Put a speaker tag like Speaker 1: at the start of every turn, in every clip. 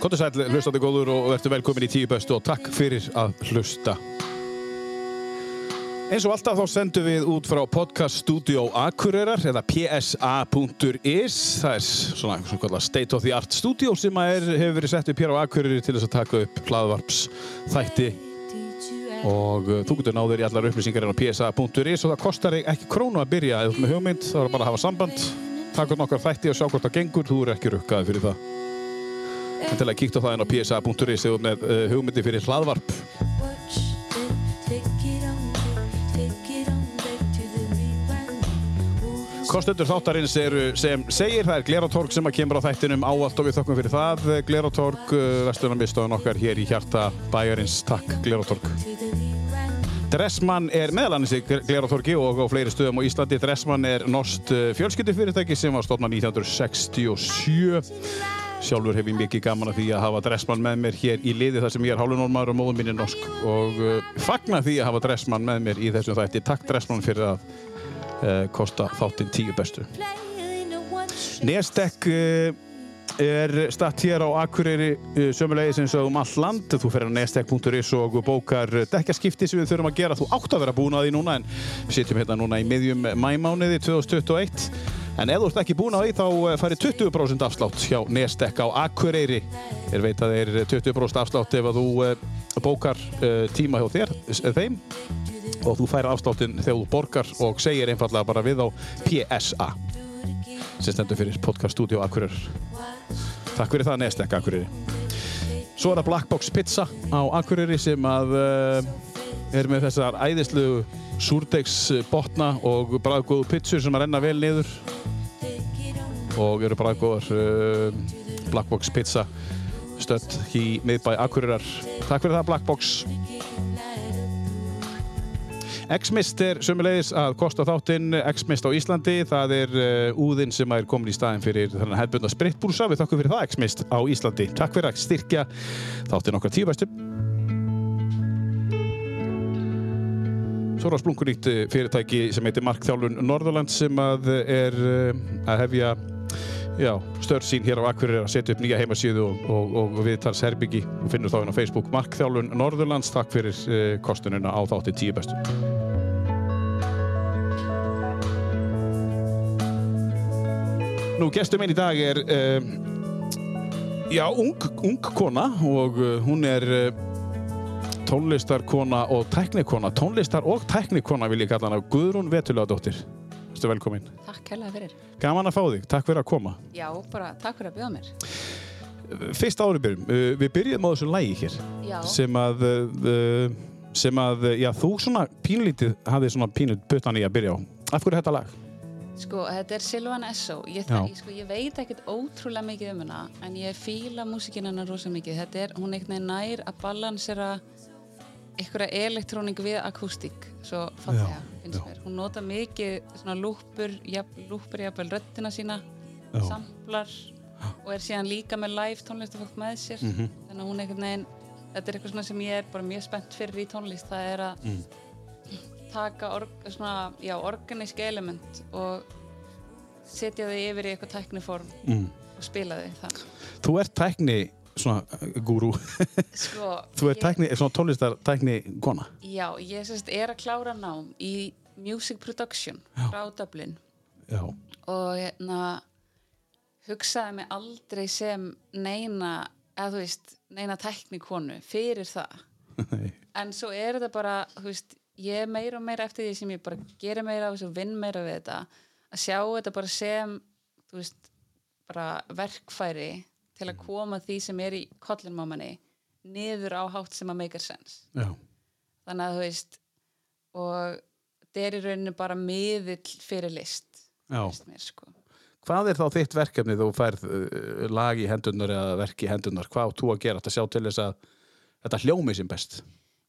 Speaker 1: Kóttu sæl, hlustandi góður og verður velkomin í tíu bestu og takk fyrir að hlusta. Eins og alltaf þá sendum við út frá podcast Studio Akureyrar eða psa.is það er svona, svona kallar state of the art studio sem að er, hefur verið sett upp hér á Akureyri til þess að taka upp hlaðvarps þætti og uh, þú getur náður í allar upplýsingar en á psa.is og það kostar þig ekki krónu að byrja eða með hugmynd, þá er bara að hafa samband taka nokkar þætti og sjá hvort það gengur þú er ekki rukkaði fyrir það en til að kíkta það en á psa.is þegar þú ert með uh, hugmyndi fyrir hlaðvarp Kostendur þáttarins eru sem segir, það er Gleratorg sem að kemur á þættinum ávallt og við þokkum fyrir það. eh, Gleratorg, vestlunarmiðstofan okkar hér í hjarta bæjarins. Takk, Gleratorg. Dressmann er meðalanis í Gleratorgi og á fleiri stöðum á Íslandi. Dressmann er norst fjölskyldufyrirtæki sem var stofna 1967. Sjálfur hef ég mikið gaman af því að hafa dressmann með mér hér í liði þar sem ég er hálunólmaður og móðum minni norsk og uh, fagna því að hafa dressmann með mér í þessum þætti. Takk dressmann fyrir að uh, kosta þáttinn tíu bestu. Nestek uh, er statt hér á Akureyri uh, sömulegis eins og um all land. Þú fer á nestek.is og bókar dekkaskipti sem við þurfum að gera. Þú átt að vera búin að því núna en við sitjum hérna núna í miðjum mæmániði 2021. En ef þú ert ekki búin að því þá eh, færi 20% afslátt hjá Nestek á Akureyri. Ég veit að þeir 20% afslátt ef að þú uh, bókar uh, tíma hjá þér, s- þeim og þú fær afsláttinn þegar þú borgar og segir einfallega bara við á PSA sem stendur fyrir Podcast Studio Akureyr Takk fyrir það neðstekk Akureyri Svo er það Black Box Pizza á Akureyri sem að uh, er með þessar æðislu súrdeigs botna og bræðgóðu pizzur sem að renna vel niður og eru bræðgóðar uh, Black Box Pizza stödd í miðbæ Akureyrar Takk fyrir það Black Box X-Mist er sömulegis að kosta þáttinn X-Mist á Íslandi, það er uh, úðinn sem er komin í staðin fyrir þannig hefðbundna spritbúrsa, við þakkum fyrir það X-Mist á Íslandi, takk fyrir að styrkja þáttinn okkar tíu bestu Svo er á splunkunýtt eh, fyrirtæki sem heitir Markþjálfun Norðurland sem að eh, er eh, að hefja já, störf sín hér á Akureyri að setja upp nýja heimasíðu og, og, og viðtals herbyggi og finnur þá hérna á Facebook Markþjálfun Norðurlands, takk fyrir uh, kostununa á þáttinn tíu bestu Nú, gestur minn í dag er, uh, já, ung, ung kona og uh, hún er uh, tónlistarkona og tæknikona, tónlistar og tæknikona vil ég kalla hana, Guðrún Vetulega dóttir. Þú velkomin.
Speaker 2: Takk kærlega fyrir.
Speaker 1: Gaman að fá þig, takk fyrir að koma.
Speaker 2: Já, bara takk fyrir að bjóða mér.
Speaker 1: Fyrst ári byrjum, uh, við byrjum á þessu lægi hér
Speaker 2: Já.
Speaker 1: sem að, uh, sem að, uh, já, þú svona pínlítið, hafði svona pínlítið puttan í að byrja á. Af hverju þetta lag?
Speaker 2: Sko, þetta er Silvan Esso. Ég,
Speaker 1: Já.
Speaker 2: ég, sko, ég veit ekkert ótrúlega mikið um hana, en ég fíla músikinn hennar rosa mikið. Þetta er, hún einhvern veginn nær að balansera einhverja elektróning við akústík, svo fallega,
Speaker 1: Já,
Speaker 2: finnst
Speaker 1: já.
Speaker 2: mér. Hún nota mikið svona lúpur, jafn, lúpur jafnvel röddina sína,
Speaker 1: Já.
Speaker 2: samplar og er síðan líka með live tónlistafólk með sér.
Speaker 1: Mhm.
Speaker 2: Þannig að hún einhvern veginn, þetta er eitthvað svona sem ég er bara mjög spennt fyrir í tónlist, það er að
Speaker 1: Mm.
Speaker 2: taka org, svona, já, organisk element og setja þau yfir í eitthvað tækniform
Speaker 1: Mm.
Speaker 2: og spila þau það.
Speaker 1: Þú ert tækni, svona, gúrú,
Speaker 2: Sko,
Speaker 1: þú ert
Speaker 2: ég-
Speaker 1: tækni, svona tónlistar tækni kona.
Speaker 2: Já, ég sérst er að klára nám í music production frá Dublin
Speaker 1: Já.
Speaker 2: og hérna hugsaði mig aldrei sem neina, eða þú veist, neina tæknikonu fyrir það.
Speaker 1: Nei.
Speaker 2: en svo er þetta bara þú veist, ég er meira og meira eftir því sem ég bara gera meira og vinn meira við þetta að sjá þetta bara sem þú veist, bara verkfæri til að koma því sem er í kollinmámanni niður á hátt sem að make sense
Speaker 1: Já.
Speaker 2: þannig að þú veist og þetta er í rauninu bara miðill fyrir list
Speaker 1: Já.
Speaker 2: finnst mér, sko.
Speaker 1: Hvað er þá þitt verkefni þegar þú færð uh, lag í hendunar eða verk í hendunar? Hvað átt þú að gera? Þetta sjá til þess að þetta hljómi sem best.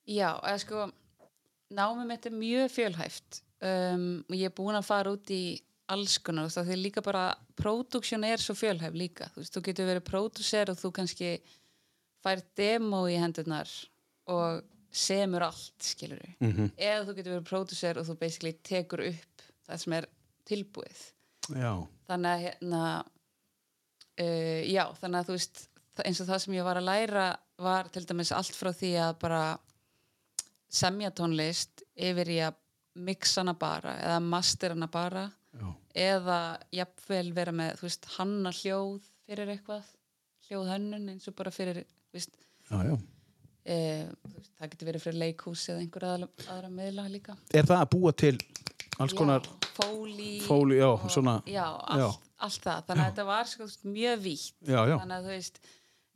Speaker 2: já, eða sko námið mitt er mjög fjölhæft um, og ég er búin að fara út í alls konar, þú veist, af því líka bara próduksjón er svo fjölhæf líka þú veist, þú getur verið pródusser og þú kannski fær demo í hendurnar og semur allt, skilur við
Speaker 1: Mhm.
Speaker 2: eða þú getur verið pródusser og þú basically tekur upp það sem er tilbúið
Speaker 1: Já.
Speaker 2: e, þannig að hérna uh, já, þannig að þú veist það- eins og það sem ég var að læra var til dæmis allt frá því að bara semja tónlist yfir í að mixa hana bara eða master hana bara
Speaker 1: Já.
Speaker 2: eða jafnvel vera með þú veist, hanna hljóð fyrir eitthvað hljóðhönnun eins og bara fyrir þú veist,
Speaker 1: Já, já.
Speaker 2: e, veist, það getur verið fyrir leikhús eða einhverja aðra, aðra miðla líka
Speaker 1: Er það að búa til alls konar
Speaker 2: já, fóli,
Speaker 1: fóli, já,
Speaker 2: og-
Speaker 1: svona,
Speaker 2: já, allt, allt það, þannig að þetta var sko, þú veist, mjög vítt
Speaker 1: já, já,
Speaker 2: þannig að þú veist,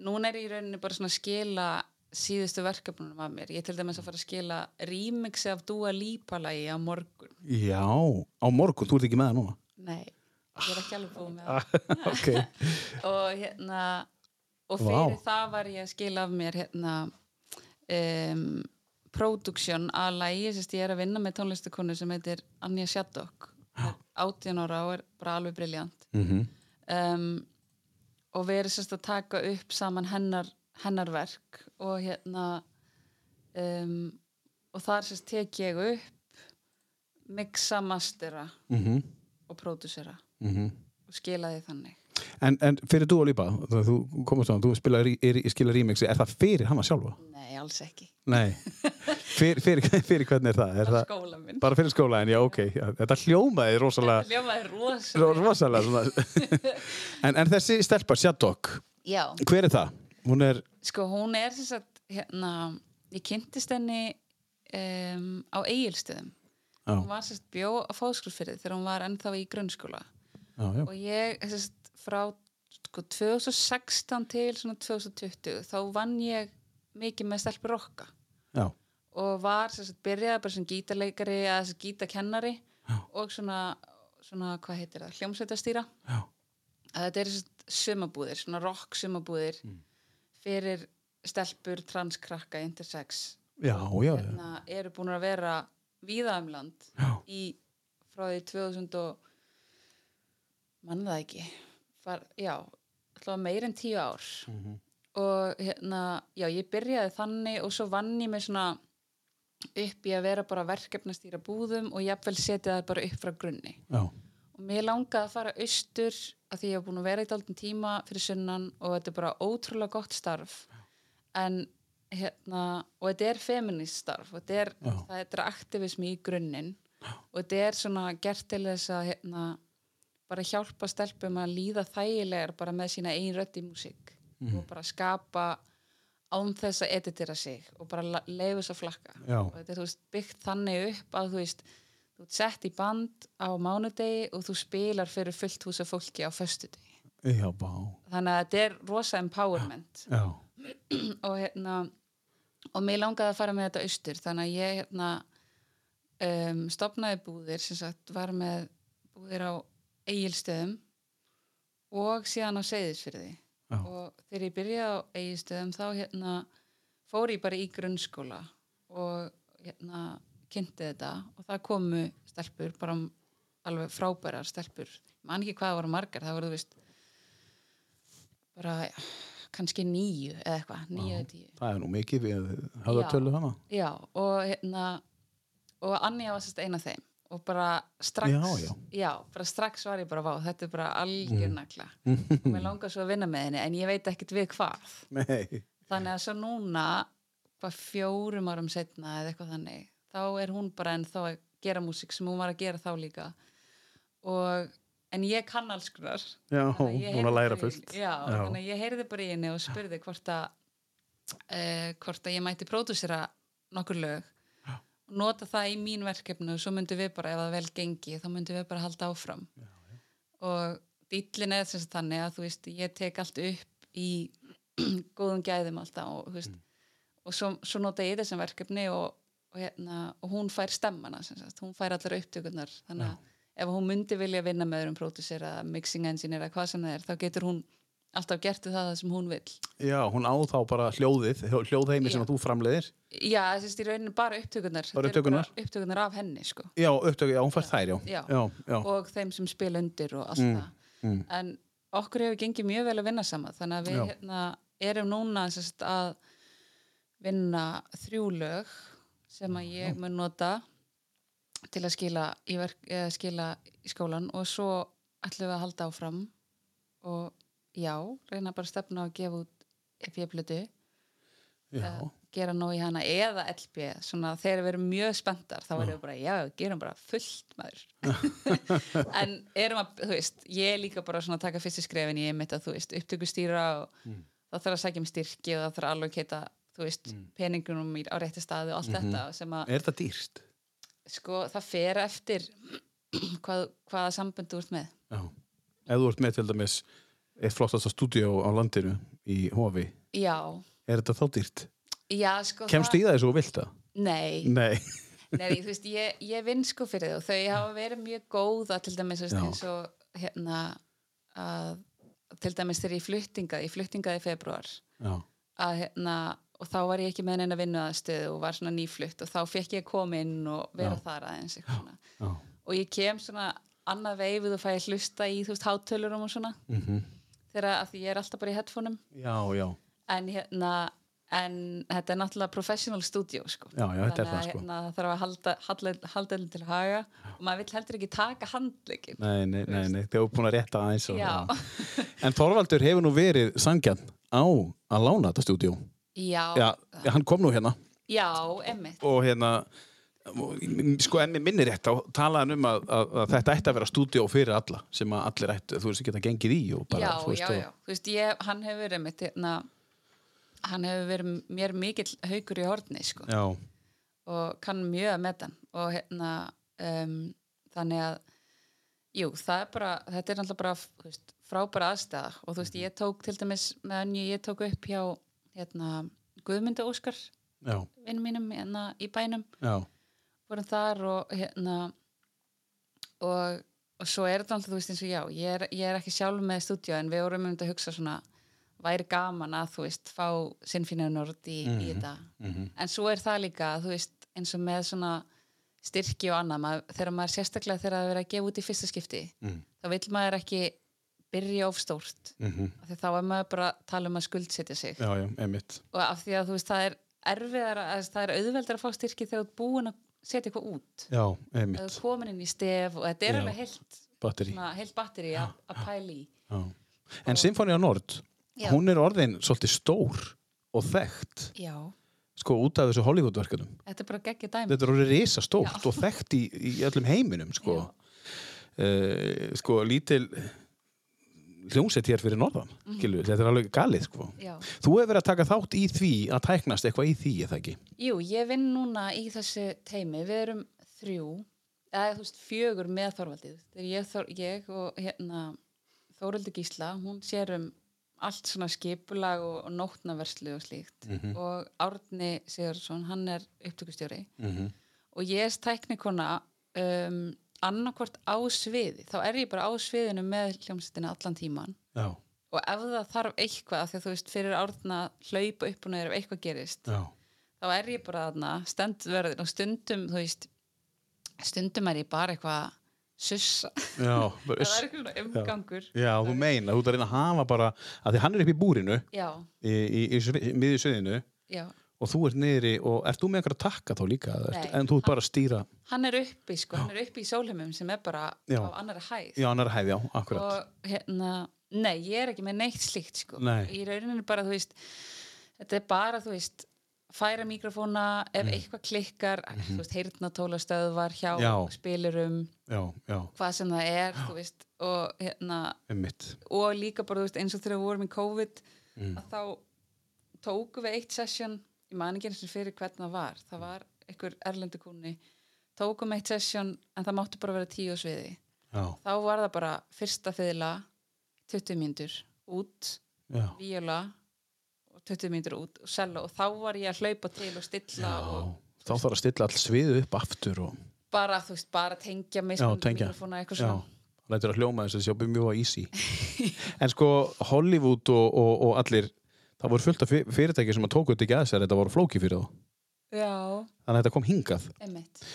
Speaker 2: núna er ég í rauninni bara svona að skila síðustu verkefnunum af mér, ég er til dæmis að fara að skila remixi af Dua Lipa lagi á morgun,
Speaker 1: já, á morgun, þú ert ekki með það núna.
Speaker 2: nei ég er ekki alveg búið með það
Speaker 1: ok,
Speaker 2: og hérna og
Speaker 1: Vá.
Speaker 2: fyrir það var ég að skila af mér hérna um, production að lægi sérst ég er að vinna með tónlistakonu sem heitir Anja Shaddock Hún er 18 ára og er bara alveg briljant
Speaker 1: mm
Speaker 2: um, og við erum sérst að taka upp saman hennar, hennar verk og hérna um, og þar sérst tek ég upp mixa, mastera
Speaker 1: mhm,
Speaker 2: og producera
Speaker 1: mhm.
Speaker 2: og skila því þannig
Speaker 1: En, en fyrir þú og lípa, þú komast á hann, þú spilar, er, er, skilur remixi, er það fyrir hana sjálfa?
Speaker 2: Nei, alls ekki.
Speaker 1: Nei, fyrir, fyrir, fyrir hvernig er það? Er
Speaker 2: Bara
Speaker 1: það
Speaker 2: skóla minn.
Speaker 1: bara fyrir skóla, en já, ok, já, þetta hljómaði rosalega,
Speaker 2: Þetta ljómaði rosa.
Speaker 1: ro- rosalega svona. en, en þessi stelpa, Shadok,
Speaker 2: Já,
Speaker 1: hver er það? Hún er,
Speaker 2: sko hún er sem sagt, hérna, ég kynntist henni um, á Egilstöðum.
Speaker 1: já,
Speaker 2: Hún var sem sagt bjó á fóðskulfyrði þegar hún var ennþá í grunnskóla.
Speaker 1: já, já,
Speaker 2: Og ég, sem sagt, frá sko, 2016 til svona 2020, þá vann ég mikið með stelpur okka.
Speaker 1: já,
Speaker 2: og var sem sagt byrjaði bara sem gítarleikari eða sem gítakennari
Speaker 1: Já.
Speaker 2: og svona, svona hvað heitir það, hljómsveitastýra
Speaker 1: Já.
Speaker 2: að þetta eru sem sagt sumabúðir, svona rock sumabúðir
Speaker 1: Mm.
Speaker 2: fyrir stelpur, transkrakka, intersex
Speaker 1: já, já, já,
Speaker 2: hérna eru búin að vera víða um land
Speaker 1: já.
Speaker 2: í frá því 2000 og mann það ekki var, já, alltaf meir en tíu ár
Speaker 1: Mhm.
Speaker 2: og hérna já, ég byrjaði þannig og svo vann ég mig svona upp í að vera bara verkefnastýra búðum og jafnvel setja það bara upp frá grunni
Speaker 1: já.
Speaker 2: og mér langaði að fara austur af því ég hef búin að vera í daldin tíma fyrir sunnan og þetta er bara ótrúlega gott starf en hérna og þetta er feminist starf og þetta er,
Speaker 1: Já.
Speaker 2: það er aktivismi í grunninn og þetta er svona gert til þess að hérna, bara hjálpa stelpum að líða þægilegar bara með sína ein rödd í músík og
Speaker 3: Mm-hmm.
Speaker 2: bara skapa án þess að editera sig og bara leifu þess að flakka
Speaker 1: Já.
Speaker 2: og þetta er þú veist, byggt þannig upp að þú veist þú ert sett í band á mánudegi og þú spilar fyrir fullt húsa fólki á föstudegi
Speaker 1: Já, bá,
Speaker 2: þannig að þetta er rosa empowerment
Speaker 1: já,
Speaker 2: og hérna og mér langaði að fara með þetta austur þannig að ég hérna um, stopnaði búðir sem sagt var með búðir á eigilstöðum og síðan á seyðisfyrði
Speaker 1: Já.
Speaker 2: og þegar ég byrjaði á eigilstöðum þá hérna fór ég bara í grunnskóla og hérna kynnti þetta og það komu stelpur bara um, alveg frábærar stelpur man ekki hvað það voru margar, það voru þú veist bara kannski níu eða eitthvað, níu eða tíu
Speaker 1: það er nú mikið við höfðu að
Speaker 2: Já.
Speaker 1: tölu hana.
Speaker 2: Já, og hérna og Anja var sérst eina þeim og bara strax
Speaker 1: Já, Mm. já.
Speaker 2: bara strax var ég bara vá, þetta er bara algjör nagla og
Speaker 1: Mm.
Speaker 2: mér langar svo að vinna með henni en ég veit ekkit við hvað
Speaker 1: Nei,
Speaker 2: þannig að svo núna bara fjórum árum setna eða eitthvað þannig þá er hún bara ennþá að gera músík sem hún var að gera þá líka og en ég kann alls konar
Speaker 1: já,
Speaker 2: Þannig ég
Speaker 1: hún
Speaker 2: heyrði
Speaker 1: að læra
Speaker 2: bara í-
Speaker 1: fullt.
Speaker 2: já, þannig að ég heyrði bara í henni og spurði hvort að uh, hvort að ég mætti pródúsera nokkur lög og nota það í mín verkefni og svo myndum við bara, ef það vel gengi þá myndum við bara halda áfram já, já. og dýllin er þess að þannig að þú veist, ég tek allt upp í góðum gæðum alltaf og, þú veist,
Speaker 1: Mm.
Speaker 2: og svo, svo nota ég þessum verkefni og, og, hérna, og hún fær stemmana sem sagt, hún fær allar upptökurnar þannig að ef hún myndi vilja vinna með öðrum pródusir eða mixing engineer eða hvað sem það er þá getur hún alltaf gert við það sem hún vill
Speaker 1: Já, hún á þá bara hljóðið, hljóðheimi sem
Speaker 2: Já.
Speaker 1: að þú framleiðir.
Speaker 2: já, þess að í rauninu bara upptökurnar
Speaker 1: Bara
Speaker 2: Þetta eru
Speaker 1: upptökurnar?
Speaker 2: upptökurnar af henni sko
Speaker 1: Já, upptöku, já, hún fær þær, já.
Speaker 2: Já.
Speaker 1: já, já.
Speaker 2: og þeim sem spila undir og allt það
Speaker 1: mm.
Speaker 2: en okkur hefur gengið mjög vel að vinna saman þannig að við
Speaker 1: Já.
Speaker 2: hérna, erum núna sérst, að vinna þrjú lög sem að ég mun nota til að skila í, verk, eh, skila í skólan og svo ætlum við að halda áfram og já, reyna bara að stefna að gefa út e fjöflötu
Speaker 1: Já.
Speaker 2: gera nóg í hana eða LB svona þegar við erum mjög spenntar þá erum við bara, já, gerum bara fullt maður en erum að, þú veist ég er líka bara svona að taka fyrstu skrefin í einmitt að, þú veist, upptöku stýra og
Speaker 1: Mm.
Speaker 2: þá þarf að sækja um styrki og þá þarf að alloketa þú veist,
Speaker 1: Mm.
Speaker 2: peningunum í- á rétti staði og allt þetta sem að,
Speaker 1: Mhm. Er þetta dýrst?
Speaker 2: sko, það fer eftir hvað, hvaða sambund þú ert með
Speaker 1: Já. Ef þú ert með til dæmis eitt flottasta stúdíó á landinu í Hofi,
Speaker 2: já,
Speaker 1: er þetta þá dýrt?
Speaker 2: já, sko
Speaker 1: Kemstu í það eins og þú vilt það?
Speaker 2: það? Nei,
Speaker 1: Nei.
Speaker 2: Nei, þú veist, ég, ég vinn sko fyrir þau þau hafa verið mjög góða til dæmis þú veist,
Speaker 1: Já.
Speaker 2: eins og hérna að, til dæmis þegar ég fluttingaði ég fluttingaði í februar
Speaker 1: Já.
Speaker 2: að, hérna, og þá var ég ekki með neina vinnuðastöð og var svona nýflutt og þá fekk ég að koma inn og vera
Speaker 1: Já.
Speaker 2: þar aðeins eitthvað svona.
Speaker 1: Já.
Speaker 2: og ég kem svona annað veifuð og fæ að hlusta í þú veist hátölurum og svona
Speaker 1: Mm
Speaker 2: þegar að því ég er alltaf bara í headphoneum
Speaker 1: já, já.
Speaker 2: en hérna en þetta er náttúrulega professional studio sko.
Speaker 1: Já, já, þetta er
Speaker 2: Þannig að,
Speaker 1: það, sko.
Speaker 2: hérna, það þarf að halda, halda, halda henni til haga og maður vill heldur ekki taka handleikin
Speaker 1: Nei, nei, nei, nei. Þið hefur búin að rétta aðeins. Og,
Speaker 2: Já.
Speaker 1: En Þorvaldur hefur nú verið sangjarn á að lána þetta stúdíó.
Speaker 2: já,
Speaker 1: Já, hann kom nú hérna
Speaker 2: já, emmitt
Speaker 1: og hérna og- sko enn mér minnir rétt þá talaði hann um að, að, að þetta ætti að vera stúdíó fyrir alla sem að allir ættu, þú veist, geta gengið í og bara,
Speaker 2: já,
Speaker 1: þú veist,
Speaker 2: já, já, þú veist, ég, hann hefur verið mitt, hérna, hann hefur verið mér mikill haukur í horni sko.
Speaker 1: já.
Speaker 2: og kann mjög að meta hann og hérna um, þannig að jú, það er bara, þetta er náttúrulega bara þú veist, frábæra aðstæða og þú veist, ég tók til dæmis með önju, ég tók upp hjá hérna, Guðmundu Óskar
Speaker 1: Já,
Speaker 2: vinn mínum hérna í bænum
Speaker 1: já,
Speaker 2: vorum þar og hérna og, og svo er þetta alltaf, þú veist, eins og já ég er, ég er ekki sjálf með stúdíu en við vorum um þetta að hugsa svona væri gaman að, þú veist, fá sinnfínunord í, í þetta
Speaker 1: Mm-hmm.
Speaker 2: en svo er það líka, þú veist, eins og með svona styrki og annað maður, þegar maður sérstaklega þegar það er verið að gefa út í fyrsta skipti
Speaker 1: Mm.
Speaker 2: þá vill maður ekki byrja of stórt
Speaker 1: mm
Speaker 2: af því þá er maður bara að tala um að skuldsetja sig
Speaker 1: já, já, einmitt
Speaker 2: og af því að þú veist, það er erfiðara, að- það er auðveldar að fá styrki þegar þú ert búin að setja eitthvað út
Speaker 1: Já,
Speaker 2: að
Speaker 1: einmitt,
Speaker 2: þú komin inn í stef og þetta er
Speaker 1: Já.
Speaker 2: alveg heilt,
Speaker 1: batteri
Speaker 2: svona, heilt batteri að að pæla í
Speaker 1: já. En Sinfonía Nord,
Speaker 2: Já.
Speaker 1: hún er orðin svolítið stór og þekkt
Speaker 2: já,
Speaker 1: sko út af þessu Hollywoodverkunum
Speaker 2: þetta er bara geggja dæmi
Speaker 1: Þetta er orðið risastórt og þekkt í, í öllum heiminum sko uh, sko lítil hljómsett hér fyrir norðan
Speaker 2: Mhm.
Speaker 1: mm. þetta er alveg galið sko
Speaker 2: já.
Speaker 1: Þú hefur verið að taka þátt í því að tæknast eitthvað í því eða ekki
Speaker 2: jú, ég vinn núna í þessu teimi við erum þrjú eða þú veist fjögur með Þorvaldið þegar ég, Þor, ég og hérna Þóruldi Gísla, hún sér um allt svona skipulag og, og nótnaverslu og slíkt og Árni Sigurðsson, hann er upptökustjóri
Speaker 1: mm -hmm.
Speaker 2: og ég er tæknikona um, annarkvort á sviði þá er ég bara á sviðinu með hljómsettina allan tíman
Speaker 1: Já,
Speaker 2: og ef það þarf eitthvað af því að þú veist fyrir árna hlaupa upp og neður ef eitthvað gerist
Speaker 1: já,
Speaker 2: þá er ég bara þarna stendverðin og stundum þú veist stundum er ég bara eitthvað að sussa
Speaker 1: já
Speaker 2: það er
Speaker 1: bara-
Speaker 2: eitthvað svona umgangur já,
Speaker 1: Já, þú meina, þú ert að reyna að hafa bara að því hann er upp í búrinu
Speaker 2: já,
Speaker 1: í, í, í, í miðju sviðinu og þú ert niðri og ert þú með einhverja takka þá líka eða ertu,
Speaker 2: Nei.
Speaker 1: en þú ert bara að stýra
Speaker 2: hann er uppi sko, hann er uppi í sólheimum sem er bara
Speaker 1: Já.
Speaker 2: á annari hæð
Speaker 1: í annar hæði á, akkurat
Speaker 2: og hérna, nei, ég er ekki með neitt slíkt sko,
Speaker 1: Nei.
Speaker 2: í rauninu bara þú veist, þetta er bara þú veist færa mikrofóna ef
Speaker 1: Mm.
Speaker 2: eitthvað klikkar, þú veist, heyrnatólastöðvar hjá
Speaker 1: Mhm. Já.
Speaker 2: spilurum
Speaker 1: Já, já,
Speaker 2: hvað sem það er, þú veist og hérna,
Speaker 1: um mitt
Speaker 2: og líka bara þú veist, eins og þegar við vorum í COVID
Speaker 1: Mm.
Speaker 2: að þá tókum við eitt session ég man ekki eins og fyrir hvernig það var það var einhver erlendu kunni tókum eitt session, en það máttu bara vera tíu á sviði
Speaker 1: Já,
Speaker 2: þá var það bara fyrsta fiðla 20 mínútur út
Speaker 1: já,
Speaker 2: viola og 20 mínútur út og sella og þá var ég að hlaupa til og stilla
Speaker 1: já
Speaker 2: og
Speaker 1: Þá þarf að stilla all sviðu upp aftur og
Speaker 2: bara, þú veist, bara tengja mig
Speaker 1: Já, tengja.
Speaker 2: mikrofóna eitthvað
Speaker 1: Já,
Speaker 2: svona
Speaker 1: lætur að hljóma þess að sjá mjög að ísi En sko, Hollywood og, og, og allir það voru fullt af fyr- fyrirtæki sem að tóku þetta ekki að sér, þetta voru flóki fyrir þá
Speaker 2: já, já
Speaker 1: Þannig að þetta kom hingað
Speaker 2: einmitt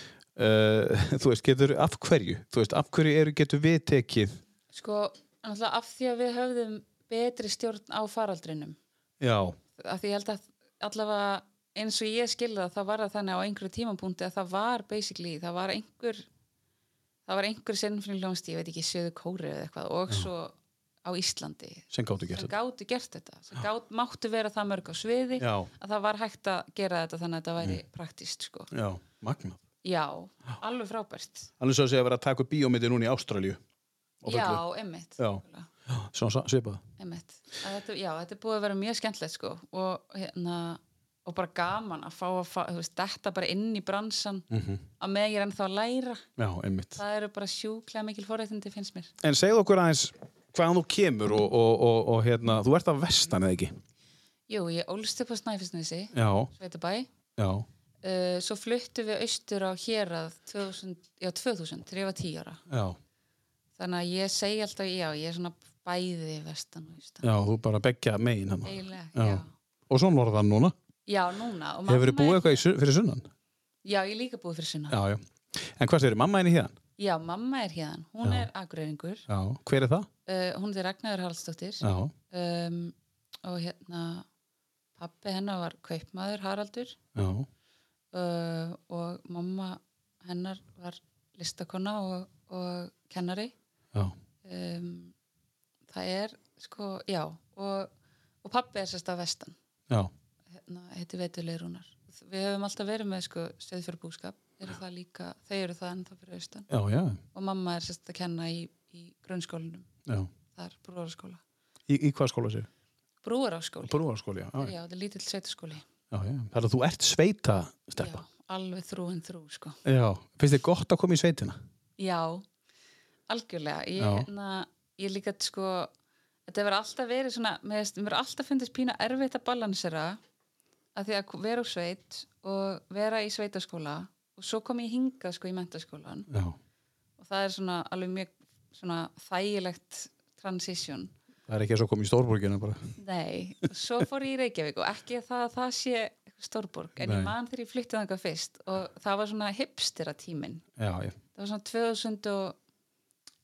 Speaker 1: uh, Þú veist, getur af hverju Þú veist, af hverju eru, getur við tekið
Speaker 2: sko, náttúrulega af því að við höfðum betri stjórn á faraldrinum
Speaker 1: Já,
Speaker 2: af því ég held að allavega eins og ég skilði það, það var það þannig á einhverju tímapunkti að það var basically, það var einhver það var einhver sinnfrið hljónst, ég veit ekki söðu kóri eða eitthvað og svo á Íslandi
Speaker 1: sem gáttu gert
Speaker 2: sem
Speaker 1: þetta
Speaker 2: gáttu gert þetta sem gát, máttu vera það mörg á sviði
Speaker 1: já, Mm.
Speaker 2: að það var hægt að gera þetta þannig að þetta væri praktíst sko.
Speaker 1: já, magnað
Speaker 2: já, alveg frábært
Speaker 1: alveg svo að segja að vera að taka upp bíómyndi núna í Ástralju á fullu.
Speaker 2: já, emmitt
Speaker 1: Já. svona sa- svipað
Speaker 2: Einmitt. Að Þetta, já, þetta er búið að vera mjög skemmtilegt sko og hérna og bara gaman að fá að fá, þú veist, þetta bara inn í bransan
Speaker 1: Mhm.
Speaker 2: að með ég er ennþá að læra
Speaker 1: já, einmitt
Speaker 2: það eru bara sjúklega mikil forréttindi finnst mér
Speaker 1: en segð okkur aðeins hvaðan þú kemur og, og, og, og hérna, þú ert af vestan eða ekki
Speaker 2: Jú, ég ólst upp á Snæfisnesi
Speaker 1: já,
Speaker 2: Sveitabæ
Speaker 1: já,
Speaker 2: uh, svo fluttum við austur á hérað 2000, já, 2000, þegar ég var 10 ára
Speaker 1: já,
Speaker 2: þannig að ég segi alltaf, já, ég er svona bæði vestan og austan
Speaker 1: já, þú bara begja megin hann
Speaker 2: eiginlega,
Speaker 1: Já.
Speaker 2: já.
Speaker 1: og svo norðan núna,
Speaker 2: já, núna og mamma
Speaker 1: hefur þið búið
Speaker 2: er- hérna.
Speaker 1: eitthvað í, sun- fyrir sunnan
Speaker 2: já, ég er líka búið fyrir sunna já,
Speaker 1: já, já, en hvað styrir, mamma henni hérna
Speaker 2: mamma er hérðan, hún
Speaker 1: Já.
Speaker 2: er agreyringur
Speaker 1: já, hver er það?
Speaker 2: uh, hún er Ragnar Haraldsdóttir
Speaker 1: já,
Speaker 2: um, og hérna pappi hennar var kaupmaður Haraldur
Speaker 1: já,
Speaker 2: uh, og mamma hennar var listakonna og, og kennari
Speaker 1: já,
Speaker 2: um, það er sko, já og, og pappi er sérst af vestan
Speaker 1: já
Speaker 2: hérna, heiti Veituleirunar við höfum alltaf verið með sko stöðfjörðbúskap eru það líka, þau eru það ennþá fyrir austan
Speaker 1: já, já,
Speaker 2: og mamma er sérst að kenna í, í grunnskólanum,
Speaker 1: já
Speaker 2: þar brúaraskóla
Speaker 1: í, í hvað skóla sér?
Speaker 2: brúaraskóla
Speaker 1: Brúarskóli, já, já,
Speaker 2: Já, þetta er lítill sveitaskóli.
Speaker 1: já, já. þannig að þú ert sveita
Speaker 2: Já,
Speaker 1: steppa,
Speaker 2: alveg þrú en þrú, sko.
Speaker 1: já. finnst þið gott að koma í sveitina?
Speaker 2: Já, algjörlega. Ég,
Speaker 1: Já.
Speaker 2: hérna, ég líka, sko, þetta hefur alltaf verið svona, mér finnst- mér hefur alltaf fundist pína erfitt að balansera að því að vera úr sveit og vera í sveitaskóla og svo kom ég hingað, sko, í mentaskólan
Speaker 1: já,
Speaker 2: og það er svona alveg mjög svona þægilegt transition.
Speaker 1: það er ekki að svo koma í stórborgina bara,
Speaker 2: Mm. Nei, og svo fór ég í Reykjavík og ekki að það, það sé eitthvað stórborg en
Speaker 1: Nei.
Speaker 2: ég man þegar ég flytti þangað fyrst og það var svona hipstera tíminn
Speaker 1: já, já,
Speaker 2: það var svona 2011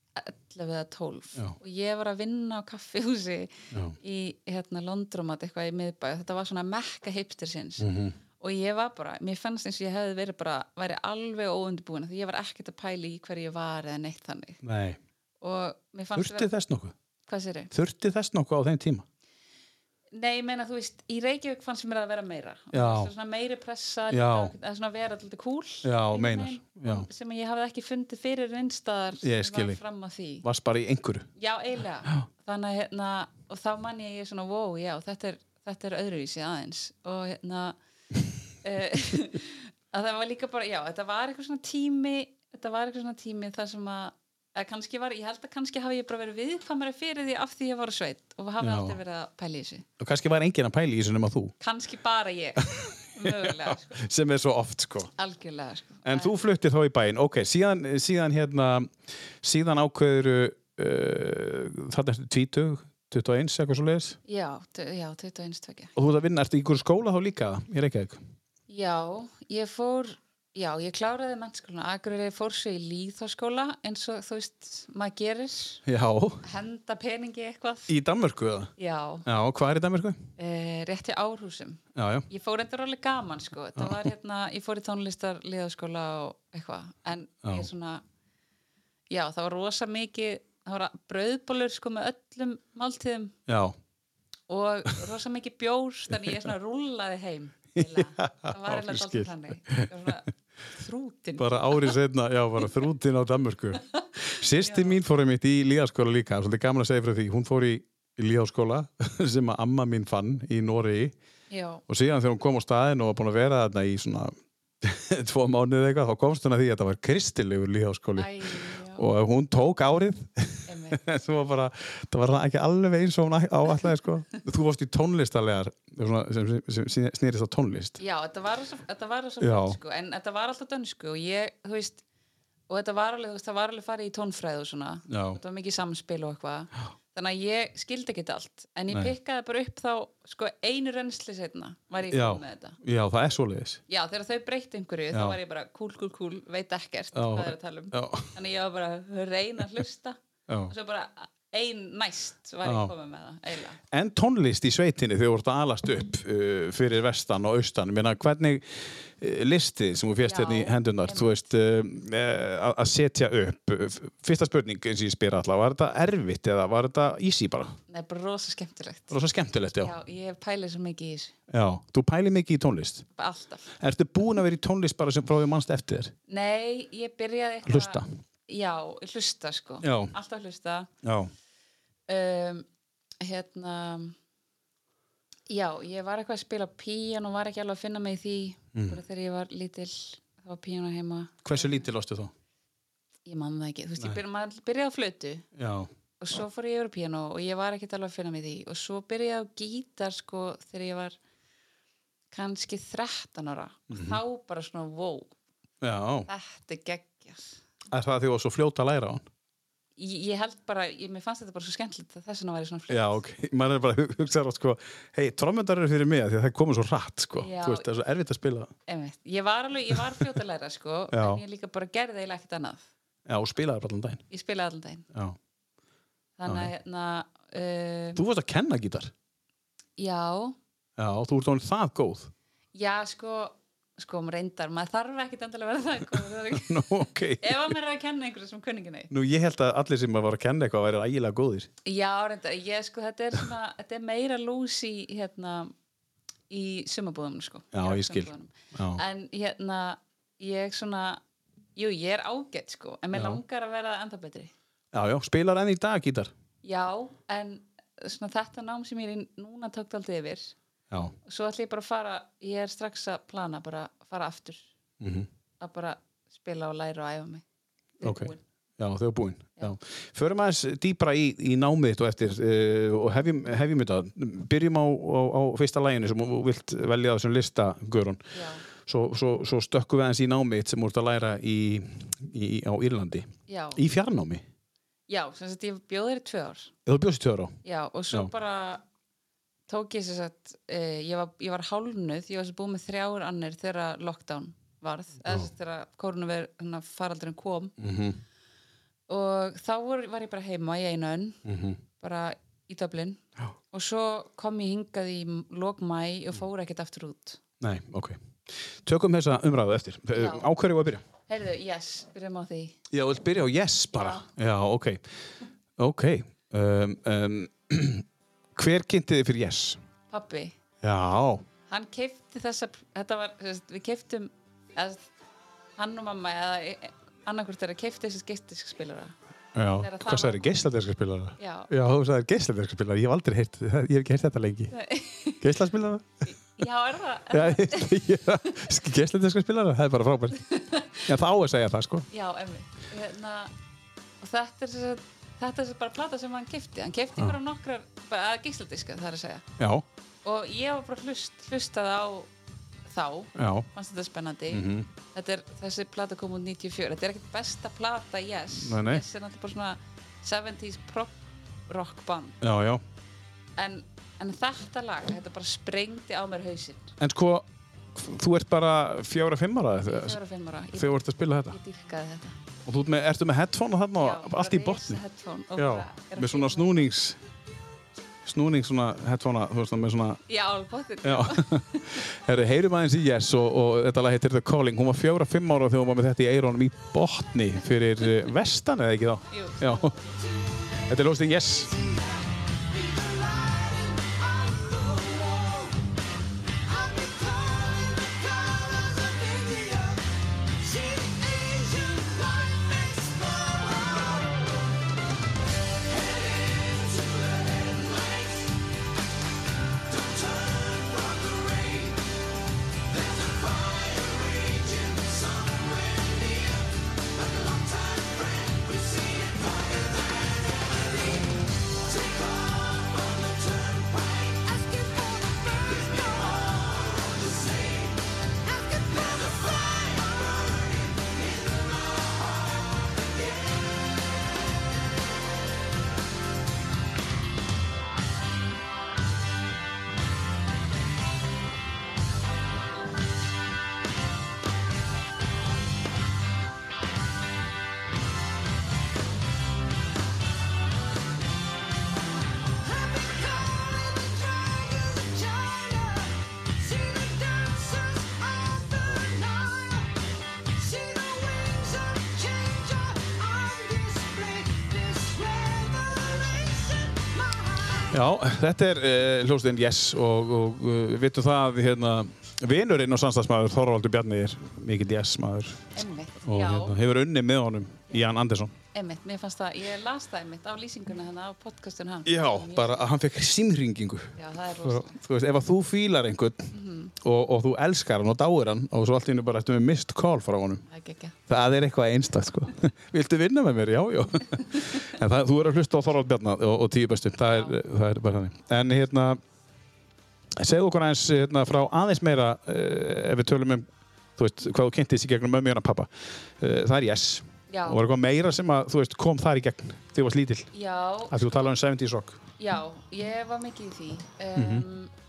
Speaker 2: eða 12
Speaker 1: Já.
Speaker 2: og ég var að vinna á kaffihúsi
Speaker 1: já
Speaker 2: í hérna Londromat eitthvað í miðbæ og þetta var svona mekka hipstersins
Speaker 1: mm
Speaker 2: og ég var bara, mér fannst eins og ég hefði verið bara, væri alveg óundbúin því ég var ekkert að pæli í hverju ég var eða neitt þannig
Speaker 1: Nei,
Speaker 2: og mér fannst
Speaker 1: þurfti
Speaker 2: vera,
Speaker 1: þess nokkuð
Speaker 2: hvað sér ég?
Speaker 1: þurfti þess nokkuð á þeim tíma
Speaker 2: Nei, ég meina, þú veist, í Reykjavík fannst mér að vera meira Og
Speaker 1: Já.
Speaker 2: þú veist, svona meiri pressa
Speaker 1: Já.
Speaker 2: líka, að svona vera alltaf cool
Speaker 1: Já,
Speaker 2: einhvern
Speaker 1: meinar,
Speaker 2: veginn, sem ég hafði ekki fundið fyrir einnstaðar
Speaker 1: Ég skil þig.
Speaker 2: fram að því
Speaker 1: varst bara í einhverju
Speaker 2: Já, eiginlega. Þannig að hérna, og þá man ég ég svona, wow, já, þetta er, þetta er öðruvísi aðeins. Og hérna, uh, að það var líka bara, já, þetta var eitthvað svona tími, þetta var eitthvað svona tími þar sem að, að kannski var, ég held að kannski hafi ég bara verið viðkvæmari fyrir því af því ég var á sveit og hafi
Speaker 1: Já.
Speaker 2: aldrei verið að pæla í þessu.
Speaker 1: og kannski var enginn að pæla í þessu nema þú
Speaker 2: Kannski bara ég, mögulega, sko,
Speaker 1: sem er svo oft sko
Speaker 2: algjörlega, sko.
Speaker 1: en þú fluttir þá í bæinn, ok, síðan, síðan hérna, síðan ákveður uh, þarna ertu 20, 21, eitthvað svo leiðis
Speaker 2: Já, tu- já, 21 tvekja.
Speaker 1: og þú ert að vinna, ertu í einhverju skóla þá líka ég reykja þig,
Speaker 2: Já, ég fór já, ég kláraði mennskólan Akureyri fór svo í líðháskóla eins og þú veist, maður gerir
Speaker 1: já,
Speaker 2: henda peningi í eitthvað
Speaker 1: í Danmörku eða?
Speaker 2: Já,
Speaker 1: já, hvað er í Danmörku?
Speaker 2: e, rétti árhúsum
Speaker 1: já, já,
Speaker 2: Ég fór endur alveg gaman sko þetta var hérna, ég fór í tónlistar líðháskóla og eitthvað, en
Speaker 1: Já.
Speaker 2: ég svona já, það var rosa mikið það var brauðbólur sko með öllum máltíðum
Speaker 1: já,
Speaker 2: og rosa mikið bjór þannig ég svona rúllaði heim eiginlega. það var
Speaker 1: Já, ég
Speaker 2: eiginlega
Speaker 1: skil.
Speaker 2: dálítið þannig Ég var svona þrútin
Speaker 1: bara árið setna já, bara þrútin á Danmörku sýsti mín fór einmitt í líðaskóla líka svolítið gaman að segja frá því, hún fór í líðaskóla sem að amma mín fann í Noregi
Speaker 2: Já,
Speaker 1: og síðan þegar hún kom á staðin og var búin að vera þarna í svona tvo mánuð eitthvað, þá komst hún að því að það var kristilegur líðháskóli
Speaker 2: æ, já,
Speaker 1: og hún tók árið
Speaker 2: einmitt.
Speaker 1: þú var bara, það var ekki alveg eins og hún áallega sko þú varst í tónlistarlegar svona, sem, sem, sem snýrist á tónlist
Speaker 2: já þetta var rosa- þetta var rosa
Speaker 1: Já.
Speaker 2: flott, sko, en þetta var alltaf dönsku og ég, þú veist og þetta var alveg, þú veist, það var alveg farið í tónfræð og svona,
Speaker 1: já,
Speaker 2: þetta var mikið samspil og eitthvað þannig að ég skildi ekki allt en ég
Speaker 1: Nei.
Speaker 2: pikkaði bara upp þá, sko, einu rennsli setna var ég
Speaker 1: Já.
Speaker 2: komið með þetta
Speaker 1: já, það er svoleiðis
Speaker 2: Já, þegar þau breytti einhverju,
Speaker 1: Já.
Speaker 2: þá var ég bara cool, cool, cool, veit ekkert
Speaker 1: Já.
Speaker 2: hvað er að tala um
Speaker 1: já,
Speaker 2: þannig að ég var bara að reyna að hlusta
Speaker 1: já,
Speaker 2: og svo bara ein næst var
Speaker 1: Já.
Speaker 2: ég komið með það eiginlega.
Speaker 1: En tónlist í sveitinni þegar þú ert að alast upp uh, fyrir vestan og austan, Ég meina hvernig uh, listi sem þú fjast
Speaker 2: Já,
Speaker 1: hérna í hendunar,
Speaker 2: einmitt.
Speaker 1: þú veist, uh, uh, að setja upp, Uh, fyrsta spurning eins og ég spyr alltaf, var þetta erfitt eða var þetta easy bara?
Speaker 2: það er bara rosa skemmtilegt
Speaker 1: Það var svo skemmtilegt, já.
Speaker 2: já, ég pæli svo mikið í þessu
Speaker 1: Já, þú pæli mikið í tónlist.
Speaker 2: bara alltaf
Speaker 1: Ertu búin að vera í tónlist bara sem frá því mannst eftir þér?
Speaker 2: Nei, ég byrjaði eitthvað
Speaker 1: Hlusta?
Speaker 2: Já, hlusta sko
Speaker 1: Já.
Speaker 2: Alltaf hlusta
Speaker 1: Já.
Speaker 2: um, Hérna Já, ég var eitthvað að spila pían og var ekki alveg að finna mig í því
Speaker 1: Mm.
Speaker 2: bara þegar ég var lítil þá var pían heima,
Speaker 1: Hversu lítið lostu þú?
Speaker 2: ég man það ekki þú veist, ég byrja, maður byrjaði á flötu
Speaker 1: Já.
Speaker 2: og svo fór ég yfir á píano og ég var ekkert alveg að finna mig í því og svo byrjaði ég á gítar sko þegar ég var kannski 13 ára
Speaker 1: Mhm.
Speaker 2: og þá bara svona, wow,
Speaker 1: Já.
Speaker 2: þetta er geggjað
Speaker 1: Er það því þú var svo fljóta að læra á hann?
Speaker 2: ég, ég held bara, ég, mér fannst þetta bara svo skemmtilegt að þess vegna var ég svona fljótt
Speaker 1: Já, ok, maður er bara að hugsa rátt sko, hei, trómyndar eru fyrir mig af því að það komur svo rætt sko,
Speaker 2: Já.
Speaker 1: þú veist, það er svo erfitt að spila
Speaker 2: Einmitt. ég var alveg, ég var fljótt að læra sko
Speaker 1: Já.
Speaker 2: en ég líka bara gerði eiginlega ekkert annað
Speaker 1: Já, og spila það bara allan daginn
Speaker 2: ég spilaði allan daginn
Speaker 1: Já.
Speaker 2: þannig að hérna, um,
Speaker 1: Þú varst að kenna gítar
Speaker 2: já,
Speaker 1: Já, þú ert tónlega það góð
Speaker 2: já sko sko, maður reyndar, maður þarf ekkert endilega að vera það sko, það er ekki-
Speaker 1: Nú, ok
Speaker 2: ef að maður er að kenna einhverju sem kunningin eitt
Speaker 1: Nú, ég held að allir sem var að kenna eitthvað væri ægilega góðir
Speaker 2: já, reyndar, ég sko, þetta er svona þetta er meira lús í hérna, í sumabúðum sko
Speaker 1: Já,
Speaker 2: Í
Speaker 1: ég skil.
Speaker 2: sumarbúðunum.
Speaker 1: Já,
Speaker 2: en hérna, ég svona jú, ég er ágætt sko en mér
Speaker 1: Já.
Speaker 2: langar að vera enda betri
Speaker 1: já, já spilar enn í dag gítar
Speaker 2: Já, en svona þetta nám sem ég er í núna tókt aldrei yfir
Speaker 1: Já,
Speaker 2: svo ætla ég bara að fara, ég er strax að plana bara að fara aftur
Speaker 1: mm
Speaker 2: að bara spila og læra og æfa mig Ég er
Speaker 1: Ok.
Speaker 2: búin.
Speaker 1: já þau er búin
Speaker 2: Já.
Speaker 1: já. Förum aðeins dýpra í, í námið þitt og eftir uh, og hefjum, hefjum þetta Byrjum á, á, á fyrsta læginu sem þú vilt velja á þessum lista, Guðrún
Speaker 2: Já,
Speaker 1: svo, svo, svo stökkum við aðeins í námið sem þú ert að læra í, í, á Írlandi
Speaker 2: já,
Speaker 1: í fjarnámi,
Speaker 2: já, sem sagt ég bjóð þeirri tvö ár
Speaker 1: þú bjóðst tjóra á
Speaker 2: Já, og svo
Speaker 1: Já.
Speaker 2: bara tók ég sem sagt uh, ég, var, ég var hálnuð, ég var svo búin með þrjár annir þegar lockdown varð eða sem sagt þegar kórnum faraldurinn kom
Speaker 1: mm -hmm.
Speaker 2: og þá vor, var ég bara heima í einu önn
Speaker 1: Mm -hmm.
Speaker 2: bara í Dublin
Speaker 1: Já. Mm.
Speaker 2: og svo kom ég hingað í lokmæ og fór ekkert aftur út
Speaker 1: Nei, ok Tökum þessa umræðu eftir,
Speaker 2: Já.
Speaker 1: á hverju var að byrja?
Speaker 2: heyrðu, yes, byrjum á því
Speaker 1: Já, þú vilt byrja á yes bara Já, ok, ok um, um, Hver kynnti þið fyrir yes?
Speaker 2: pappi,
Speaker 1: Já,
Speaker 2: hann keipti þessa þetta var, sem sagt, við keiptum eða, hann og mamma eða e, annarkvort er að keipti þessi geistiskspilara
Speaker 1: já,
Speaker 2: Þegar það
Speaker 1: hvað
Speaker 2: var-
Speaker 1: sagði geisladerskaspilara?
Speaker 2: já,
Speaker 1: Já, þú sagði geisladerskaspilara, ég hef aldrei heyrt ég hef ekki heyrt þetta lengi Geislaspilara?
Speaker 2: já, er það
Speaker 1: Já, geisladerskaspilara, það er bara frábært Já, það á að segja það, sko
Speaker 2: já, emmi hérna, og þetta er sem sagt, þetta er bara plata sem hann keipti hann keipti bara nokkrar, bara að geisladiska það er að segja,
Speaker 1: Já,
Speaker 2: og ég var bara hlust, hlustað á þá
Speaker 1: já Mhm.
Speaker 2: fannst þetta spennandi þetta er, þessi plata kom út 94 þetta er ekkert besta plata, yes
Speaker 1: Nei, nei.
Speaker 2: yes er náttúrulega bara svona 70s prop rock band
Speaker 1: Já, já.
Speaker 2: en, en þetta lag, þetta bara sprengdi á mér hausinn
Speaker 1: En sko, þú ert bara fjóra, fimm ára þegar
Speaker 2: þegar og fimm ára, ég,
Speaker 1: þú ert að spila þetta.
Speaker 2: ég dýrkaði þetta
Speaker 1: Og þú ert með, ertu með headphone þarna
Speaker 2: Já,
Speaker 1: og allt í
Speaker 2: bara
Speaker 1: botni.
Speaker 2: risa headphone og
Speaker 1: Já,
Speaker 2: bara er að
Speaker 1: með svona
Speaker 2: fíla.
Speaker 1: snúnings, snúnings svona headphone, þú veist það með svona,
Speaker 2: já, alveg botni
Speaker 1: já. Herri, heyrum aðeins í Yes og, og þetta lag heitir The Calling. Hún var fjóra, fimm ára þegar hún var með þetta í eirónum í botni fyrir eh, vestan eða ekki þá.
Speaker 2: Jú.
Speaker 1: Já. Þetta er lóstinn Yes.
Speaker 4: Thank
Speaker 1: Já, þetta er uh, hljóstinn Yes og, og uh, við vitum það hérna, vinurinn og samstagsmaður Þorvaldur Bjarni er mikill Yes maður
Speaker 2: Einmitt,
Speaker 1: og
Speaker 2: já,
Speaker 1: hérna, hefur unnið með honum Jan Andersson.
Speaker 2: einmitt, mér fannst það, ég las það einmitt á lýsinguna hérna á podcastun hann.
Speaker 1: Já,
Speaker 2: Mjög-
Speaker 1: bara að hann fekk símringingu.
Speaker 2: Já, það er rosa.
Speaker 1: Þú veist, ef að þú fílar einhvern
Speaker 2: Mhm.
Speaker 1: og, og þú elskar hann og dáir hann og svo allt í hennu bara eftir með mist call frá honum
Speaker 2: Það er gekkja.
Speaker 1: Það er eitthvað einstakt sko. Viltu vinna með mér? Já, já. En það, þú er að hlusta á Þorvald Bjarnar og, og tíu bestu. Það er, það er bara þannig. En hérna, segðu okkur aðeins hérna, frá aðeins meira uh, ef við tölum um, þú veist, hvað þú kynntist í gegnum mömmu hérna pappa. Uh, það er yes.
Speaker 2: Já,
Speaker 1: Og var eitthvað meira sem að, þú veist, kom þar í gegn þegar þú varst lítill.
Speaker 2: já,
Speaker 1: Af því þú talaði um 70's rock.
Speaker 2: já, ég var mikið í því. Um,
Speaker 1: Mhm.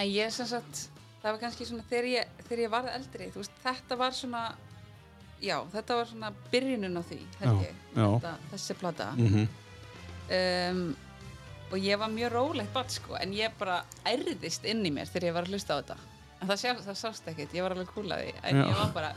Speaker 2: En ég sem sagt, það var kannski svona þegar ég, þegar ég varð eldri, þú veist, þetta var svona, já, þetta var svona byrjunin á því, held
Speaker 1: Já,
Speaker 2: ég,
Speaker 1: já.
Speaker 2: þetta, þessi plata.
Speaker 1: Mm -hmm.
Speaker 2: um, og ég var mjög rólegt bat sko, en ég bara ærðist inn í mér þegar ég var að hlusta á þetta en það, sjá, það sást ekkert, ég var alveg kúl að því en
Speaker 1: Já.
Speaker 2: ég var bara,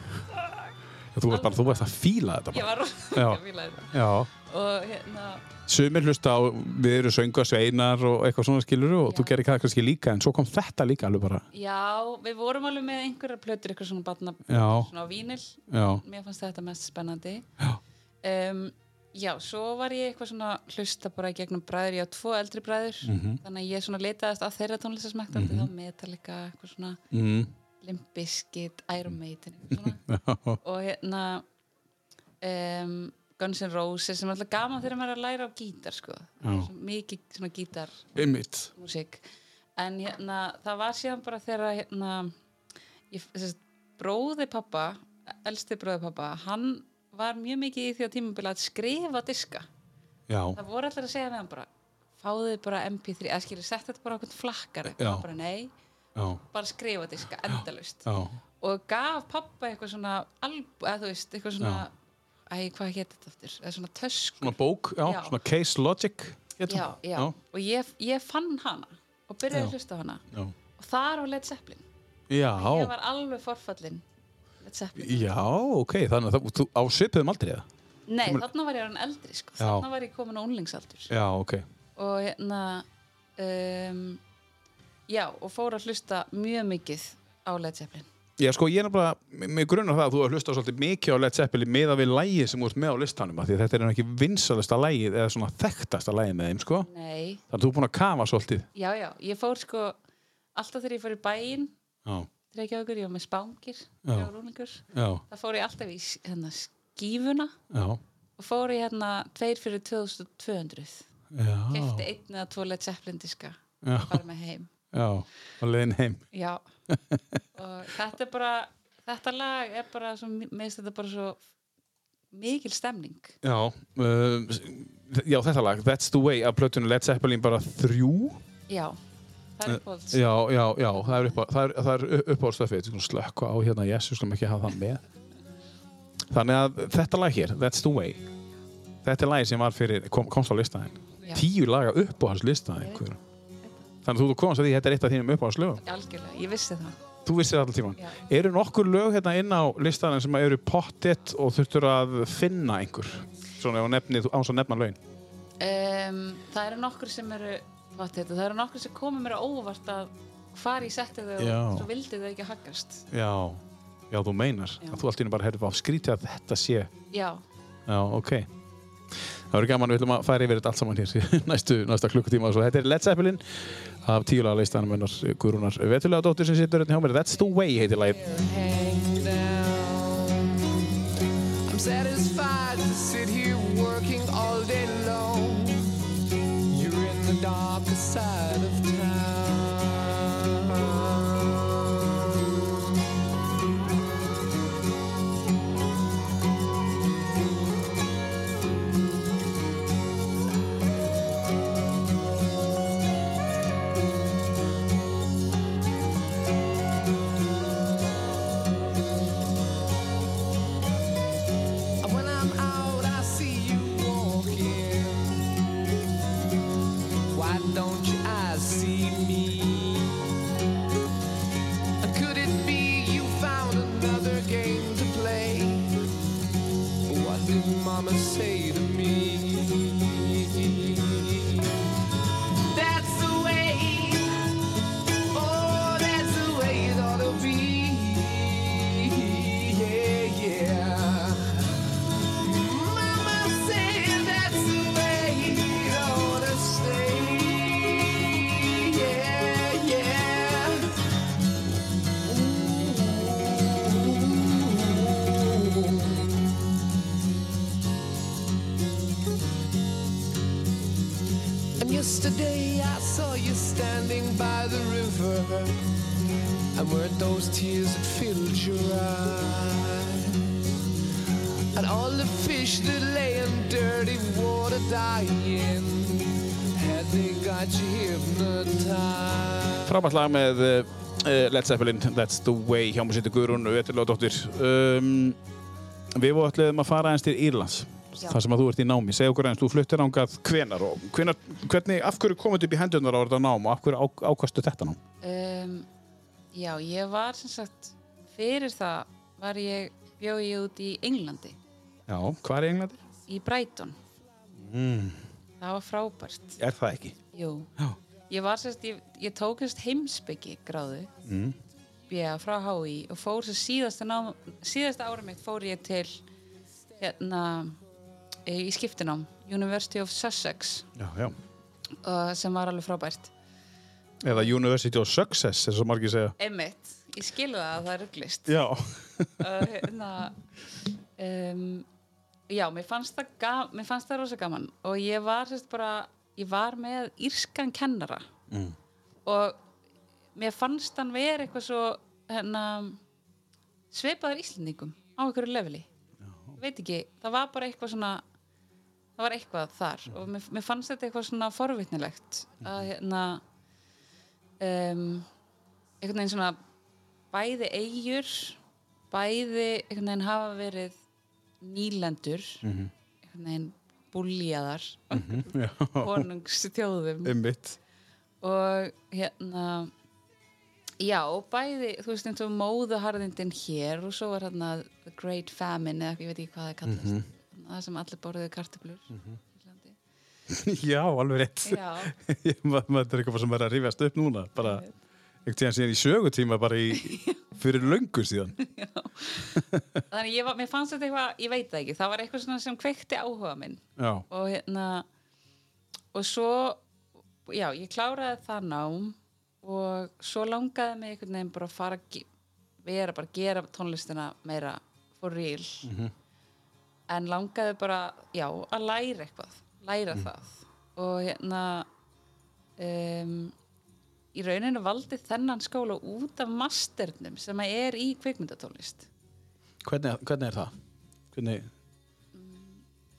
Speaker 1: Þú varst bara, þú varst að fíla þetta
Speaker 2: ég
Speaker 1: bara.
Speaker 2: var
Speaker 1: Já.
Speaker 2: rosalega fíla þetta
Speaker 1: Já.
Speaker 2: og hérna,
Speaker 1: Sumir hlusta á, við erum söngasveinar og eitthvað svona skilur og þú
Speaker 2: Já.
Speaker 1: gerir það kannski líka en svo kom þetta líka alveg bara.
Speaker 2: já, við vorum alveg með einhverja plötur, eitthvað svona batna
Speaker 1: Já.
Speaker 2: svona á vínil,
Speaker 1: Já.
Speaker 2: mér fannst þetta mest spennandi
Speaker 1: Já.
Speaker 2: um, já, svo var ég eitthvað svona að hlusta bara í gegnum bræður, ég á tvo eldri bræður
Speaker 1: Mhm.
Speaker 2: þannig að ég svona letaðist að þeirra tónlistasmekta mm -hmm. þá Metallica, eitthvað svona
Speaker 1: Mm.
Speaker 2: Limp Bizkit, Iron Maiden
Speaker 1: Mhm.
Speaker 2: eitthvað svona
Speaker 1: Já.
Speaker 2: og hérna um, Guns N' Roses sem er alltaf gaman þegar maður er að læra á gítar sko.
Speaker 1: Já.
Speaker 2: Svo mikið svona gítarmúsík
Speaker 1: Einmitt.
Speaker 2: en hérna það var síðan bara þegar hérna ég, þessi, bróði pappa elsti bróði pappa, hann var mjög mikið í því á tímabili að skrifa diska
Speaker 1: Já.
Speaker 2: það voru allir að segja með hann bara fáðið bara MP3, eða skilur sett þetta bara á okkur flakkar,
Speaker 1: Já.
Speaker 2: Hann bara nei
Speaker 1: Já.
Speaker 2: bara skrifa diska, endalust
Speaker 1: Já.
Speaker 2: og gaf pappa eitthvað svona albu, eða þú veist, eitthvað svona æ, hvað hétt þetta aftur, eða svona tösku
Speaker 1: Svona bók, já.
Speaker 2: Já.
Speaker 1: Svona case logic. hét hún.
Speaker 2: já, já, og ég, ég fann hana og byrjaði
Speaker 1: Já.
Speaker 2: að hlusta á hana
Speaker 1: Já.
Speaker 2: og þar var Led Zeppelin,
Speaker 1: Já.
Speaker 2: ég var alveg forfallin Led Zeppelin,
Speaker 1: Já, ok. Þannig að það, þú á svipuðum aldrei það.
Speaker 2: nei, þarna var ég hann eldri, sko,
Speaker 1: Já.
Speaker 2: þarna var ég komin á unlingsaldur
Speaker 1: Já, ok.
Speaker 2: og hérna um, já, og fór að hlusta mjög mikið á Led Zeppelin
Speaker 1: Já, sko, ég er náttúrulega, mig- mig grunar það að þú hefur hlustað svolítið mikið á Led Zeppelin meða við lægið sem þú ert með á listanum, af því að þetta er nú ekki vinsalasta lægið eða svona þekktasta lægið með þeim, sko.
Speaker 2: nei,
Speaker 1: Þannig að þú er búin að kafa svolítið.
Speaker 2: já, já, ég fór sko alltaf þegar ég fór í bæinn
Speaker 1: Já,
Speaker 2: Reykjavíkur, ég var með spangir
Speaker 1: Já.
Speaker 2: fjárúlingur,
Speaker 1: já,
Speaker 2: það fór ég alltaf í s- hérna, skífuna
Speaker 1: já,
Speaker 2: og fór ég hérna tveir fyrir 2200
Speaker 1: já.
Speaker 2: kefti einn eða tvo Led Zeppelin diska
Speaker 1: Já.
Speaker 2: og bara með heim
Speaker 1: Já, á leiðin heim.
Speaker 2: já og þetta er bara þetta lag er bara svo, mi- mér finnst þetta bara svo mikil stemning
Speaker 1: Já, um, já, þetta lag, That's the Way, af plötunum Led Zeppelin bara þrjú.
Speaker 2: já, það er bólt
Speaker 1: Eh, Já, já, já, það er, upp á, það er, það er upp á stöfið, sko, slökka á hérna, yes, við skulum ekki hafa það með. Þannig að þetta lag hér, That's the Way, þetta er lagi sem var fyrir, kom, komst á listaðin.
Speaker 2: Já.
Speaker 1: Tíu laga upp á hans listaðin, einhver. Þannig að þú komst að því, þetta er eitt af þínum upp á hans lögum.
Speaker 2: algjörlega, ég vissi það
Speaker 1: Þú vissir allan tíman.
Speaker 2: Já.
Speaker 1: Eru nokkur lög hérna inn á listaðin sem eru pottitt og þurftur að finna einhver? Svona ef hún nefnir, þú áns að nefna lögin.
Speaker 2: um, það eru nokkur sem eru hvað þetta, það eru nokkur sem komið mér á óvart að hvar ég setti þau
Speaker 1: Já.
Speaker 2: og svo vildi þau ekki haggast
Speaker 1: Já, já, þú meinar
Speaker 2: Já.
Speaker 1: að þú allt í henni bara herfið á skrítið að þetta sé
Speaker 2: já,
Speaker 1: Já, ok Það verður gaman, við ætlum að færa yfir þetta allt saman hér næstu, næsta klukkutíma og svo þetta er Led Zeppelin af tíulega leistanum hennar Guðrúnar Vetulega dóttir sem situr hérna hjá mér That's the way heitir lagið
Speaker 4: hang down. I'm satisfied to sit here working all day long. You're in the darker side of town. And when I'm out, I see you walking. Why don't your eyes see Yesterday I saw you standing by the river, and weren't those tears that filled your eyes? And all the fish that lay in dirty water dying, had they got you hypnotized?
Speaker 1: Frábært lag með uh, Led Zeppelin, That's the Way, hjá mér sýttu Guðrún Veturlóðdóttir. Um, við vorum ætluðum að fara aðeins til Írlands,
Speaker 2: Já.
Speaker 1: þar sem að þú ert í námi. Segð okkur aðeins, þú fluttir ángað hvenar og hvenar, hvernig, af hverju komið upp í hendunar á þetta nám og af hverju á, ákastu þetta nám?
Speaker 2: um, já, ég var sem sagt, fyrir það var ég, bjó ég út í Englandi
Speaker 1: Já, hvað er í Englandi?
Speaker 2: í Brighton mm. það var frábært
Speaker 1: Er það ekki?
Speaker 2: Jú.
Speaker 1: Já.
Speaker 2: ég var sérst, ég, ég tókist heimsbyggi gráðu mm. bjöða frá HÍ og fór sér síðasta nám, síðasta ára mitt fór ég til hérna í skiptinám, University of Sussex
Speaker 1: Já, já.
Speaker 2: og, sem var alveg frábært
Speaker 1: Eða University of Success, er svo margir segja.
Speaker 2: Einmitt, ég skilu það að það er upplist
Speaker 1: Já.
Speaker 2: og hérna um, já, mér fannst það ga, mér fannst það rosa gaman og ég var sérst bara, ég var með írskan kennara mm. og mér fannst hann vera eitthvað svo hérna svipaður Íslendingum á einhverju leveli Ég veit ekki, það var bara eitthvað svona það var eitthvað þar og mér, mér fannst þetta eitthvað svona forvitnilegt að hérna um, einhvern veginn svona bæði eigjur bæði einhvern veginn hafa verið nýlendur einhvern veginn búljaðar
Speaker 1: Mhm, já.
Speaker 2: konungstjóðum
Speaker 1: Einmitt.
Speaker 2: og hérna já, og bæði þú veist eins og móðuharðindin hér og svo var hérna The Great Famine eða ég veit ekki hvað það kallast það sem allir borðuðu kartöflur mm -hmm.
Speaker 1: já, alveg rétt.
Speaker 2: já,
Speaker 1: Ég- ma- maður er eitthvað sem er að rífast upp núna bara einhvern tíðan síðan í sögutíma bara í, fyrir löngu síðan
Speaker 2: þannig ég var, mér fannst þetta eitthvað ég veit það ekki, það var eitthvað svona sem kveikti áhuga minn
Speaker 1: já,
Speaker 2: og hérna og svo já, ég kláraði það nám og svo langaði mig einhvern veginn bara að fara að ge- vera bara að gera tónlistina meira for real en langaði bara já, að læra eitthvað læra
Speaker 1: Mm.
Speaker 2: það og hérna um, í rauninu valdi þennan skóla út af masternum sem að er í kvikmyndatónlist
Speaker 1: hvernig, hvernig er það? hvernig,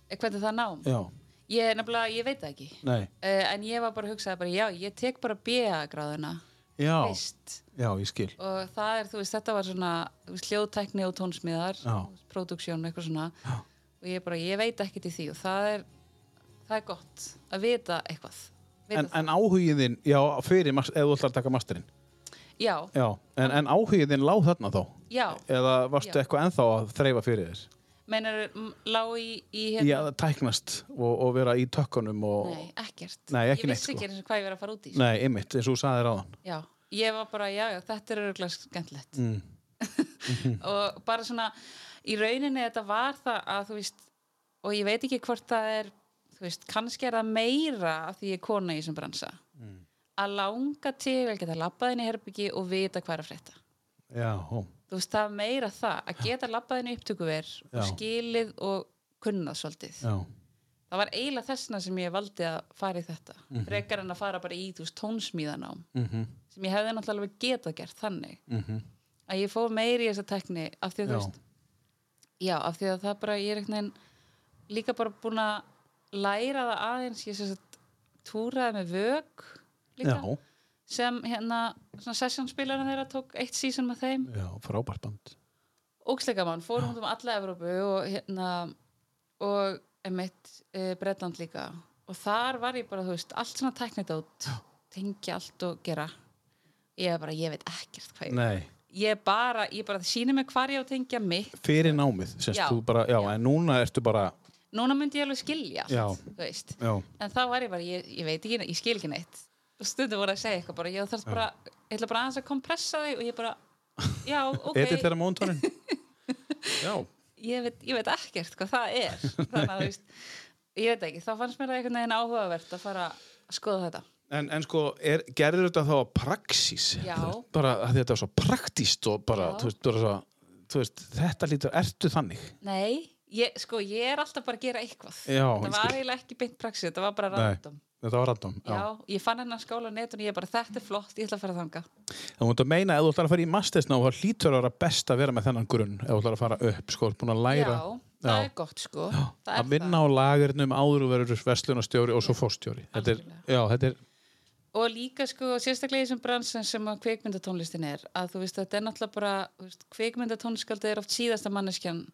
Speaker 2: Eh, hvernig það nám?
Speaker 1: já,
Speaker 2: Ég, nefnilega, ég veit það ekki
Speaker 1: nei
Speaker 2: uh, en ég var bara að hugsa bara, já, ég tek bara BA gráðuna
Speaker 1: já,
Speaker 2: fyrst
Speaker 1: já, ég skil
Speaker 2: og það er, þú veist, þetta var svona þú veist, hljóðtækni og tónsmiðar
Speaker 1: Já.
Speaker 2: produksjón og eitthvað svona já. og ég bara, ég veit ekkert í því og það er það er gott að vita eitthvað vita
Speaker 1: en,
Speaker 2: það.
Speaker 1: en áhugiðin, já, fyrir mas- eða þú ætlar að taka masterinn
Speaker 2: já,
Speaker 1: já, en, en áhugiðin lág þarna þá
Speaker 2: já,
Speaker 1: eða varstu
Speaker 2: Já.
Speaker 1: eitthvað ennþá að þreyfa fyrir þér
Speaker 2: meinar lá í, í
Speaker 1: í
Speaker 2: hérna,
Speaker 1: að tæknast og, og vera í tökkunum og,
Speaker 2: nei, ekkert
Speaker 1: Nei, ekki
Speaker 2: ég
Speaker 1: neitt, sko.
Speaker 2: vissi ekki eins og hvað ég verið að fara út í
Speaker 1: nei, einmitt, eins og þú saðir áðan
Speaker 2: já, ég var bara, já, já, þetta er örgulega skemmtilegt
Speaker 1: Mm.
Speaker 2: og bara svona í rauninni þetta var það að þú veist og ég veit ekki hvort það er þú veist, kannski er það meira af því ég er kona í þessum bransa
Speaker 1: Mm.
Speaker 2: að langa til að geta labbað inn í herbyggi og vita hvað er að frétta
Speaker 1: já, ó.
Speaker 2: þú veist, það er meira það að geta labbað inn í upptökuver og
Speaker 1: Já.
Speaker 2: skilið og kunnað svolítið
Speaker 1: já,
Speaker 2: það var eiginlega þessna sem ég valdi að fara í þetta frekar en að fara bara í þú veist, tónsmíðanám
Speaker 1: mhm,
Speaker 2: sem ég hefði náttúrulega alveg getað gert þannig
Speaker 1: mhm
Speaker 2: að ég fór meiri í þessa tekni af því
Speaker 1: Já.
Speaker 2: að þú veist já, af því að það bara, ég er einhvern veginn líka bara búin að læra það aðeins, ég sérst að túraði með vök líka
Speaker 1: já,
Speaker 2: sem hérna, svona sessjónspilarinn þeirra tók eitt sísun með þeim
Speaker 1: já, frábært band
Speaker 2: óksleika mann, fórum út um alla Evrópu og hérna og emitt e, Bretland líka og þar var ég bara, þú veist, allt svona tæknit át, tengja allt og gera ég er bara, ég veit ekkert hvað ég
Speaker 1: nei
Speaker 2: ég bara, ég bara sýni mig hvar ég á að tengja mitt
Speaker 1: fyrir námið semst,
Speaker 2: Já.
Speaker 1: þú bara, já, en núna ertu bara
Speaker 2: núna myndi ég alveg skilja allt,
Speaker 1: Já.
Speaker 2: þú veist
Speaker 1: já,
Speaker 2: en þá var ég bara, ég, ég veit ekki, ég skil ekki neitt og stundum voru að segja eitthvað bara ég þarf bara, ég ætla bara aðeins að kompressa þig og ég bara, já, ok
Speaker 1: edit þeirra móntónin já,
Speaker 2: ég, veit, ég veit ekkert hvað það er þannig að þú veist, ég veit ekki þá fannst mér það einhvern veginn áhugavert að fara að skoða þetta
Speaker 1: en, en sko er, gerður þetta þá að praxís
Speaker 2: Já.
Speaker 1: Þú veist, bara að þetta er svo praktíst og bara,
Speaker 2: Já.
Speaker 1: þú veist, bara svo, þú veist þetta lítur, ertu þannig
Speaker 2: nei, ég, sko, ég er alltaf bara að gera eitthvað
Speaker 1: Já,
Speaker 2: það
Speaker 1: ég
Speaker 2: var
Speaker 1: skil.
Speaker 2: eiginlega ekki beint praxis, þetta var bara
Speaker 1: Nei.
Speaker 2: random
Speaker 1: Þetta var random.
Speaker 2: já. ég fann hennar skála á netun og ég bara, þetta er flott, ég ætla að fara þanga
Speaker 1: Þú mútt að meina, ef þú ætlar að fara í mastersná, þá hlýtur að vera best að vera með þennan grunn, ef þú ætlar að fara upp, sko, búin að læra.
Speaker 2: já, það er gott sko það
Speaker 1: að
Speaker 2: er það.
Speaker 1: vinna á lagernum áður og verður verslunarstjóri og svo fórstjóri. Þetta er,
Speaker 2: Algjörlega.
Speaker 1: já, þetta er,
Speaker 2: og líka sko, sérstaklega í þessum bransan sem að kveikmyndatónlistin er að þú veist, þetta er náttúrulega bara þú veist, kveikmyndatónskaldið er oft síðasta manneskjan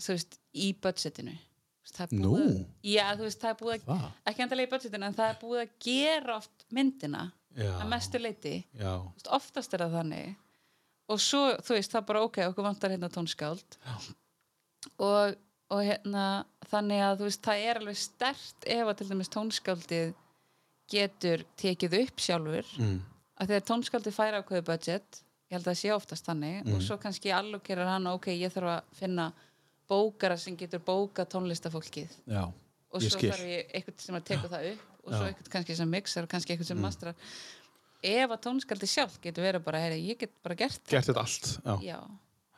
Speaker 2: þú veist, í budgetinu Þú veist, það er
Speaker 1: Nú.
Speaker 2: búið, já, þú veist, það er búið að,
Speaker 1: það.
Speaker 2: ekki endalega í budgetinu en það er búið að gera oft myndina
Speaker 1: Já.
Speaker 2: að mestu leiti,
Speaker 1: Já.
Speaker 2: Þú veist, oftast er það þannig og svo, þú veist, það er bara ok okkur vantar hérna tónskáld og, og hérna þannig að þú veist, það er alveg stert ef að til dæmis tónskáldið getur tekið upp sjálfur
Speaker 1: Mm.
Speaker 2: að þegar tónskáldið fær ákveðu budget ég held að það sé oftast þannig
Speaker 1: Mm.
Speaker 2: og svo kannski allokerar hann ok, ég þarf að finna bókara sem getur bóka tónlistafólkið
Speaker 1: Já.
Speaker 2: og
Speaker 1: Ég
Speaker 2: svo
Speaker 1: skil.
Speaker 2: þarf ég eitthvað sem að teka það upp og svo eitthvað kannski sem mixar og kannski
Speaker 1: Mm.
Speaker 2: eitthvað sem masterar ef að tónskaldi sjálf getur verið bara heyri, ég get bara gert það
Speaker 1: Gert þetta allt. Já.
Speaker 2: já,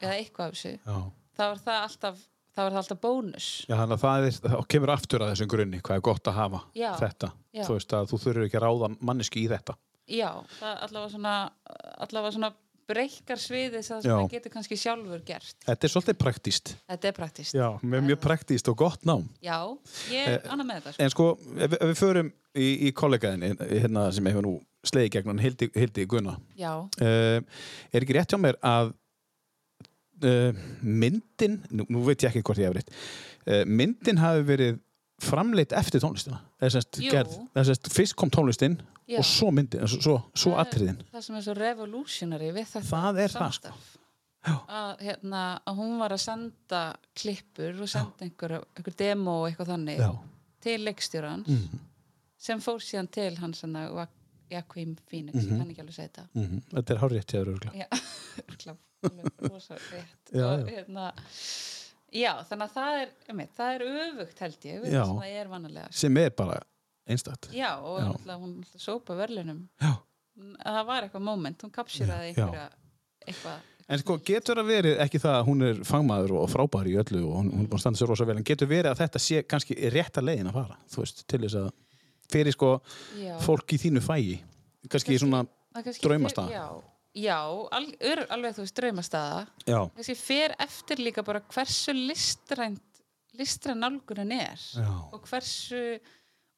Speaker 2: eða eitthvað af þessu
Speaker 1: Já.
Speaker 2: þá er það alltaf, þá er það alltaf bónus
Speaker 1: Já, þannig að það er, þá kemur aftur að þessum grunni, hvað er gott að hafa
Speaker 2: Já.
Speaker 1: þetta.
Speaker 2: Já.
Speaker 1: Þú veist að þú þurfur ekki að ráða manneski í þetta.
Speaker 2: já, það allavega svona allavega svona breykar sviðið sem
Speaker 1: Já.
Speaker 2: það getur kannski sjálfur gert
Speaker 1: Þetta er svolítið praktíst.
Speaker 2: þetta er praktist
Speaker 1: Já, með mjög praktíst og gott nám.
Speaker 2: já, ég er annað með þetta sko.
Speaker 1: En sko, ef, ef við förum í, í kollegaðinni, hérna sem hefur nú sleiði gegn hann, Hildi, Hildi Gunna,
Speaker 2: já,
Speaker 1: uh, er ekki rétt hjá mér að uh, myndin, nú, nú veit ég ekki hvort ég hef rétt, uh, myndin hafi verið framleitt eftir tónlistina. Það er semst
Speaker 2: Jú.
Speaker 1: gerð, það er semst fyrst kom tónlistin
Speaker 2: Já.
Speaker 1: og svo myndin, svo, svo, svo
Speaker 2: Það er-
Speaker 1: atriðin.
Speaker 2: það sem er svo revolutionary við þetta
Speaker 1: Það er það, sko.
Speaker 2: samstarf. að, hérna, að hún var að senda klippur og senda einhver, einhver demo og eitthvað þannig
Speaker 1: Já. Mhm.
Speaker 2: til leikstjórans sem fór síðan til hans hana, Joaquim Phoenix, ég kann ekki alveg segja þetta
Speaker 1: Mm Mhm. Þetta er hár rétt hjá þér örgulega.
Speaker 2: já, örugglega, alveg rosa rétt.
Speaker 1: Já,
Speaker 2: Og,
Speaker 1: já.
Speaker 2: hérna, já, þannig að það er, einmitt, það er öfugt held ég, við
Speaker 1: Já.
Speaker 2: það sem það er vanalega sko.
Speaker 1: Sem er bara einstætt.
Speaker 2: já, og
Speaker 1: Já.
Speaker 2: náttúrulega hún náttúrulega sópa verðlunum
Speaker 1: Já.
Speaker 2: það var eitthvað moment, hún
Speaker 1: Já.
Speaker 2: kapsjuraði einhverja eitthvað
Speaker 1: En sko, getur að verið, ekki það að hún er fangmaður og frábær í öllu og hún, hún er búin að standa sér rosa vel, en getur verið að þetta sé kannski rétta leiðin að fara, þú veist, til þess að fyrir sko
Speaker 2: já.
Speaker 1: fólk í þínu fægi, kannski
Speaker 2: Kannski-
Speaker 1: svona,
Speaker 2: Það kannski
Speaker 1: Draumastaða.
Speaker 2: fer- já, já al, ör, alveg þú veist draumastaða
Speaker 1: já,
Speaker 2: kannski fer eftir líka bara hversu listrænt listræn nálgunin er
Speaker 1: já,
Speaker 2: og hversu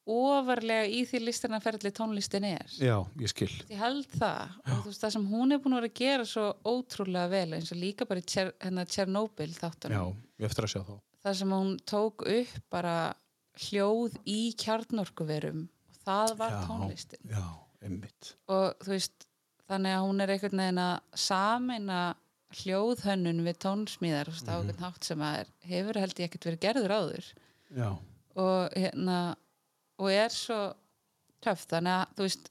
Speaker 2: ofarlega í því listræna ferli tónlistin er
Speaker 1: já, ég skil,
Speaker 2: ég held það og þú veist það sem hún er búin að vera að gera svo ótrúlega vel eins og líka bara í hérna, Tjer, hennar Tjernobyl
Speaker 1: já,
Speaker 2: þáttunum
Speaker 1: ég eftir að sjá þá.
Speaker 2: þar sem hún tók upp bara hljóð í kjarnorkuverum og það var
Speaker 1: Já.
Speaker 2: tónlistin
Speaker 1: Já, einmitt.
Speaker 2: og þú veist þannig að hún er einhvern veginn að sameina hljóðhönnun við tónsmíðar þú veist, á einhvern hátt sem að er, hefur held ég ekkert verið gerður áður
Speaker 1: Já,
Speaker 2: og hérna og er svo töff þannig að þú veist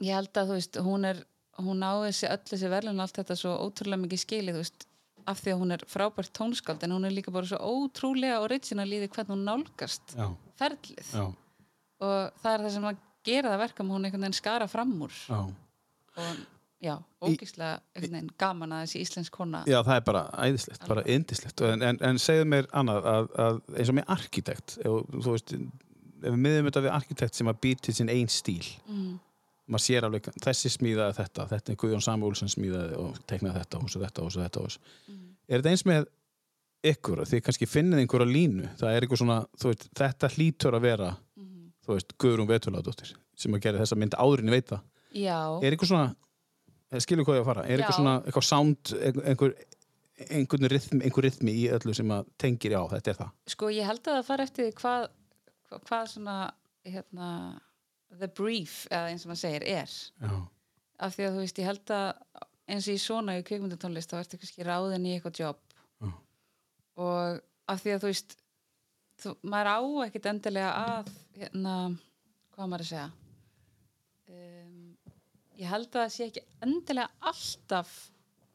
Speaker 2: ég held að þú veist hún er hún á þessi öll þessi verðlun allt þetta svo ótrúlega mikið skilið þú veist af því að hún er frábært tónskáld en hún er líka bara svo ótrúlega original í því hvernig hún nálgast
Speaker 1: já,
Speaker 2: ferlið
Speaker 1: já,
Speaker 2: og það er það sem að gera það verkum hún einhvern veginn skara fram úr
Speaker 1: já.
Speaker 2: og já, ógíslega einhvern veginn gaman að þessi íslensk kona
Speaker 1: Já, það er bara æðislegt, bara yndislegt en, en, en segðu mér annað að, að eins og með arkitekt ef, þú veist, ef við miðum þetta við arkitekt sem að býr til sinn einn stíl
Speaker 2: mm,
Speaker 1: maður sér alveg, þessi smíðaði þetta þetta er Guðjón Samúlsson smíðaði og teknaði þetta og svo þetta og svo þetta og svo.
Speaker 2: Mhm.
Speaker 1: er þetta eins með ykkur að þið kannski finnið einhverja línu það er eitthvað svona, þú veist, þetta hlýtur að vera
Speaker 2: Mhm.
Speaker 1: þú veist, Guðrún Veturlaðdóttir sem að gera þessa mynd áðurinn veit það
Speaker 2: já,
Speaker 1: er eitthvað svona, eh, skilur hvað ég á að fara er eitthvað
Speaker 2: Já.
Speaker 1: svona, eitthvað sound einhver, einhver, einhvern rithmi, einhver rithmi í öllu sem að tengir, já, þetta er það
Speaker 2: sko ég held að það fara eftir því hvað, hvað, hvað svona hérna, the brief eða eins og maður segir er
Speaker 1: já,
Speaker 2: af því að þú veist ég held að eins og í svona í kvikmyndatónlist þá ertu kannski ráðin í eitthvað jobb
Speaker 1: Já.
Speaker 2: og af því að þú veist þú, maður á ekkit endilega að hérna, hvað á maður að segja um, ég held að það sé ekki endilega alltaf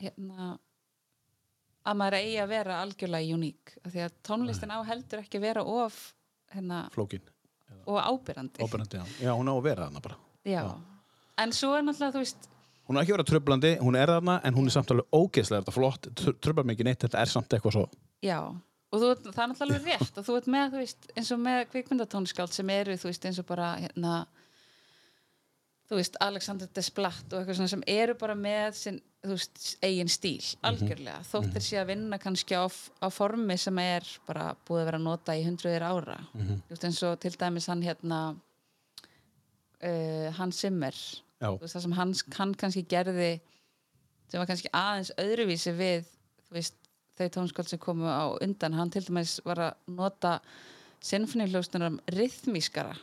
Speaker 2: hérna að maður eigi að vera algjörlega uník af því að tónlistin á heldur ekki að vera of hérna,
Speaker 1: flókin,
Speaker 2: og ábyrrandi
Speaker 1: óbærandi, já. já, hún á að vera þarna bara
Speaker 2: Já.
Speaker 1: Já.
Speaker 2: en svo er náttúrulega þú veist
Speaker 1: hún er ekki að vera tröflandi, hún er þarna en hún er samt alveg ógeðslega þetta flott, tröflar mig ekki neitt þetta er samt eitthvað svo
Speaker 2: Já, og þú, það er náttúrulega alveg rétt og þú ert með, þú veist, eins og með kvikmyndatónskáld sem eru, þú veist, eins og bara hérna, þú veist, Alexander Desplat og eitthvað svona sem eru bara með sinn, þú veist, eigin stíl algjörlega, þótt þeir sé að vinna kannski á, f- á formi sem er bara búið að vera að nota í hundruðir ára þú veist, eins og til dæmis hann hérna uh, hann Simmer
Speaker 1: Já.
Speaker 2: þú veist, það sem hann, hann kannski gerði sem var kannski aðeins öðruvísi við þú veist, þau tónskáld sem komu á undan hann til dæmis var að nota sinfoníhljóstunarum rithmískara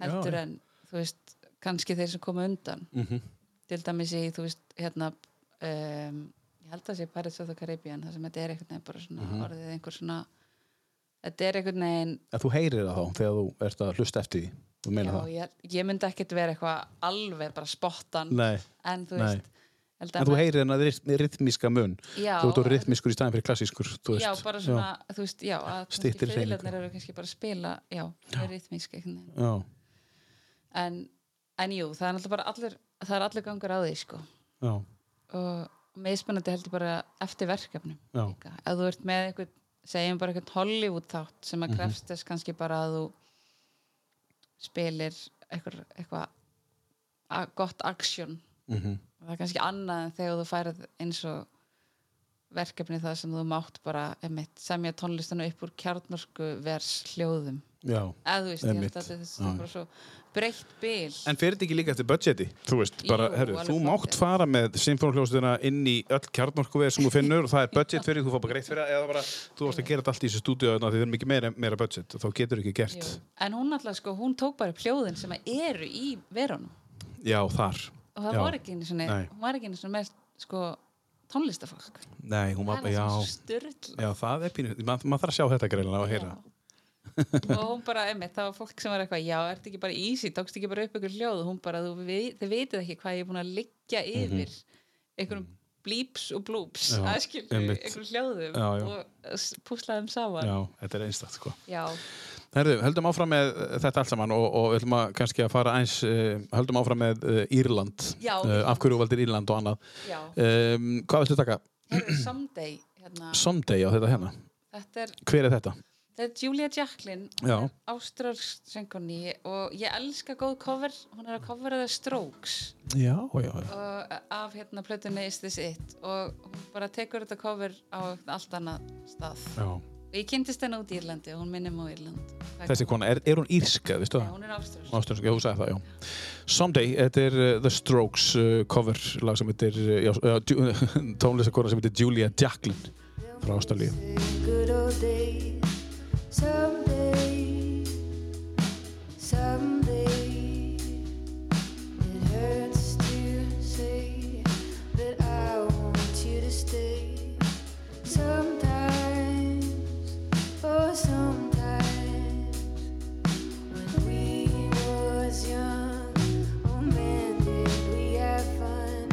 Speaker 2: heldur
Speaker 1: Já, já.
Speaker 2: en þú veist, kannski þeir sem komu undan
Speaker 1: Mhm.
Speaker 2: til dæmis í, þú veist, hérna um, ég held að sé Pirates of the Caribbean þar sem þetta er einhvern veginn bara svona
Speaker 1: Mhm.
Speaker 2: orðið einhver svona þetta er einhvern veginn
Speaker 1: En þú heyrir það þá þegar þú ert að hlusta eftir því. Þú meina
Speaker 2: já,
Speaker 1: það?
Speaker 2: ég, ég myndi ekkert vera eitthvað alveg bara spottan
Speaker 1: Nei.
Speaker 2: en þú
Speaker 1: Nei.
Speaker 2: veist held að
Speaker 1: En þú
Speaker 2: maður-
Speaker 1: heyrir hennar rithmíska mun.
Speaker 2: Já.
Speaker 1: Þú ert orðið rithmískur í staðin fyrir klassískur. þú
Speaker 2: já,
Speaker 1: veist.
Speaker 2: bara svona, þú veist, já að kannski
Speaker 1: Styttir hreyfingu.
Speaker 2: fiðlarnir eru kannski bara að spila já, já. rítmísk einhvern veginn
Speaker 1: Já.
Speaker 2: en, en jú, það er náttúrulega bara allir það er allir gangur á því, sko
Speaker 1: Já.
Speaker 2: og meðspennandi held ég bara eftir verkefnum
Speaker 1: Já.
Speaker 2: líka. ef þú ert með einhvern, segjum bara einhvern Hollywood þátt sem
Speaker 1: Mhm.
Speaker 2: að krefst þess kannski bara að þú spilir eitthvað, eitthvað a- gott action
Speaker 1: Mhm.
Speaker 2: og það er kannski annað en þegar þú færð eins og verkefni það sem þú mátt bara einmitt, semja tónlistana upp úr kjarnorku vers hljóðum
Speaker 1: Já.
Speaker 2: eða þú veist, ég
Speaker 1: Einmitt.
Speaker 2: held að þetta
Speaker 1: Já,
Speaker 2: er bara svo breytt bil
Speaker 1: En fer þetta ekki líka eftir budgeti? Þú veist, bara,
Speaker 2: Jú,
Speaker 1: herru,
Speaker 2: alveg
Speaker 1: þú
Speaker 2: pottþétt.
Speaker 1: mátt fara með symfónhljóðstöðuna inn í öll kjarnorkuveð sem þú finnur og það er budget fyrir, þú fá bara greitt fyrir það, eða bara, þú varst að gera þetta allt í þessu stúdíu þannig að þið er mikið meira, meira budget og þá getur ekki gert.
Speaker 2: Jú. en hún alltaf sko, hún tók bara upp hljóðin sem að eru í verunum
Speaker 1: Já, þar.
Speaker 2: og það
Speaker 1: Já.
Speaker 2: var ekki einu svona,
Speaker 1: Nei.
Speaker 2: hún var ekki einu svona með sko tónlistafólk
Speaker 1: Nei, hún var,
Speaker 2: það er
Speaker 1: já,
Speaker 2: svona styrla
Speaker 1: já, það er pínu, maður mað þarf að sjá þetta greinlega og heyra.
Speaker 2: og hún bara, einmitt, það var fólk sem var eitthvað já, ertu ekki bara easy, tókst ekki bara upp ykkur hljóð og hún bara, þú veit, þið veitir ekki hvað ég er búin að liggja yfir einhverjum blíps og blúps
Speaker 1: Mhm. Mm. Já,
Speaker 2: aðskilu,
Speaker 1: einmitt.
Speaker 2: einhverjum hljóðum
Speaker 1: Já, já.
Speaker 2: og s- púslaðum saman
Speaker 1: Já, þetta er einstakt, sko.
Speaker 2: já,
Speaker 1: Herðu, höldum áfram með eh, þetta allt saman og, og við ætlum að kannski að fara eins, uh, höldum áfram með uh, Írland,
Speaker 2: Já,
Speaker 1: Eh, af hverju þú valdir Írland og annað.
Speaker 2: já.
Speaker 1: Um, hvað viltu taka?
Speaker 2: Heyrðu, someday, hérna,
Speaker 1: Someday á þetta hérna.
Speaker 2: þetta er
Speaker 1: Hver er þetta?
Speaker 2: Þetta er Julia Jacklin,
Speaker 1: Já.
Speaker 2: ástrálsk söngunni og ég elska góð cover, hún er að covera The Strokes
Speaker 1: Já, já, já.
Speaker 2: og, af hérna plötunni Is This It og hún bara tekur þetta cover á allt annað stað.
Speaker 1: Já.
Speaker 2: Og ég kynntist henni út í Írlandi og hún minnum á Írland. Það-
Speaker 1: Þessi kona, er, er hún írska, veistu
Speaker 2: Já,
Speaker 1: það?
Speaker 2: hún er ástrálsk.
Speaker 1: Áströnsk, já, þú sagði það, já. Someday, þetta er uh, The Strokes uh, cover lag sem heitir, uh, já, uh, djú- tónlistakona sem heitir Julia Jacklin frá Ástralíu.
Speaker 5: Good old days, someday, someday, it hurts to say that I want you to stay. Sometimes, oh sometimes, when we was young, oh man did we have fun.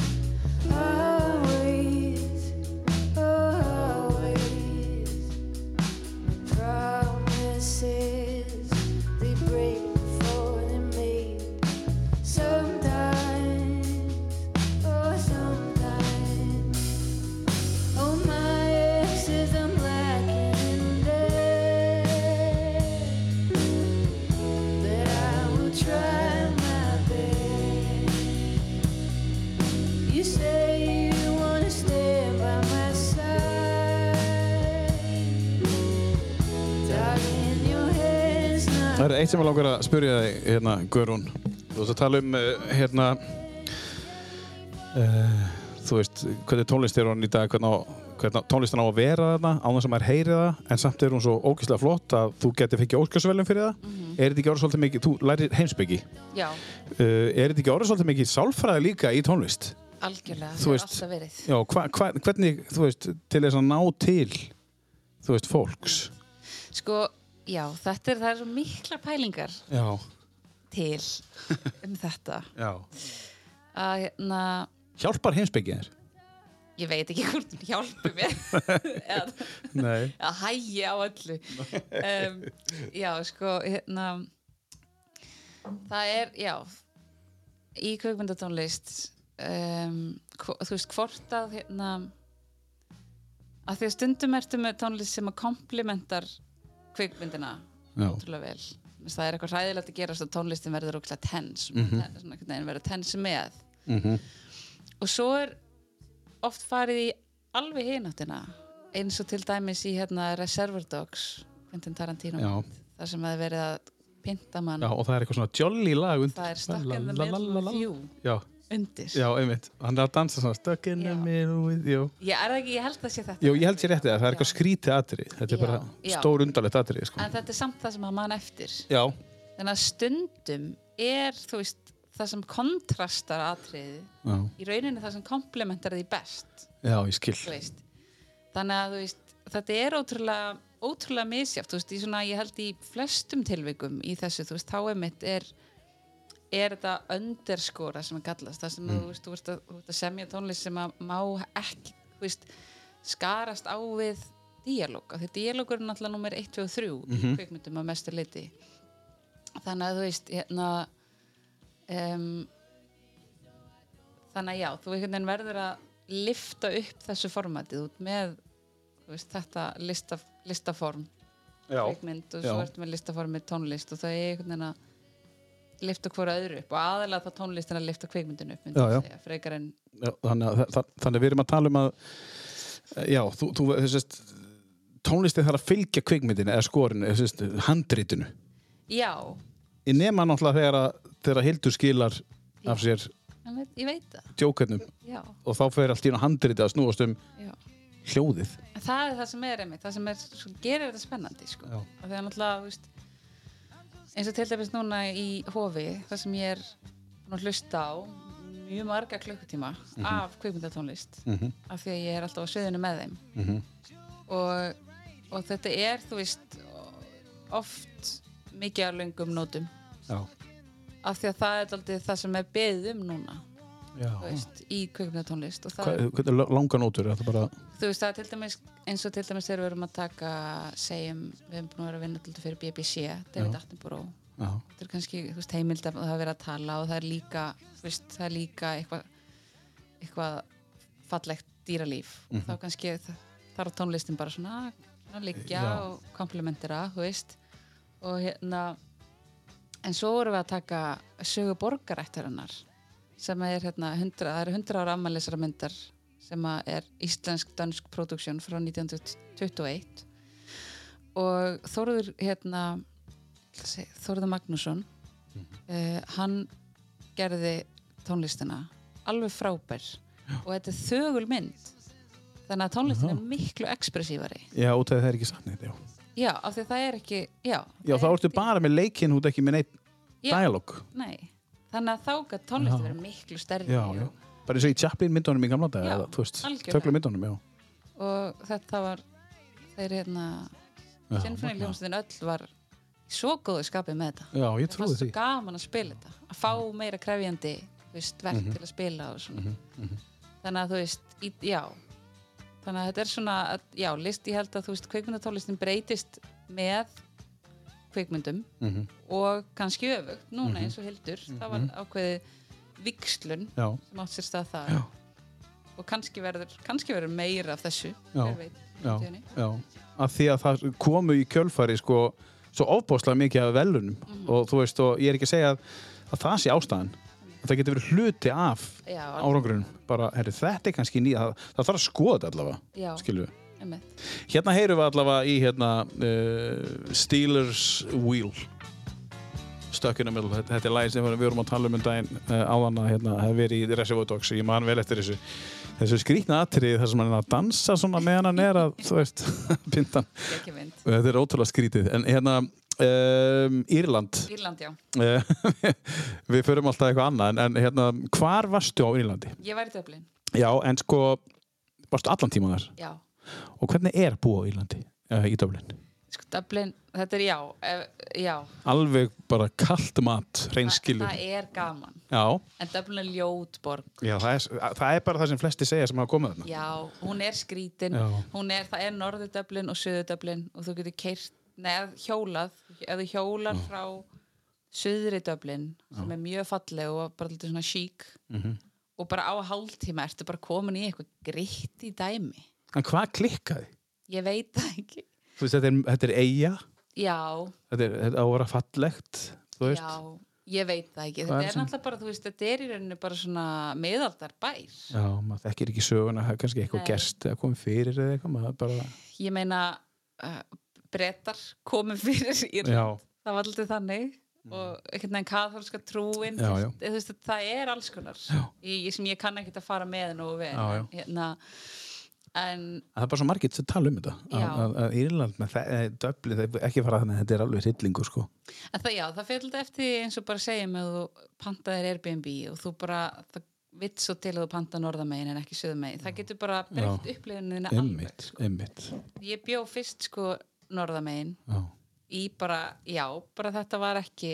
Speaker 5: Always. oh, Always, promises they break before they're made. Sometimes, oh sometimes, oh my exes I'm lacking there, but I will try my best. You say you wanna stay by my side. Darling, your head's not
Speaker 1: Það er eitt sem ég langar að spyrja þig, hérna, Guðrún. Þú veist að tala um, uh, hérna, uh, þú veist, hvernig tónlist er hún í dag, hvernig, á- hvernig á- tónlistin á að vera þarna, án þess að maður heyri það, en samt er hún svo ógeðslega flott að þú getur fengið óskarsvelum fyrir það. Er þetta ekki orðið svolítið mikið, þú lærir heimsbyggi,
Speaker 2: Já,
Speaker 1: uh, er þetta ekki orðið svolítið mikið sálfræði líka í tónlist?
Speaker 2: algjörlega,
Speaker 1: Þú
Speaker 2: það er
Speaker 1: veist-
Speaker 2: alltaf verið.
Speaker 1: Já, hva, hva, hvernig, þú veist, til þess að ná til, þú veist, fólks?
Speaker 2: Sko, já, þetta er, það er svo mikla pælingar
Speaker 1: Já,
Speaker 2: til um þetta.
Speaker 1: já.
Speaker 2: Að hérna,
Speaker 1: Hjálpar heimsbyggið þér?
Speaker 2: ég veit ekki hvort hún hjálpi mér. Eða-
Speaker 1: Nei.
Speaker 2: að hægja á öllu um, já sko hérna það er, já í kveikmyndatónlist um, hvo- þú veist hvort að hérna að því að stundum ertu með tónlist sem að komplimentar kvikmyndina
Speaker 1: Já.
Speaker 2: ótrúlega vel Þú veist, það er eitthvað hræðilegt að gerast og tónlistin verður ótrúlega tens mm
Speaker 1: Mhm.
Speaker 2: -hmm. svona einhvern veginn verður tens með og svo er oft farið í alveg hináttina eins og til dæmis í hérna Reservoir Dogs Quentin Tarantino
Speaker 1: Já.
Speaker 2: mynd, þar sem að er verið að pinta mann
Speaker 1: Já, og það er eitthvað svona jolly lag undir.
Speaker 2: það er stuck in the
Speaker 1: La, la, la,
Speaker 2: middle
Speaker 1: la,
Speaker 2: of
Speaker 1: la.
Speaker 2: you
Speaker 1: Já,
Speaker 2: undir
Speaker 1: já, einmitt. Hann er að dansa svona stuck in the
Speaker 2: Já.
Speaker 1: middle with you.
Speaker 2: Ég, er það ekki, ég held að sé þetta
Speaker 1: Jú, ég held sér rétti að það er eitthvað
Speaker 2: Já.
Speaker 1: skrítið atrið. Þetta er
Speaker 2: Já,
Speaker 1: bara
Speaker 2: já.
Speaker 1: stór undarlegt atrið, sko.
Speaker 2: en þetta er samt það sem að mann eftir
Speaker 1: Já,
Speaker 2: þannig að stundum er þú veist, það sem kontrastar atriðið
Speaker 1: já,
Speaker 2: í rauninni það sem komplementar því best
Speaker 1: já, ég skil.
Speaker 2: þú veist. þannig að þú veist, þetta er ótrúlega ótrúlega misjátt, þú veist, í svona ég held í flestum tilvikum í þessu, þú veist, þá er mitt er er þetta underskora sem að kallast það sem þú veist, þú veist að, þú veist að semja tónlist sem að má ekki, þú veist skarast á við díalóg, af því díalógur er náttúrulega nummer 1, 2 og 3 mm -hmm. kveikmyndum að mestu liti þannig að þú veist hérna um, þannig að já, þú einhvern veginn verður að lifta upp þessu formatið út með þú veist, þetta lista, listaform
Speaker 1: Já,
Speaker 2: kvikmynd og svo
Speaker 1: Já.
Speaker 2: ertu með listaform með tónlist og það er einhvern veginn að lifta hvora öðru upp og aðalega þá tónlistin að lifta kvikmyndin upp myndi
Speaker 1: Já,
Speaker 2: ég
Speaker 1: já.
Speaker 2: segja, frekar en
Speaker 1: já þannig, að, þa- þannig að við erum að tala um að, já, þú, þú þessast, tónlistið þarf að fylgja kvikmyndinu eða skorinu, eða þessast, handritinu.
Speaker 2: já,
Speaker 1: Ég nema náttúrulega þegar að, þegar að Hildur skilar af sér
Speaker 2: ég veit, ég veit það
Speaker 1: djókarnum
Speaker 2: já,
Speaker 1: og þá fer allt í hún handritið að snúast um
Speaker 2: já
Speaker 1: hljóðið.
Speaker 2: En það er það sem er einmitt, það sem er, svo, gerir þetta spennandi sko.
Speaker 1: Já.
Speaker 2: og þegar náttúrulega þú veist, eins og til dæmis núna í hofi það sem ég er búin að hlusta á mjög marga klukkutíma af kvikmyndatónlist
Speaker 1: Mhm.
Speaker 2: af því að ég er alltaf á sviðinu með þeim
Speaker 1: Mhm.
Speaker 2: og, og þetta er þú veist oft mikið á löngum nótum
Speaker 1: Já,
Speaker 2: af því að það er dálítið það sem er beðið um núna
Speaker 1: já.
Speaker 2: þú veist, í kvikmyndatónlist og það
Speaker 1: Hvað,
Speaker 2: er
Speaker 1: hvernig er langan ótur? Er það bara...
Speaker 2: þú veist það er til dæmis eins og til dæmis þegar við erum að taka segjum, við erum búin að vera að vinna til þetta fyrir BBC David
Speaker 1: Já.
Speaker 2: Attenborough
Speaker 1: Já,
Speaker 2: þetta er kannski, þú veist, heimild að það vera að tala og það er líka, þú veist, það er líka eitthvað eitthvað fallegt dýralíf og þá kannski þa- þarf tónlistin bara svona "Ah, að liggja
Speaker 1: Já.
Speaker 2: og komplementera, þú veist og hérna en svo vorum við að taka sögu borgarættarinnar sem er hérna 100, það eru 100 ára afmælisara myndar sem að er íslensk-dansk production frá 1921 og Þórður hérna ætla að segja, Þórður Magnússon uh, hann gerði tónlistina alveg frábær og þetta er þögul mynd þannig að tónlistin er miklu ekspressífari
Speaker 1: já út af því það er ekki sannir, já.
Speaker 2: já, af því að það er ekki já,
Speaker 1: Já,
Speaker 2: það
Speaker 1: þá
Speaker 2: er
Speaker 1: ertu
Speaker 2: ekki-
Speaker 1: bara með leikinn, þú ert ekki með neitt
Speaker 2: Já.
Speaker 1: dialog.
Speaker 2: nei, þannig að þá gætt tónlistin
Speaker 1: Já.
Speaker 2: verið miklu stærri
Speaker 1: Já, já. Bara eins og í Chaplin myndunum í gamla dag,
Speaker 2: Já,
Speaker 1: eða, þú veist,
Speaker 2: algjörlega.
Speaker 1: tökla myndunum, já.
Speaker 2: og þetta var þeir hérna
Speaker 1: Já, magnað.
Speaker 2: sinfoniljómsveitin öll var í svo góðu skapið með þetta
Speaker 1: Já, ég
Speaker 2: Mér
Speaker 1: trúi
Speaker 2: fannst
Speaker 1: því.
Speaker 2: svo gaman að spila þetta að fá meira krefjandi þú veist, verk
Speaker 1: Mhm.
Speaker 2: til að spila og svona þannig að þú veist, í, já þannig að þetta er svona, að, já, list ég held að þú veist, kveikmyndatólistin breytist með kveikmyndum
Speaker 1: Mhm.
Speaker 2: og kannski öfugt núna eins og Hildur, það var ákveðið vikslun
Speaker 1: Já,
Speaker 2: sem átt sér stað það
Speaker 1: Já.
Speaker 2: og kannski verður, kannski verður meira af þessu
Speaker 1: Já.
Speaker 2: hver veit, í
Speaker 1: já,
Speaker 2: framtíðinni.
Speaker 1: já. Að því að það komu í kjölfari, sko, svo ofbóðslega mikið af velunum. Og þú veist, og ég er ekki að segja að, að það sé ástæðan. Það getur verið hluti af
Speaker 2: Já,
Speaker 1: árangrunum. Bara, herri, þetta er kannski nýja, það, það þarf að skoða þetta allavega,
Speaker 2: já,
Speaker 1: skilju.
Speaker 2: einmitt.
Speaker 1: Hérna heyrum við allavega í hérna uh, Steelers Wheel Stuck in the Middle Þetta, þetta er lagið sem við vorum að tala um um daginn uh, áðan að hérna, hefði verið í Reservoir Dogs ég man vel eftir þessu þessu skrýtna atriði þar sem hann er að dansa svona meðan hann er að, þú veist, pintan
Speaker 2: ekki mynd
Speaker 1: Þetta er ótrúlega skrítið en hérna, um, Írland
Speaker 2: Írland, já,
Speaker 1: uh, við förum alltaf eitthvað annað en, en hérna, hvar varstu á Írlandi?
Speaker 2: ég var í Dublin
Speaker 1: Já, en sko varstu allan tíma þar
Speaker 2: já,
Speaker 1: og hvernig er að búa á Írlandi? Uh, í Dublin?
Speaker 2: sko Dublin, þetta er já ef, já,
Speaker 1: alveg bara kallt mat
Speaker 2: það,
Speaker 1: reynskilur
Speaker 2: það er gaman
Speaker 1: já.
Speaker 2: en Dublin er ljót borg
Speaker 1: Já, það, er, það er bara það sem flesti segja sem hafa komið þarna
Speaker 2: já, hún er skrítin
Speaker 1: Já.
Speaker 2: hún er, það er norður Dublin og söður Dublin og þú getur keirt, neð hjólað eða hjólar frá söðri Dublin sem er mjög falleg og bara lítið
Speaker 1: Mhm.
Speaker 2: svona sík -hmm. og bara á hálftíma ertu bara komin í eitthvað gritt í dæmi
Speaker 1: En hvað klikkaði?
Speaker 2: Ég veit það ekki.
Speaker 1: Þú veist, þetta er, þetta er eiga,
Speaker 2: Já,
Speaker 1: þetta er þetta á að vera fallegt, þú veist.
Speaker 2: já, ég veit það ekki.
Speaker 1: Hvað
Speaker 2: Þetta
Speaker 1: er
Speaker 2: er
Speaker 1: sem-
Speaker 2: náttúrulega bara, þú veist, þetta er í rauninu bara svona meðaldar bær.
Speaker 1: Já, maður þekkir ekki söguna, það er kannski eitthvað
Speaker 2: Nei.
Speaker 1: gerst eða komið fyrir eða eitthvað, maður bara,
Speaker 2: Ég meina, uh, brettar komum fyrir í
Speaker 1: já, Mm.
Speaker 2: það var alltaf þannig og einhvern veginn katholska trúin
Speaker 1: Já,
Speaker 2: þú
Speaker 1: já.
Speaker 2: veist, þú veist, það er alls konar
Speaker 1: Já.
Speaker 2: í, í sem ég kann ekkert að fara með nú við
Speaker 1: Já, já.
Speaker 2: Hérna, en
Speaker 1: það er bara svo margir sem tala um þetta, að,
Speaker 2: Já.
Speaker 1: að, að Írland með það, döfli, það er ekki fara þannig, þetta er alveg hryllingu, sko.
Speaker 2: En það, já, það fyrir alltaf eftir því eins og bara segjum að þú pantaðir Airbnb og þú bara, það vitt svo til að þú panta norðamegin en ekki söðumegin. Það getur bara breytt upplifunina alveg. sko.
Speaker 1: Einmitt, einmitt,
Speaker 2: Ég bjó fyrst sko norðamegin
Speaker 1: já.
Speaker 2: í bara, já, bara þetta var ekki,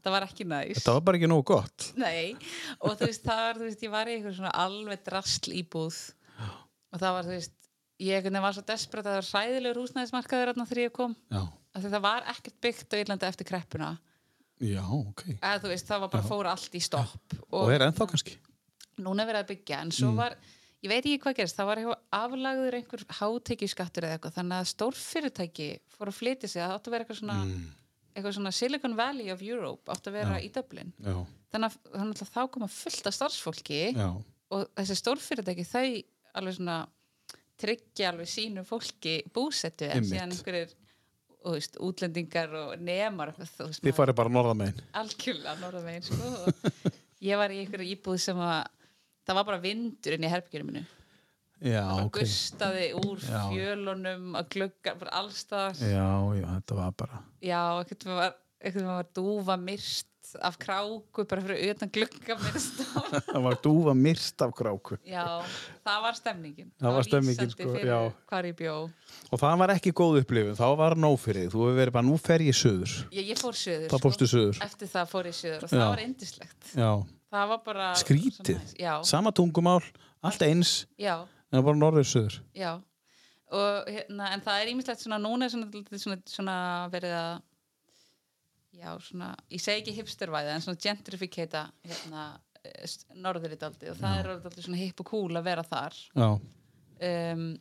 Speaker 2: þetta var ekki næs.
Speaker 1: Þetta var bara ekki nógu gott.
Speaker 2: Nei, og þú veist, það var, þú veist, ég var í einhver svona alveg drasl íbúð og það var, þú veist, ég einhvern veginn var svo desperat að það var sæðilegur húsnæðismarkaður þarna þegar ég kom.
Speaker 1: Já,
Speaker 2: Af því Það var ekkert byggt á Írlandi eftir kreppuna.
Speaker 1: já, ok.
Speaker 2: eða þú veist, það var bara fór allt í stopp og,
Speaker 1: Og er ennþá kannski? Mm.
Speaker 2: núna er verið að byggja en svo var, ég veit ekki hvað gerist það var eitthvað aflagður einhver hátekjuskattur eða eitthvað, þannig að stórfyrirtæki fór að flytja sig, það átti að vera eitthvað svona eitthvað svona Silicon Valley of Europe átti að vera í Dublin
Speaker 1: Mm. Já,
Speaker 2: þannig að, þannig að þá koma fullt af starfsfólki
Speaker 1: já,
Speaker 2: og þessi stórfyrirtæki þau alveg svona tryggja alveg sínu fólki búsettu en
Speaker 1: Einmitt.
Speaker 2: síðan einhverjir þú veist, útlendingar og nemar þú veist,
Speaker 1: þið
Speaker 2: maður-
Speaker 1: farið bara norðamegin.
Speaker 2: algjörlega norðamegin sko. og ég var í einhverju íbúð sem að það var bara vindur inn í herbygjörinu minu
Speaker 1: Já,
Speaker 2: það bara
Speaker 1: ok.
Speaker 2: gustaði úr
Speaker 1: Já.
Speaker 2: fjölunum að glugga bara allstaðar já,
Speaker 1: Já, já, þetta var bara...
Speaker 2: ekkert var, einhvern veginn var dúfa myrst af kráku bara fyrir utan glugga myrst
Speaker 1: Það var dúfa myrst af kráku.
Speaker 2: já, það var stemningin
Speaker 1: Það var stemningin,
Speaker 2: lýsandi
Speaker 1: sko,
Speaker 2: fyrir
Speaker 1: já.
Speaker 2: hvar ég bjó
Speaker 1: Og það var ekki góð upplifun, þá var nóg fyrir þig. Þú hefur verið bara, nú fer ég söður.
Speaker 2: ég, ég fór söður
Speaker 1: Það fórstu söður.
Speaker 2: eftir það fór ég söður og
Speaker 1: Já.
Speaker 2: það var indislegt
Speaker 1: Já,
Speaker 2: það var bara
Speaker 1: skrítið.
Speaker 2: já,
Speaker 1: Sama tungumál, allt eins,
Speaker 2: já
Speaker 1: en það var norður söður.
Speaker 2: Já, og hérna, en það er ímislegt svona núna er svona, dálítið svona, svona verið að já, svona, ég segi ekki hipstervæði en svona gentrificata hérna, eh, s- norður í daldi og það er orðið dálítið svona hip og cool að vera þar
Speaker 1: Já,
Speaker 2: um,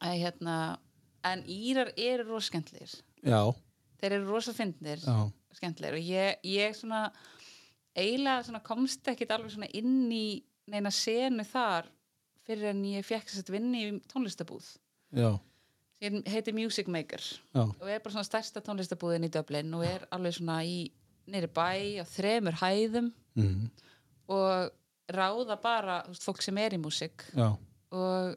Speaker 2: að, hérna, en írar eru rosa skemmtlir
Speaker 1: já,
Speaker 2: þeir eru rosa fyndnir
Speaker 1: já,
Speaker 2: skemmtilegir og ég, ég svona eiginlega svona komst ekkit alveg svona inn í neina senu þar fyrir en ég fekk þess að vinni í tónlistabúð
Speaker 1: já,
Speaker 2: sem heitir Music Maker
Speaker 1: já,
Speaker 2: og er bara svona stærsta tónlistabúðin í Dublin og er alveg svona í nýri bæ á þremur hæðum
Speaker 1: mm,
Speaker 2: og ráða bara þú veist, fólk sem er í músík
Speaker 1: já,
Speaker 2: og,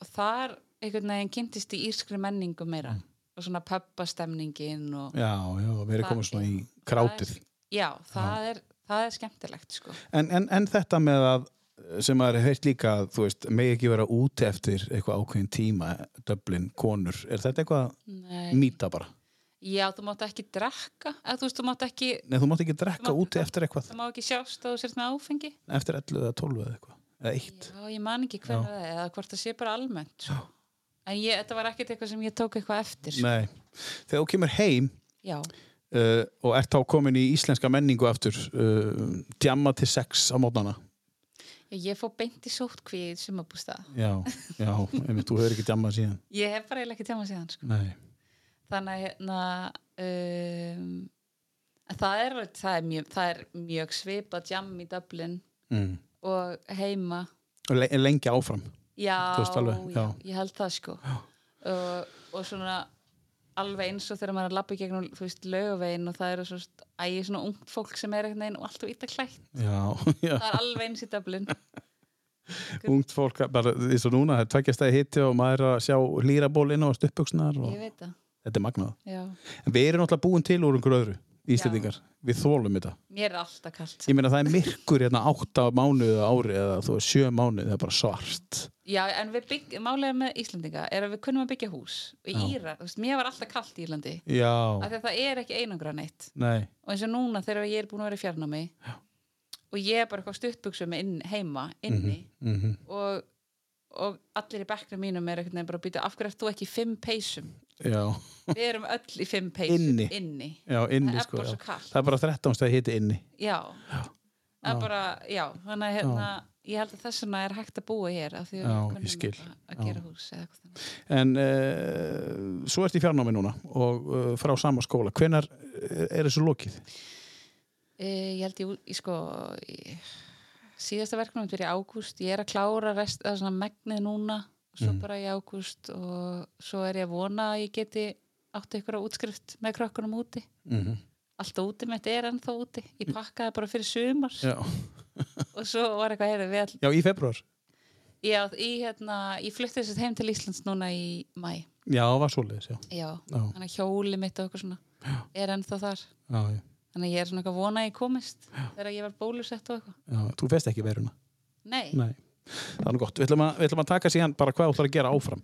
Speaker 2: og þar einhvern veginn kynntist í írskri menningu meira og svona pöppastemningin og
Speaker 1: já, Mm. já, við erum
Speaker 2: Það
Speaker 1: komið svona í
Speaker 2: er-
Speaker 1: krátið.
Speaker 2: það er, já, það er, það er skemmtilegt sko.
Speaker 1: En, en, en þetta með að, sem maður heilt líka, að, þú veist, megi ekki vera úti eftir eitthvað ákveðin tíma, döblin, konur, er þetta eitthvað mýta bara?
Speaker 2: já, þú mátt ekki drekka eða þú veist, þú mátt ekki
Speaker 1: Nei, þú mátt ekki drekka
Speaker 2: mátt-
Speaker 1: úti eftir eitthvað,
Speaker 2: það má ekki sjást að þú sért með áfengi
Speaker 1: eftir 11 eða 12 eða eitthvað, eða eitt.
Speaker 2: já, ég man ekki hvernig það er eða hvort það sé bara almennt sko. en ég, þetta var ekkert eitthvað sem ég tók eitthvað eftir sko.
Speaker 1: Nei, þegar þú kemur heim
Speaker 2: já,
Speaker 1: uh, og ert þá komin í íslenska menningu aftur, uh, djamma til sex á mótnana.
Speaker 2: ég, ég fór beint í sótkví sem að búst það
Speaker 1: Já, já, einmitt, þú hefur ekki djammað síðan.
Speaker 2: ég hef bara eiginlega ekki tjáma síðan sko.
Speaker 1: Nei,
Speaker 2: þannig að hérna um, en það er, alveg- það er mjög, það er mjög svipað jam í Dublin
Speaker 1: mm.
Speaker 2: og heima
Speaker 1: og le lengi áfram.
Speaker 2: já,
Speaker 1: Þú veist alveg,
Speaker 2: já,
Speaker 1: já.
Speaker 2: ég held það sko og, og svona alveg eins og þegar maður er að labba í gegnum þú veist, laugavegin og það eru svo st- æ, svona ungt fólk sem er einhvern veginn og alltaf ítla klætt,
Speaker 1: Já, já,
Speaker 2: það er alveg eins í Dublin
Speaker 1: ungt fólk, bara eins og núna, það er tveggjastæði hitti og maður er að sjá lýraból inn á stuppbuksnar og
Speaker 2: ég veit það,
Speaker 1: þetta er magnað.
Speaker 2: já
Speaker 1: En við erum náttúrulega búin til úr einhverju öðru, Íslendingar, við þólum þetta.
Speaker 2: mér er alltaf kalt,
Speaker 1: Ég meina það er myrkur hérna átta mánuði á ári eða þú veist, sjö mánuði, það er bara svart.
Speaker 2: já, en við bygg, málega með Íslendinga er að við kunnum að byggja hús og í
Speaker 1: Já.
Speaker 2: Íra, þú veist, mér var alltaf kalt í Írlandi af
Speaker 1: Já,
Speaker 2: því að það er ekki einangra neitt
Speaker 1: nei,
Speaker 2: og eins og núna þegar ég er búin að vera í fjarnámi og ég er bara eitthvað stuttbuksum inn, heima, inni
Speaker 1: mm
Speaker 2: og, og allir í bekknum mínum er einhvern veginn bara að býta af hverju ert þú ekki í fimm peysum
Speaker 1: já,
Speaker 2: við erum öll í fimm peysum
Speaker 1: Inni. já, inni
Speaker 2: það er
Speaker 1: sko.
Speaker 2: bara
Speaker 1: já.
Speaker 2: svo kall
Speaker 1: Það er bara 13 stæði hitti inni.
Speaker 2: já, það er bara, já þannig að hérna, ég held að þess vegna er hægt að búa hér af því að
Speaker 1: Já,
Speaker 2: við
Speaker 1: ég
Speaker 2: kunnum
Speaker 1: skil.
Speaker 2: að- að gera
Speaker 1: Já.
Speaker 2: hús eða eitthvað þannig.
Speaker 1: En uh, svo ert í fjarnámi núna og uh, frá sama skóla. Hvenar er þessu lokið?
Speaker 2: e, ég held ég, ú- ég sko í- síðasta verknum fyrir ágúst ég er að klára rest að svona megnið núna svo bara í ágúst og svo er ég að vona að ég geti átti ykkur á útskrift með krökkunum úti
Speaker 1: Mm -hmm.
Speaker 2: allt úti mitt er ennþá úti ég pakkaði bara fyrir sumar
Speaker 1: já.
Speaker 2: og svo var eitthvað heyrðu við all
Speaker 1: já, í februar.
Speaker 2: já, í, hérna, ég flutti þess að heim til Íslands núna í mæ
Speaker 1: Já, var svoleiðis, já.
Speaker 2: já,
Speaker 1: Já,
Speaker 2: þannig að hjóli mitt og eitthvað svona er ennþá þar
Speaker 1: já, já.
Speaker 2: þannig að ég er svona eitthvað vona að ég komist þegar ég var bólusett og eitthvað
Speaker 1: já. Þú fest ekki veruna.
Speaker 2: nei,
Speaker 1: Nei. Það er nú gott. Við ætlum, að, við ætlum að taka síðan bara hvað þú ætlar að gera áfram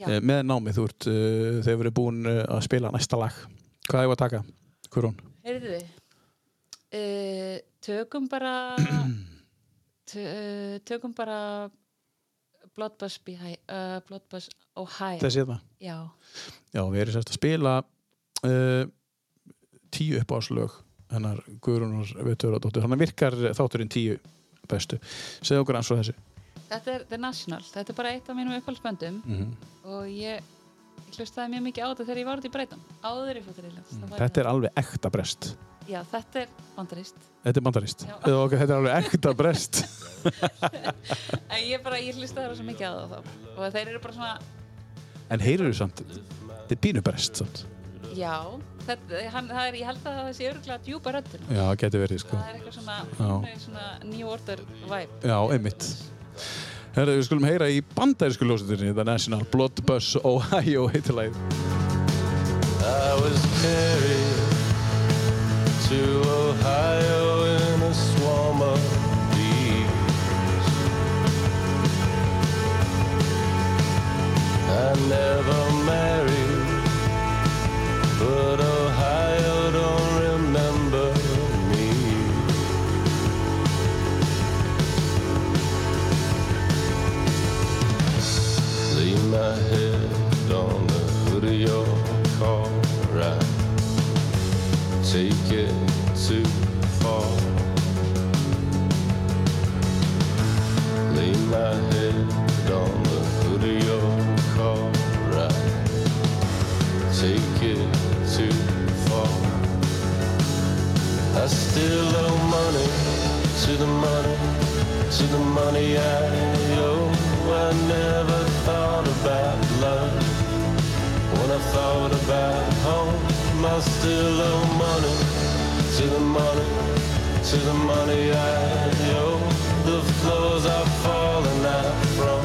Speaker 2: Já.
Speaker 1: Eh, með námið. Þú ert, uh, þau eru búin uh, að spila næsta lag. Hvað hefur að taka? Hverjón?
Speaker 2: heyrðu uh, tökum bara tö, uh, tökum bara Bloodbus, Behi- uh, Bloodbus Ohio
Speaker 1: Þessi hérna.
Speaker 2: já,
Speaker 1: Já, við erum sérst að spila uh, tíu uppáðslög hennar Guðrúnar Vetturadóttur. Þannig virkar þátturinn tíu bestu. Segð okkur eins og þessu.
Speaker 2: þetta er The National þetta er bara eitt af mínum upphaldsböndum
Speaker 1: Mhm.
Speaker 2: og ég, ég hlustaði mjög mikið á þetta þegar ég var út í breytum áður í fóttur í lands
Speaker 1: Mm, Þetta er alveg ekta brest.
Speaker 2: já, þetta er bandarist
Speaker 1: Þetta er bandarist.
Speaker 2: Já.
Speaker 1: Eða okkar, þetta er alveg ekta brest.
Speaker 2: en ég bara, ég hlustaði það svo mikið á það þá. og þeir eru bara svona
Speaker 1: en heyrur þú samt, þetta er bínu brest samt.
Speaker 2: Já, þetta, hann, það er, ég held að það sé örgulega djúpa röddun.
Speaker 1: Já, geti verið sko.
Speaker 2: Það er eitthvað svona,
Speaker 1: Já.
Speaker 2: hún er svona New Order vibe.
Speaker 1: Já, einmitt. Herra, við skulum heyra í bandarísku ljósutinni, The National Blood Bus Ohio heitilæð.
Speaker 6: I was carried to Ohio in a swarm of bees. I never married, but Ohio don't remember me. Lay my head on the hood of your car. I take it too far. Lay my head on the hood of your car. I take it too far. I still owe money to the money to the money I owe. I never thought about love. When I thought about home, I still owe money to the money, to the money I owe. The floors I've fallen out from.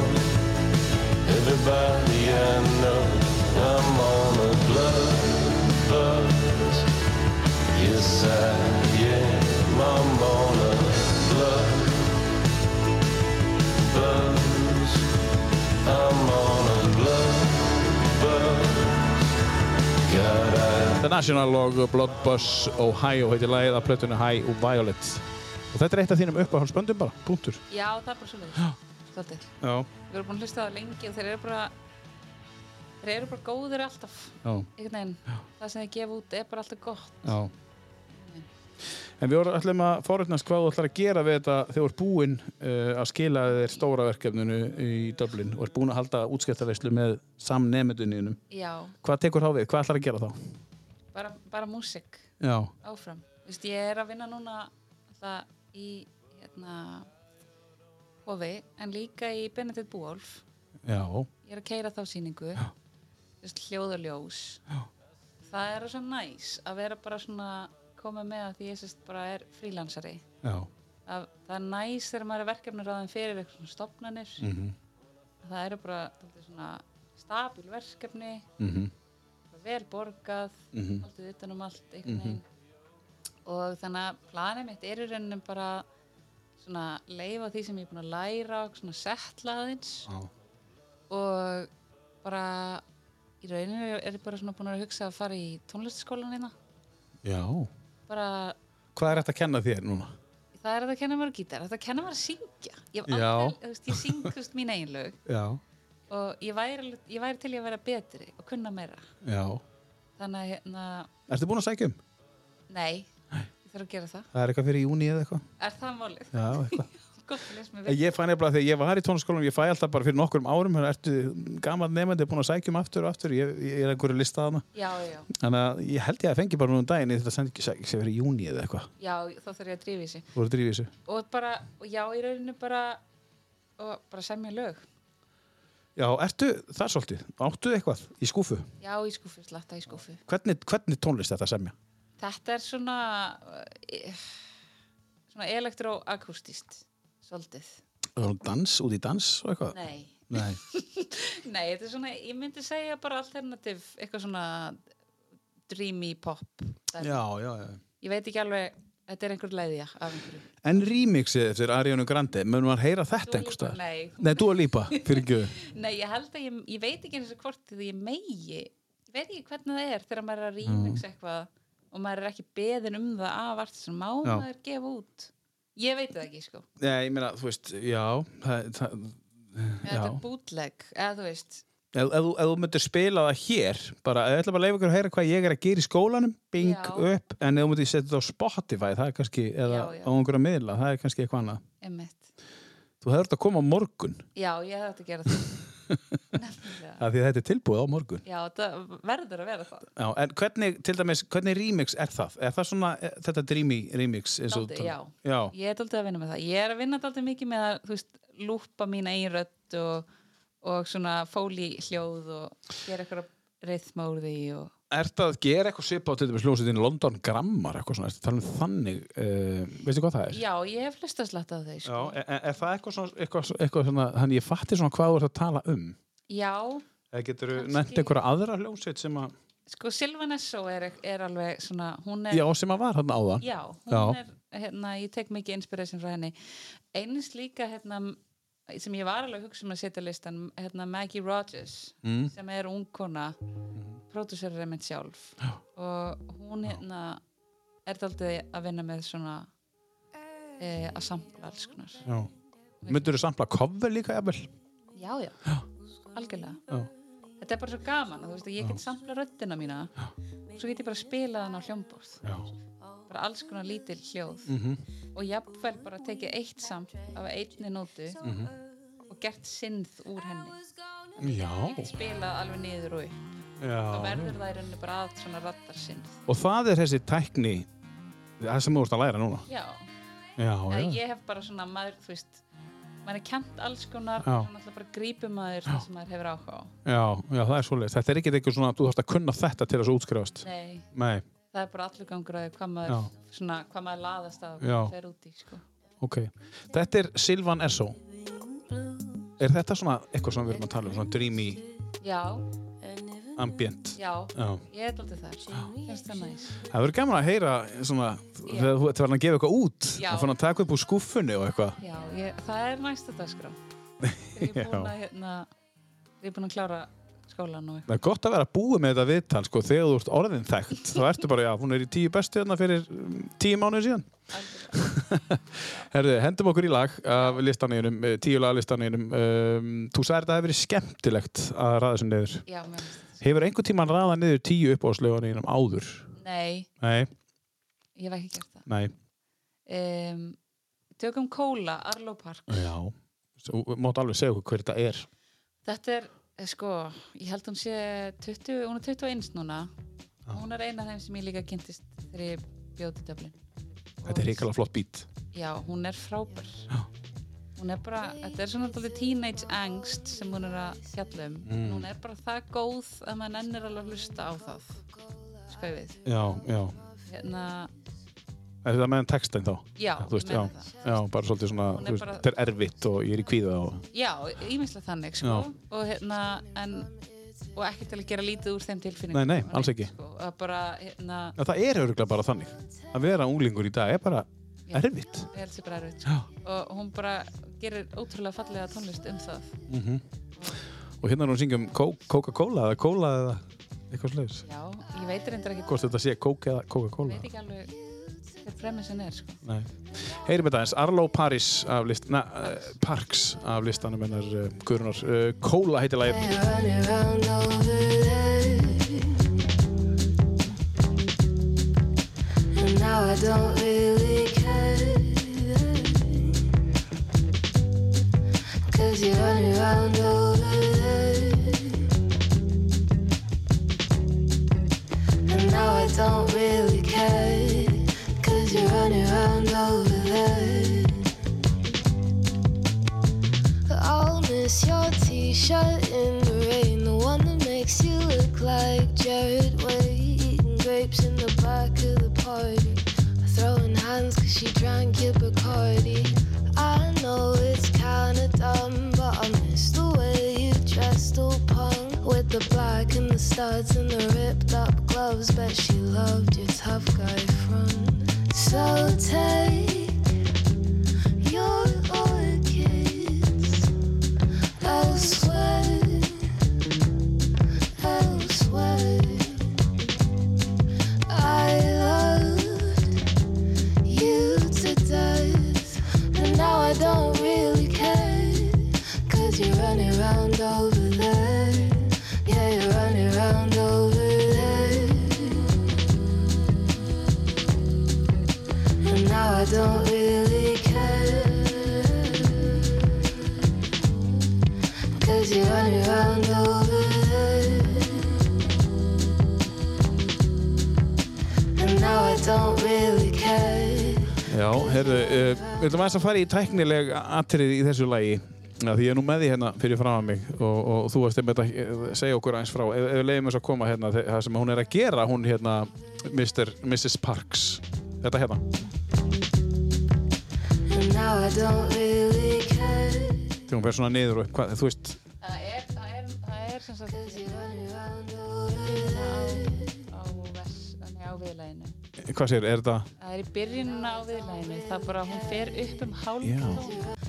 Speaker 6: Everybody I know, I'm on a blood buzz. Yes, I am. I'm on a blood buzz. I'm on a blood buzz. God, I
Speaker 1: The National og Blood Bus Ohio heitilæð af plötunni High og Violet. Og þetta er eitt af þínum uppáhaldsböndum bara, punktur.
Speaker 2: Já, það er bara svolítið. Svolítið.
Speaker 1: Já.
Speaker 2: Við erum búin að hlusta á það lengi og þeir eru bara, þeir eru bara góðir alltaf.
Speaker 1: Já,
Speaker 2: Einhvern veginn, það sem þeir gefa út er bara alltaf gott.
Speaker 1: já. En við vorum ætlum að forutnast hvað þú ætlar að gera við þetta þegar þú ert búinn uh, að skila þér stóra verkefninu í Dublin og ert búinn að halda útskiptarleyslu með samnemenduninu.
Speaker 2: Já,
Speaker 1: Hvað tekur þá við? Hvað ætlar að gera þá?
Speaker 2: bara, bara músik
Speaker 1: Já,
Speaker 2: áfram. Þú veist, ég er að vinna núna það í, hérna, hofi, en líka í Benedikt Búolf.
Speaker 1: já,
Speaker 2: ég er að keira þá sýningu Just hljóð og ljós Já. það er svo næs að vera bara svona koma með að því ég sérst bara er frílansari
Speaker 1: já,
Speaker 2: að það er næs þegar maður er verkefnir ráðin fyrir eitthvað svona stopnanir mm
Speaker 1: Mhm.
Speaker 2: -hmm. það eru bara dálítið svona stabíl verkefni
Speaker 1: mhm,
Speaker 2: bara vel borgað mm
Speaker 1: Mhm.
Speaker 2: -hmm. haldið utan um allt einhvern veginn og þannig að planið mitt er í rauninum bara svona leifa því sem ég er búin að læra og svona settla aðeins
Speaker 1: Já.
Speaker 2: og bara í rauninum er ég bara svona búin að hugsa að fara í tónlistaskólan hérna
Speaker 1: já.
Speaker 2: bara
Speaker 1: Hvað er þetta að kenna þér núna?
Speaker 2: það er hægt að kenna mér að gítar, þetta að kenna mér að syngja ég, hef
Speaker 1: Já.
Speaker 2: aldrei, þú veist, ég syng þú veist, mín eigin lög
Speaker 1: Já,
Speaker 2: og ég væri, alveg- ég væri til í að vera betri og kunna meira
Speaker 1: já.
Speaker 2: þannig að hérna,
Speaker 1: Ertu búinn að sækja um?
Speaker 2: nei, ég þarf að gera það
Speaker 1: Það er eitthvað fyrir júni eða eitthvað?
Speaker 2: er það málið?
Speaker 1: Já, eitthvað.
Speaker 2: gott að lesa mig
Speaker 1: En
Speaker 2: við.
Speaker 1: Ég fæ nefnilega þegar ég var í tónskólanum, ég fæ alltaf bara fyrir nokkrum árum, hérna ertu gammal nefandi búin að sækjum aftur og aftur, ég, ég er einhverju lista þarna.
Speaker 2: Já, já,
Speaker 1: Þannig að ég held ég að fengi bara núna um daginn, ég þetta sendi ekki sækjum, sem verið í júni eða eitthvað,
Speaker 2: já, þá þarf ég að drífa í sig.
Speaker 1: þú voru að drífa í þessu.
Speaker 2: Og bara, og já, í rauninu bara, og bara semja lög.
Speaker 1: Já, ertu þar svolítið, áttu eitthvað í skúfu?
Speaker 2: Já, í skúfu, slatta í skúfu.
Speaker 1: Hvernig, hvernig tónlist þetta semja?
Speaker 2: Þetta er svona, eh, svona elektroakústist, svolítið.
Speaker 1: Er hún dans, út í dans og eitthvað?
Speaker 2: Nei,
Speaker 1: Nei.
Speaker 2: nei, þetta er svona, ég myndi segja bara alternativ, eitthvað svona dreamy pop. dæmi.
Speaker 1: Já, já, já.
Speaker 2: Ég veit ekki alveg, þetta er einhver leiðja af einhverju.
Speaker 1: En remixið eftir Ariana Grande, munum maður heyra
Speaker 2: Dua
Speaker 1: þetta einhvers
Speaker 2: Lipa,
Speaker 1: staðar?
Speaker 2: nei.
Speaker 1: Nei, Dua Lipa, fyrir ekki
Speaker 2: Nei, ég held að ég, ég veit ekki eins og hvort því ég megi, ég veit ekki hvernig það er þegar maður er að remix eitthvað og maður er ekki beðin um það af allt sem má
Speaker 1: Já.
Speaker 2: maður gefa út. Ég veit það ekki, sko.
Speaker 1: Nei, ég meina, þú veist, já, það, það,
Speaker 2: Eða Þetta er bootleg, eða þú veist,
Speaker 1: Ef, ef, þú- ef þú myndir spila það hér bara, ég ætla bara að leifa ykkur að heyra hvað ég er að gera í skólanum bing
Speaker 2: Já.
Speaker 1: upp, en ef þú myndir setja þetta á Spotify það er kannski, eða
Speaker 2: Já, já.
Speaker 1: á einhverja miðla það er kannski eitthvað annað.
Speaker 2: emmitt.
Speaker 1: Þú hefur þetta að koma á morgun,
Speaker 2: Já, ég hefði átt að gera það. Nefnilega.
Speaker 1: af því að þetta er tilbúið á morgun
Speaker 2: Já, það verður að vera það.
Speaker 1: Já, en hvernig, til dæmis, hvernig remix er það? Er það svona, eh, þetta dreamy remix? eins og- um?
Speaker 2: Dálítið, já.
Speaker 1: Já,
Speaker 2: Ég er daldið að vinna með það. Ég er að vinna daldið mikið með að, þú veist, lúpa mína eigin rödd og, og svona fóli hljóð og gera eitthvað rithma úr því og
Speaker 1: er það að gera eitthvað svipa á til dæmis ljónsið London Grammar eitthvað svona, er það um þannig uh, veistu hvað það er?
Speaker 2: Já, ég hef hlust að slatta á þau,
Speaker 1: Já,
Speaker 2: sko.
Speaker 1: er, er það eitthvað svona, eitthvað, eitthvað svona þannig ég fatti svona hvað þú ert að tala um
Speaker 2: Já,
Speaker 1: Eða getur þú
Speaker 2: Kannski-
Speaker 1: Eh, nefnt einhverja aðra hljómsveit sem að
Speaker 2: sko Silvanesso er, er alveg svona, hún er...
Speaker 1: Já, sem að var hann áðan
Speaker 2: Já, hún
Speaker 1: Já.
Speaker 2: er, hérna, ég tek mikið inspiration frá henni. Einins líka, hérna, sem ég var alveg að hugsa um að setja á listan, hérna Maggie Rogers,
Speaker 1: Mm.
Speaker 2: sem er ungkona, pródúsörur er mitt sjálf. Já. Og hún, hérna, er daldið að vinna með svona e, að sampla alls konar.
Speaker 1: Já. Myndur þú sampla cover líka, jafnvel?
Speaker 2: Já, já, já. algjörlega.
Speaker 1: Já.
Speaker 2: Þetta er bara svo gaman, þú veist, að ég get samla röddina mína svo get ég bara spilað hann á hljómborð
Speaker 1: Já.
Speaker 2: bara alls konar lítil hljóð
Speaker 1: Mhm.
Speaker 2: og jafnvel bara tekið eitt samt af einni nótu
Speaker 1: Mhm.
Speaker 2: og gert sinnð úr henni
Speaker 1: Já.
Speaker 2: spilað alveg niður og upp þá verður það í rauninni bara að svona raddar sinnð
Speaker 1: Og það er þessi tækni það sem þú ert að læra núna
Speaker 2: já,
Speaker 1: Já,
Speaker 2: Eða ég hef bara svona maður, þú veist maður er kent alls konar
Speaker 1: Já.
Speaker 2: og svo náttúrulega bara grípum maður það sem maður hefur áhuga á
Speaker 1: já, já það er svoleiðis Þetta er ekki eitthvað svona að þú þarfst að kunna þetta til þess að útskrifast
Speaker 2: nei,
Speaker 1: Nei,
Speaker 2: það er bara allur gangur að því hvað maður svona, hvað maður laðast að og
Speaker 1: Já.
Speaker 2: hvað maður fer út í sko.
Speaker 1: ok Þetta er Silvan Esso Er þetta svona eitthvað sem við erum að tala um svona dreamy
Speaker 2: já,
Speaker 1: ambient?
Speaker 2: já,
Speaker 1: Já.
Speaker 2: ég er alltaf þar finnst það næs
Speaker 1: Það verður gaman að heyra svona, þegar þú ert verðin að gefa eitthvað út
Speaker 2: Já.
Speaker 1: og fann að taka upp úr skúffunni og eitthvað
Speaker 2: já, ég, það er næsta dagskrá Þegar ég er búin að hérna, ég er búin að klára skólan og
Speaker 1: Það er gott að vera búið með þetta viðtal sko, þegar þú ert orðin þekkt þá ertu bara, já, hún er í tíu bestu hérna fyrir um, tíu mánuð síðan
Speaker 2: eitthvað
Speaker 1: Herðu, hendum okkur í lag af listaneginum, tíu lagalistaneginum um, Þú sagði þetta hefur verið skemmtilegt að ræða sem niður
Speaker 2: já, mér finnst þetta
Speaker 1: Hefur einhvern tíman ræða niður tíu uppáðsleganeginum áður?
Speaker 2: svo- nei,
Speaker 1: Nei,
Speaker 2: ég hef ekki gert
Speaker 1: nei,
Speaker 2: það um, tökum kóla, Arlo Park
Speaker 1: já Þú mátt alveg segja okkur hver þetta er
Speaker 2: þetta er, eh, sko, ég held hún sé 20, hún er 21 núna hún er eina af þeim sem ég líka kynntist þegar ég bjóti döflin
Speaker 1: Þetta er hrikalega flott bít
Speaker 2: Já, hún er frábær Hún er bara, þetta er svona dálítið teenage angst sem hún er að fjalla um mm. Hún er bara það góð að maður nennir alveg að hlusta á það Skau við
Speaker 1: Já, já
Speaker 2: Hérna,
Speaker 1: Er þetta meðan textin þá?
Speaker 2: já,
Speaker 1: Þú veist,
Speaker 2: ég meina
Speaker 1: já,
Speaker 2: það
Speaker 1: já, bara svolítið svona,
Speaker 2: Hún er
Speaker 1: þú veist,
Speaker 2: bara-
Speaker 1: þetta er erfitt og ég er í kvíða og...
Speaker 2: Já, ímislega þannig, sko
Speaker 1: Já.
Speaker 2: Og hérna, en Og ekki til að gera lítið úr þeim tilfinningum
Speaker 1: Nei, nei, alls ekki.
Speaker 2: sko. Að bara, hérna,
Speaker 1: Já, það er öruglega bara þannig. Að vera unglingur í dag er bara
Speaker 2: Já.
Speaker 1: erfitt.
Speaker 2: ég held sér bara erfitt sko. Og hún bara gerir ótrúlega fallega tónlist um það
Speaker 1: Og hérna er hún að syngja um Kó- Coca-Cola eða Cola eða eitthvað slags.
Speaker 2: Já, ég veit reyndar ekki
Speaker 1: Hvort þetta sé Coke eða
Speaker 2: Ég
Speaker 1: Coca-Cola.
Speaker 2: veit ekki alveg hver premissin er, sko
Speaker 1: Nei. Heyrim þetta eins, Arlo Paris af list, na, uh, Parks af listanum hennar uh, Guðrunar. Uh, Cola heitir lagið.
Speaker 7: Running round over there. And now I don't really care. Now I don't really care. Cause you're running around over there. I'll miss your t shirt in the rain. The one that makes you look like Jared Way. Eating grapes in the back of the party. Throwing hands cause she drank your Bacardi. I know it's kinda dumb, but I miss the way you dressed all punk. With the black and the studs and the ripped up gloves. Bet she loved your tough guy front. So take your orchids elsewhere, elsewhere. I loved you to death, and now I don't really care. Cause you're running round over there. Yeah, you're running round over there. And now I don't really care. Cause you're running round over there. And now I don't really care.
Speaker 1: Já, herru, uh, við ætlum aðeins að fara í tæknileg atrið í þessu lagi Já, því ég er nú með því hérna fyrir fram að mig og, og þú varst einmitt að eh, segja okkur aðeins frá ef, ef við leiðum þess að koma hérna þe- það sem hún er að gera, hún hérna Mr. Mrs. Parks Þetta hérna
Speaker 7: And now I don't really care.
Speaker 1: Þegar hún fer svona niður og upp, hvað, þú veist
Speaker 2: Það er, það er, það er sem sagt
Speaker 7: Cause you're running round over there.
Speaker 2: á, vers, nei, á viðlæginu.
Speaker 1: Hvað sér, er þetta
Speaker 2: Það er í byrjununa á viðlæginu. Það bara, hún fer upp um
Speaker 1: Já.
Speaker 2: hálftón.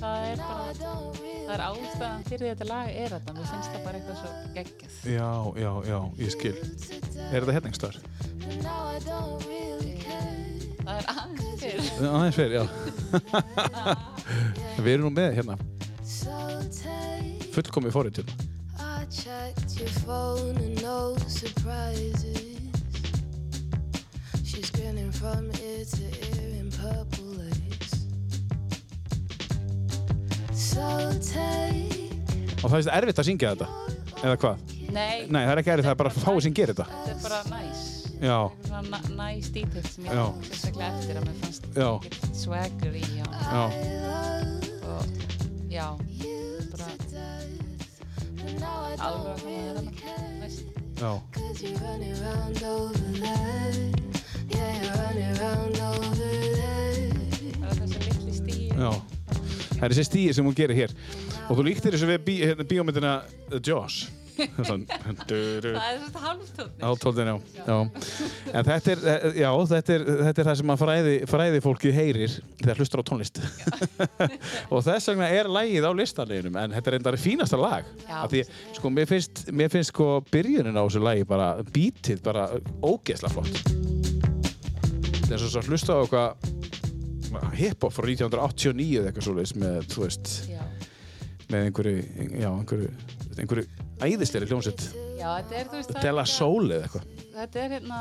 Speaker 2: Það er bara,
Speaker 7: Don't really
Speaker 2: það er ástæðan fyrir þetta lag er þetta. Mér finnst það bara eitthvað svo geggjað.
Speaker 1: Já, já, já, ég skil Er þetta hérna einhvers þar?
Speaker 7: And now I don't really care.
Speaker 2: Það er aðeins fyrir.
Speaker 1: Aðeins fyrir, já Við erum nú með hérna
Speaker 7: So take.
Speaker 1: fullkomið fórið til
Speaker 7: I checked your phone and no surprises. She's grinning from ear to ear in purple lace. So take
Speaker 1: Og það er erfitt að syngja þetta, eða hvað?
Speaker 2: Nei,
Speaker 1: Nei, það er ekki erfitt, það er bara fáið sem gerir þetta
Speaker 2: þetta er bara næs.
Speaker 1: Já,
Speaker 2: svona næs dítill sem ég
Speaker 1: Já.
Speaker 2: tók sérstaklega eftir að mér fannst
Speaker 1: Já.
Speaker 2: ekkert swagger í já.
Speaker 1: já
Speaker 2: og já bara alveg að koma þér þarna veist.
Speaker 1: Já,
Speaker 7: Cause you're running round over there. Yeah, you're running round over there.
Speaker 2: það er þessi litli stíi
Speaker 1: já. Það er þessi stíi sem hún gerir hér. Og þú líktir þessu við bí, hérna, bíómyndina The Jaws.
Speaker 2: það er svona halvtótt
Speaker 1: Áltóldin, já. já. En þetta er, eh, já, þetta er, þetta er það sem að fræði, fræði fólkið heyrir þegar hlustar á tónlist. og þess vegna er lagið á listanleginum, en þetta er endari fínasta lag.
Speaker 2: Já.
Speaker 1: Af Því, sko, mér finnst, mér finnst sko byrjunin á þessu lagi bara, bítið bara ógeðsla flott. Það er svo að hlusta á eitthvað hip-hop frá 1989 eða eitthvað svoleiðis með, þú veist,
Speaker 2: já.
Speaker 1: með einhverju, já, einhverju, einhverju æðisleiri hljómsett.
Speaker 2: já, þetta er þú veist það er
Speaker 1: Della
Speaker 2: líka-
Speaker 1: Soul eða eitthvað.
Speaker 2: þetta er hérna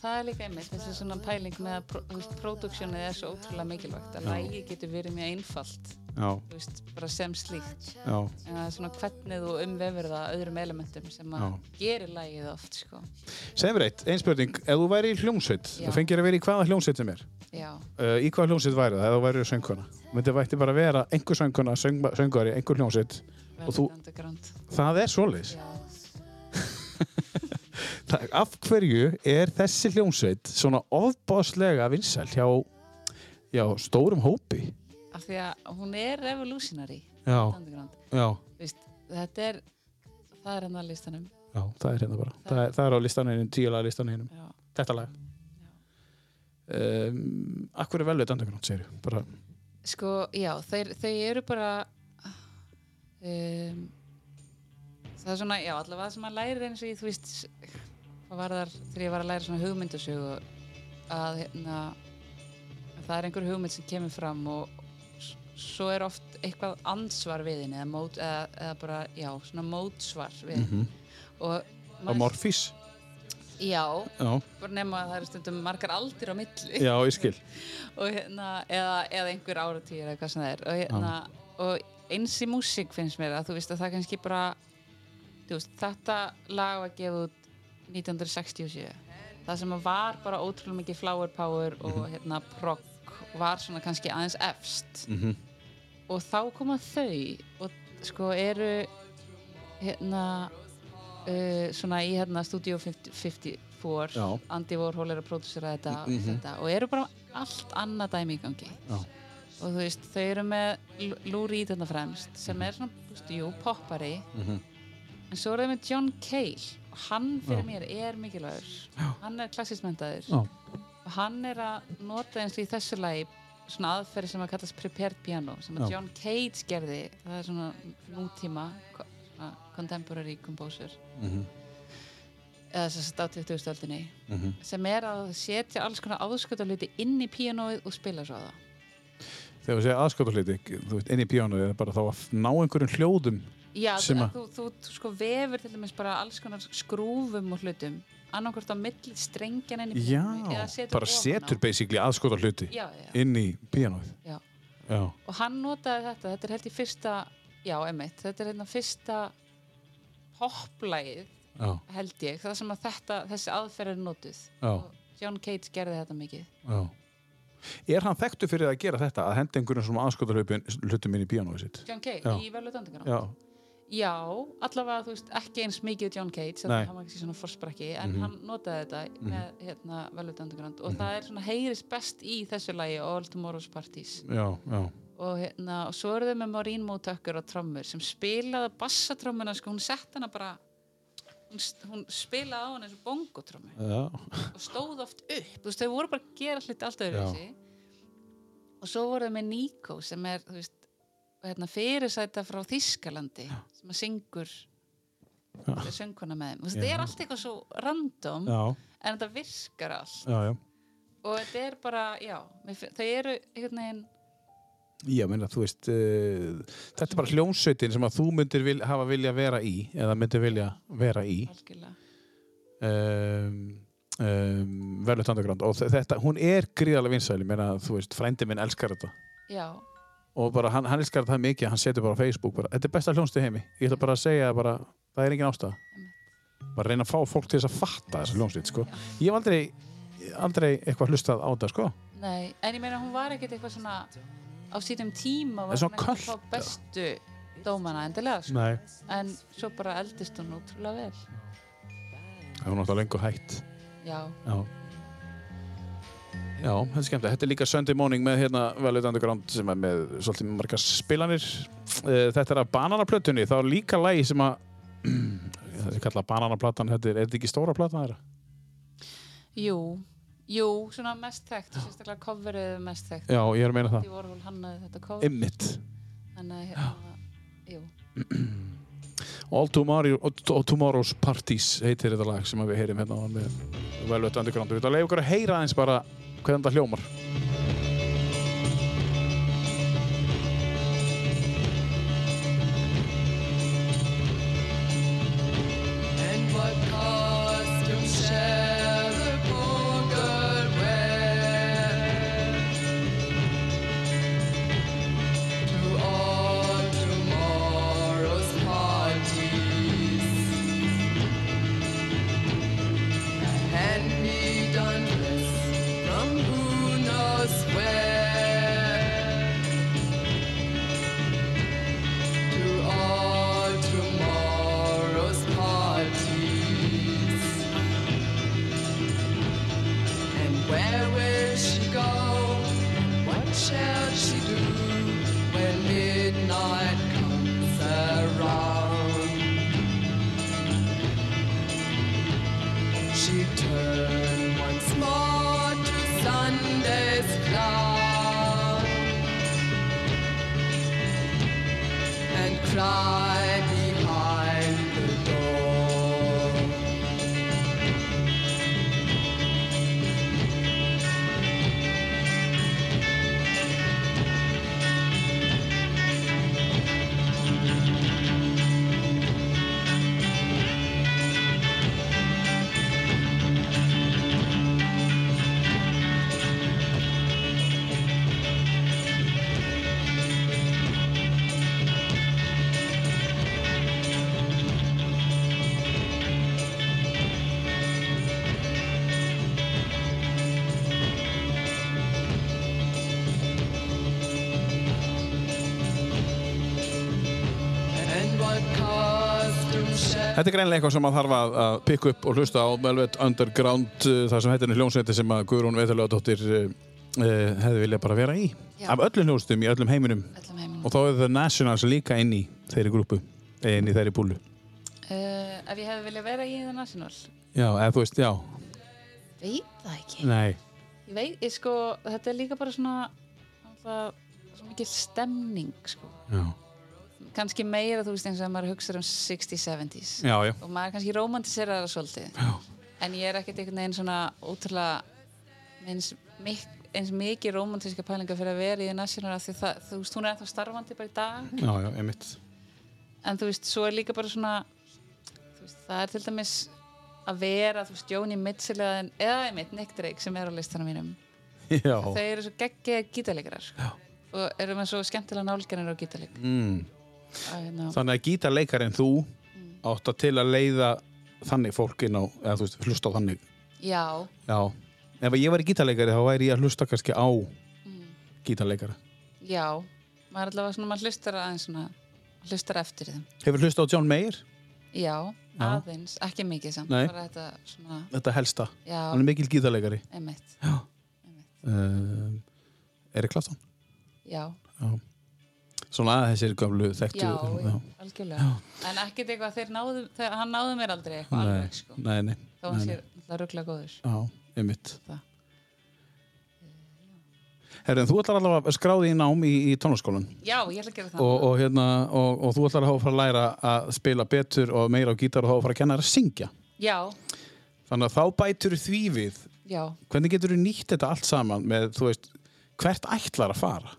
Speaker 2: það er líka einmitt þessi svona pæling með að pro- þú veist, productionið er svo ótrúlega mikilvægt að lægi getur verið mjög einfalt
Speaker 1: Já,
Speaker 2: þú veist, bara sem slíkt
Speaker 1: já.
Speaker 2: en það er svona hvernig þú umvefur það öðrum elementum sem að gerir lægið oft sko.
Speaker 1: Segð mér eitt, einn spurning, ef þú væri í hljómsveit,
Speaker 2: Já.
Speaker 1: þú fengir að vera í hvaða hljómsveit sem er,
Speaker 2: já,
Speaker 1: uh, í hvaða hljómsveit væri það, ef þú væri söngkona, myndi vætti bara vera einhver söngkona, söng, söngari, einhver hljómsveit, Og þú-
Speaker 2: veldig underground
Speaker 1: það er svoleiðis.
Speaker 2: já.
Speaker 1: Það- Af hverju er þessi hljómsveit svona ofbáslega vinsæl hjá, já, stórum hópi?
Speaker 2: af því að hún er revolutionary
Speaker 1: Já,
Speaker 2: underground.
Speaker 1: já,
Speaker 2: Vist, þetta er það er hennar listanum
Speaker 1: já, það er hérna bara, það er, það er á listaninu, tíulega listaninu,
Speaker 2: já.
Speaker 1: þetta lag. Um, akkur er velveit andagrátt, segir ég, bara,
Speaker 2: sko, já, þeir, þau eru bara um, það er svona, já, allavega sem maður lærir eins og ég, þú veist hvað var þar þegar ég var að læra svona hugmyndasögu að hérna að það er einhver hugmynd sem kemur fram og s- svo er oft eitthvað ansvar við henni eða, mót, eða, eða bara, já, svona mótsvar við henni
Speaker 1: Mhm.
Speaker 2: og
Speaker 1: á Morfís,
Speaker 2: já,
Speaker 1: já,
Speaker 2: bara nema að það eru stundum margar aldir á milli
Speaker 1: já, ég skil,
Speaker 2: og hérna, eða, eða einhver áratýr eða hvað sem það er og, hérna, og eins í músík finnst mér að þú veist að það kannski bara þú veist, þetta lag var gefið út 1967 það sem var bara ótrúlega mikið flower power og hérna progg var svona kannski aðeins efst og þá koma þau og sko eru hérna uh, svona í hérna Studio 50, 54
Speaker 1: Já.
Speaker 2: Andy Warhol er að pródúsera þetta, mm þetta og eru bara allt annað dæmi í gangi
Speaker 1: Já.
Speaker 2: og þú veist, þau eru með L- Lou Reed þarna fremst sem er svona, þú veist, jú, poppari en svo eru þau með John Cale og hann fyrir mér er mikilvægur hann er klassismentaður
Speaker 1: Já.
Speaker 2: og hann er að nota eins og í þessu lagi svona aðferði sem að kallast prepared piano sem að
Speaker 1: Já.
Speaker 2: John Cage gerði það er svona nútíma ko- svona contemporary composer eða þess að á 20. öldinni
Speaker 1: Mhm.
Speaker 2: sem er að setja alls konar áðskötaluti inn í pianoið og spila svo á það
Speaker 1: Þegar við segja aðskotahluti, þú veit, inn í píónu er bara þá að ná einhverjum hljóðum
Speaker 2: Já,
Speaker 1: sem
Speaker 2: þú,
Speaker 1: að-
Speaker 2: þú, þú, þú sko vefur til dæmis bara alls konar skrúfum og hlutum annarkvort á milli strengjan inn í
Speaker 1: Já,
Speaker 2: píanóið eða setur
Speaker 1: bara
Speaker 2: ofan á.
Speaker 1: setur basically aðskotahluti
Speaker 2: Já, já,
Speaker 1: inn í píónuð
Speaker 2: já.
Speaker 1: Já,
Speaker 2: og hann notaði þetta, þetta er held ég fyrsta já, emitt, þetta er hérna fyrsta poplægið
Speaker 1: já,
Speaker 2: held ég, það sem að þetta þessi aðferð er notuð
Speaker 1: já,
Speaker 2: og John Cage gerði þetta mikið
Speaker 1: já Er hann þekktu fyrir að gera þetta að henda einhverjum svona aðskotahlutum inn í píónuð sitt?
Speaker 2: John Cage
Speaker 1: Já.
Speaker 2: í velutandingar
Speaker 1: Já,
Speaker 2: já, allavega þú veist ekki eins mikið John Cage, þannig
Speaker 1: Nei. Mhm.
Speaker 2: að hann var ekki svona forsprakki en hann notaði þetta með hérna, velutandingar og það er svona heyris best í þessu lagi All Tomorrow's Parties
Speaker 1: já, já
Speaker 2: og, hérna, og svo eru þau með Maureen Mótökkur og trommur sem spilaði bassatrommuna sko, hún sett hana bara hún, hún spilaði á hana eins og bongotrommu
Speaker 1: Já,
Speaker 2: og stóð oft upp þú veist, þau voru bara að gera hluti allt öðru og svo voru þau með Nico sem er, þú veist hérna, fyrirsæta frá Þískalandi sem að syngur sönguna með þeim, þú veist, þetta er allt eitthvað svo random,
Speaker 1: já,
Speaker 2: en þetta virkar allt
Speaker 1: já, já.
Speaker 2: og þetta er bara, já mér finn- þau eru einhvern veginn
Speaker 1: Já, menna, þú veist, uh, þetta er bara hljómsveitin sem að þú myndir vil, hafa vilja vera í, eða myndir vilja vera í,
Speaker 2: algjörlega
Speaker 1: um, um, verður tandagrand. Og þe- þetta, hún er gríðarlega vinsæli, menna, þú veist, frændi minn elskar þetta.
Speaker 2: Já,
Speaker 1: Og bara, hann, hann elskar þetta það mikið, að hann setur bara á Facebook, bara, þetta er besta hljómsveit í heimi. Ég ætla bara að segja, bara, það er engin ástæða. Bara reyna að fá fólk til þess að fatta þessa hljómsveit, sko. Ég hef aldrei, aldrei eitthvað hlustað á þetta, sko.
Speaker 2: nei, en ég meina hún var ekkert eitthvað svona á sínum tíma
Speaker 1: En
Speaker 2: var
Speaker 1: svona
Speaker 2: ekkert
Speaker 1: kalt,
Speaker 2: þá bestu dómana endilega sko.
Speaker 1: Nei.
Speaker 2: en svo bara eldist hún útrúlega vel
Speaker 1: Það var náttúrulega lengur hægt.
Speaker 2: Já,
Speaker 1: Já. Já, þetta er skemmt. Þetta er líka Sunday Morning með hérna Velvet Underground sem er með svolítið marga spilanir. Eh, Þetta er að bananaplötunni, þá er líka lægi sem að það er kallað bananaplatan, þetta er, er þetta ekki stóra platan þeirra?
Speaker 2: jú, jú, svona mest þekkt og sérstaklega coverið er mest þekkt
Speaker 1: Já, ég er að meina það.
Speaker 2: Því voru hún hannaði þetta cover
Speaker 1: Ymmit.
Speaker 2: Þannig að hérna, jú
Speaker 1: All tomorrow, all Tomorrow's Parties heitir þetta lag sem að við heyrim hérna á með Velvet Underground. Við ætlum að leiða okkur að heyra aðeins bara hvernig þetta hljómar.
Speaker 4: And what costume shall the poor girl wear? To all tomorrow's parties. A hand-me-down dress from who knows where. to all tomorrow's parties. And where will she go? What shall she do when midnight comes around? She turned once more to Sunday's cloud. and cry behind the door.
Speaker 1: Þetta er greinlega eitthvað sem maður þarf að, að pikka upp og hlusta á Velvet Underground uh, þar sem þetta er hljómsveiti sem að Guðrún Veitalögadóttir uh, uh, hefði viljað bara vera í
Speaker 2: Já.
Speaker 1: af öllum hljómsveitum í öllum heiminum
Speaker 2: Öllum heiminum.
Speaker 1: og þá er The Nationals líka inn í þeirri grúpu eh, inn í þeirri búlu
Speaker 2: Uh, ef ég hefði viljað vera í The National
Speaker 1: Já, eða þú veist, já,
Speaker 2: veit það ekki
Speaker 1: nei
Speaker 2: ég veit, ég sko, þetta er líka bara svona það, svo mikið stemning sko.
Speaker 1: Já,
Speaker 2: kannski meira þú veist eins og að maður hugsa um 60s, 70s
Speaker 1: já, já,
Speaker 2: og maður kannski romantiserar það svolítið
Speaker 1: já.
Speaker 2: en ég er ekkert einhvern veginn svona ótrúlega eins, mik, eins mikið romantíska pælinga fyrir að vera í The National af því það, þú veist, hún er ennþá starfandi bara í dag
Speaker 1: Já, já, einmitt
Speaker 2: en þú veist, svo er líka bara svona þú veist, það er til dæmis að vera, þú veist, Jóni Mitchell eða, eða einmitt Nick Drake sem er á listanum mínum
Speaker 1: Já,
Speaker 2: þau eru svo geggið gítarleikarar sko. og eru með svo skemmtilega nálganir á gítarleik
Speaker 1: mm.
Speaker 2: að, hérna,
Speaker 1: þannig að gítarleikarinn þú átt að til að leiða þannig fólk inn á, eða þú veist, hlusta á þannig
Speaker 2: já,
Speaker 1: Já, ef ég væri gítarleikari þá væri ég að hlusta kannski á gítarleikara
Speaker 2: já maður er allavega svona, maður hlustar aðeins svona hlustar eftir þeim
Speaker 1: Hefur hlusta á John Mayer?
Speaker 2: já, aðeins, ekki mikið samt
Speaker 1: Nei.
Speaker 2: bara þetta svona,
Speaker 1: Þetta helsta, hann
Speaker 2: já,
Speaker 1: er mikil gítarleikari
Speaker 2: einmitt
Speaker 1: um, Erik Klafton
Speaker 2: já,
Speaker 1: Svona þessir gömlu þekktu
Speaker 2: já, algjörlega en ekkert eitthvað, þeir náðu þeir, hann náðu mér aldrei eitthvað
Speaker 1: Nei,
Speaker 2: alveg sko.
Speaker 1: nei, nei,
Speaker 2: þá hann
Speaker 1: nei,
Speaker 2: sé alltaf ruggla góður
Speaker 1: já, einmitt
Speaker 2: Það.
Speaker 1: Herri, en þú ætlar allavega að skráði í nám í, í tónlaskólan
Speaker 2: já, ég ætla að gera það
Speaker 1: og, og, hérna, og, og þú ætlar að hafa að fara að læra að spila betur og meira á gítar og þá að fara að kenna þér að syngja
Speaker 2: já,
Speaker 1: Þannig að þá bætur því við
Speaker 2: já,
Speaker 1: hvernig getur þú nýtt þetta allt saman með, þú veist, hvert ætlar að fara?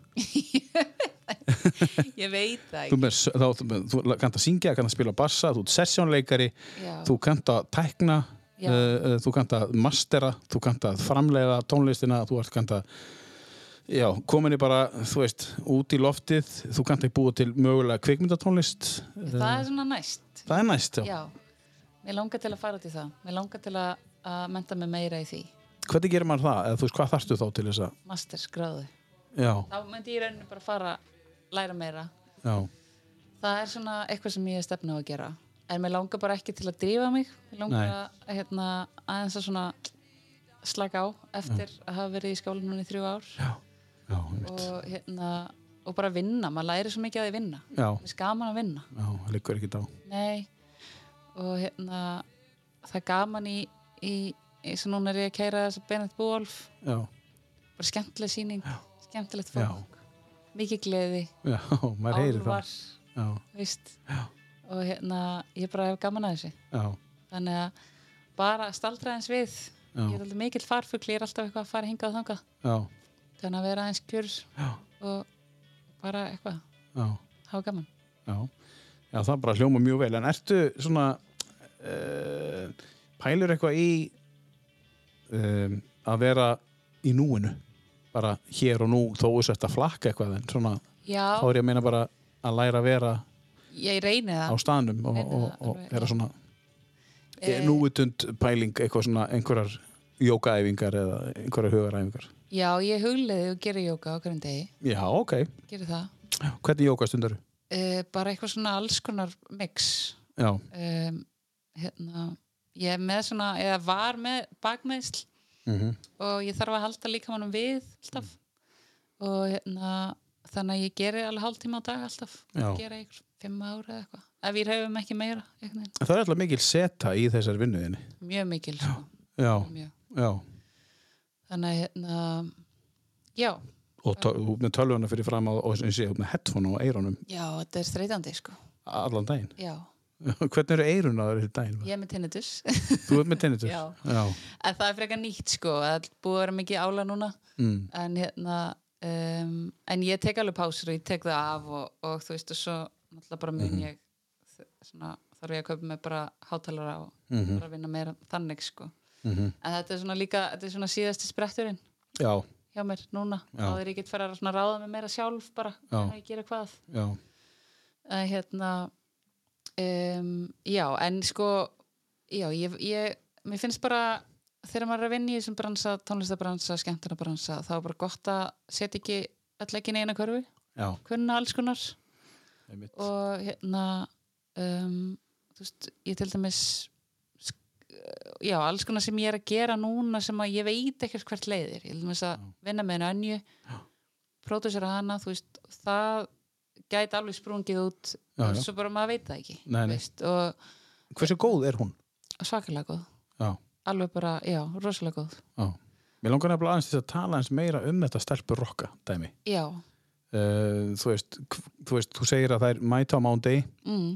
Speaker 2: ég veit
Speaker 1: Þú,
Speaker 2: það ekki.
Speaker 1: með, þá, þú, með, þú kannt að syngja, kannt að spila bassa, þú ert sessjónleikari,
Speaker 2: já,
Speaker 1: þú kannt að tækna,
Speaker 2: Já.
Speaker 1: uh, uh, þú kannt að mastera, þú kannt að framleiða tónlistina, þú ert kannt að Já, kominni bara, þú veist, út í loftið, þú kannt að búa til mögulega kvikmyndatónlist, Eh,
Speaker 2: það er svona næst
Speaker 1: það er næst, já.
Speaker 2: Já, mér langar til að fara út í það. Mér langar til að, að menta mig meira í því.
Speaker 1: Hvernig gerir maður það? Eða þú veist, hvað þarftu þá til þess að,
Speaker 2: Masters gráðu.
Speaker 1: já,
Speaker 2: Þá myndi ég í rauninu bara fara að læra meira.
Speaker 1: já,
Speaker 2: Það er svona eitthvað sem ég er stefna á að gera. En mér langar bara ekki til að drífa mig. Mér langar
Speaker 1: Nei.
Speaker 2: að hérna, aðeins að svona slaka á eftir að hafa verið í skólanum í þrjú ár.
Speaker 1: Mm. já, einmitt,
Speaker 2: Og, hérna, og bara vinna. Maður læri svo mikið að því vinna.
Speaker 1: já,
Speaker 2: Mér finnst gaman að vinna.
Speaker 1: já, það liggur ekki þá,
Speaker 2: Nei og hérna það er gaman í, í, í svo núna er ég að kæra þess að Bennett Búolf
Speaker 1: já,
Speaker 2: bara skemmtileg síning, skemmtilegt
Speaker 1: já,
Speaker 2: fólk mikið gleði,
Speaker 1: já, maður heyrir það, já,
Speaker 2: veist
Speaker 1: Já.
Speaker 2: og hérna ég bara hef gaman að þessu
Speaker 1: já,
Speaker 2: þannig að bara staldra eins við
Speaker 1: Já.
Speaker 2: ég er alltaf mikill farfugl, ég er alltaf eitthvað að fara hingað og þangað
Speaker 1: já,
Speaker 2: þannig að vera aðeins kjur
Speaker 1: Já.
Speaker 2: og bara eitthvað,
Speaker 1: já.
Speaker 2: hafa gaman
Speaker 1: Já, já það bara hljóma mjög vel en ertu svona uh, pælur eitthvað í um, að vera í núinu bara hér og nú þó þess að þetta flakka eitthvað en svona þá
Speaker 2: Já,
Speaker 1: er ég að meina bara að læra að vera
Speaker 2: ég reyni
Speaker 1: á
Speaker 2: það
Speaker 1: staðnum og,
Speaker 2: Reyna
Speaker 1: og,
Speaker 2: það
Speaker 1: og
Speaker 2: alveg,
Speaker 1: vera
Speaker 2: já.
Speaker 1: svona e,
Speaker 2: Eh,
Speaker 1: núutund pæling eitthvað svona einhverjar jókaæfingar eða einhverjar hugaræfingar
Speaker 2: Já, ég hugliði og gera jóka á hverjum degi
Speaker 1: Já, ok,
Speaker 2: gera það
Speaker 1: hvernig jókastundaru?
Speaker 2: uh, bara eitthvað svona alls konar mix
Speaker 1: Já,
Speaker 2: um, hérna, ég er með svona eða var með bakmeðsl
Speaker 1: mm
Speaker 2: og ég þarf að halda líkamannum við alltaf og hérna, þannig að ég geri alveg hálftíma á dag alltaf
Speaker 1: Já.
Speaker 2: gera eitthvað fimm ára eða eitthvað ef við höfum ekki meira einhvern veginn.
Speaker 1: það er alltaf mikil seta í þessar vinnuðinni
Speaker 2: mjög mikil sko,
Speaker 1: Já,
Speaker 2: mjög.
Speaker 1: já
Speaker 2: þannig að hérna, já,
Speaker 1: og töl, þú ert með tölvuna fyrir fram á, og eins og ég, þú ert með headphone á eirónum
Speaker 2: já, þetta er þreytandi sko
Speaker 1: allan daginn.
Speaker 2: já,
Speaker 1: Hvernig eru eiruna þar í daginn?
Speaker 2: ég er með tinnitus
Speaker 1: Þú ert með tinnitus?
Speaker 2: Já.
Speaker 1: Já.
Speaker 2: en það er frekar nýtt sko það er búið að vera mikið ála núna
Speaker 1: Mm.
Speaker 2: en hérna um, en ég tek alveg pásur og ég tek það af og, og þú veist og svo náttúrulega bara
Speaker 1: Mhm.
Speaker 2: mun ég þ- svona, þarf ég að kaupa mig bara hátalara og bara vinna meira þannig sko
Speaker 1: Mhm.
Speaker 2: en þetta er svona líka, þetta er svona síðasti spretturinn
Speaker 1: já,
Speaker 2: hjá mér núna
Speaker 1: Já.
Speaker 2: þá er ég get fara að svona ráða mig meira sjálf bara
Speaker 1: Já.
Speaker 2: að ég gera hvað
Speaker 1: já,
Speaker 2: en hérna um, já en sko já ég, ég, mér finnst bara þegar maður er að vinna í þessum bransa tónlistabransa, skemmtunabransa þá er bara gott að setja ekki öll ekki neina körfi
Speaker 1: já,
Speaker 2: kunna alls konar
Speaker 1: einmitt.
Speaker 2: og hérna um, þú þú veist, ég til dæmis sk- já, alls konar sem ég er að gera núna sem að ég veit ekkert hvert leiðir ég til dæmis að vinna með henni önju pródusera hana, þú veist það gæti alveg sprungið út
Speaker 1: Já, já.
Speaker 2: svo bara maður veit það ekki
Speaker 1: Nei, nei.
Speaker 2: Veist, og
Speaker 1: Hversu góð er hún?
Speaker 2: svakalega góð
Speaker 1: Já,
Speaker 2: alveg bara, já, rosalega góð
Speaker 1: já. Mér langar nefnilega aðeins til þess að tala eins meira um þetta stelpur rocka, dæmi.
Speaker 2: já,
Speaker 1: Uh, þú, veist, hv- þú veist, þú segir að það er mæta á mándegi
Speaker 2: mm.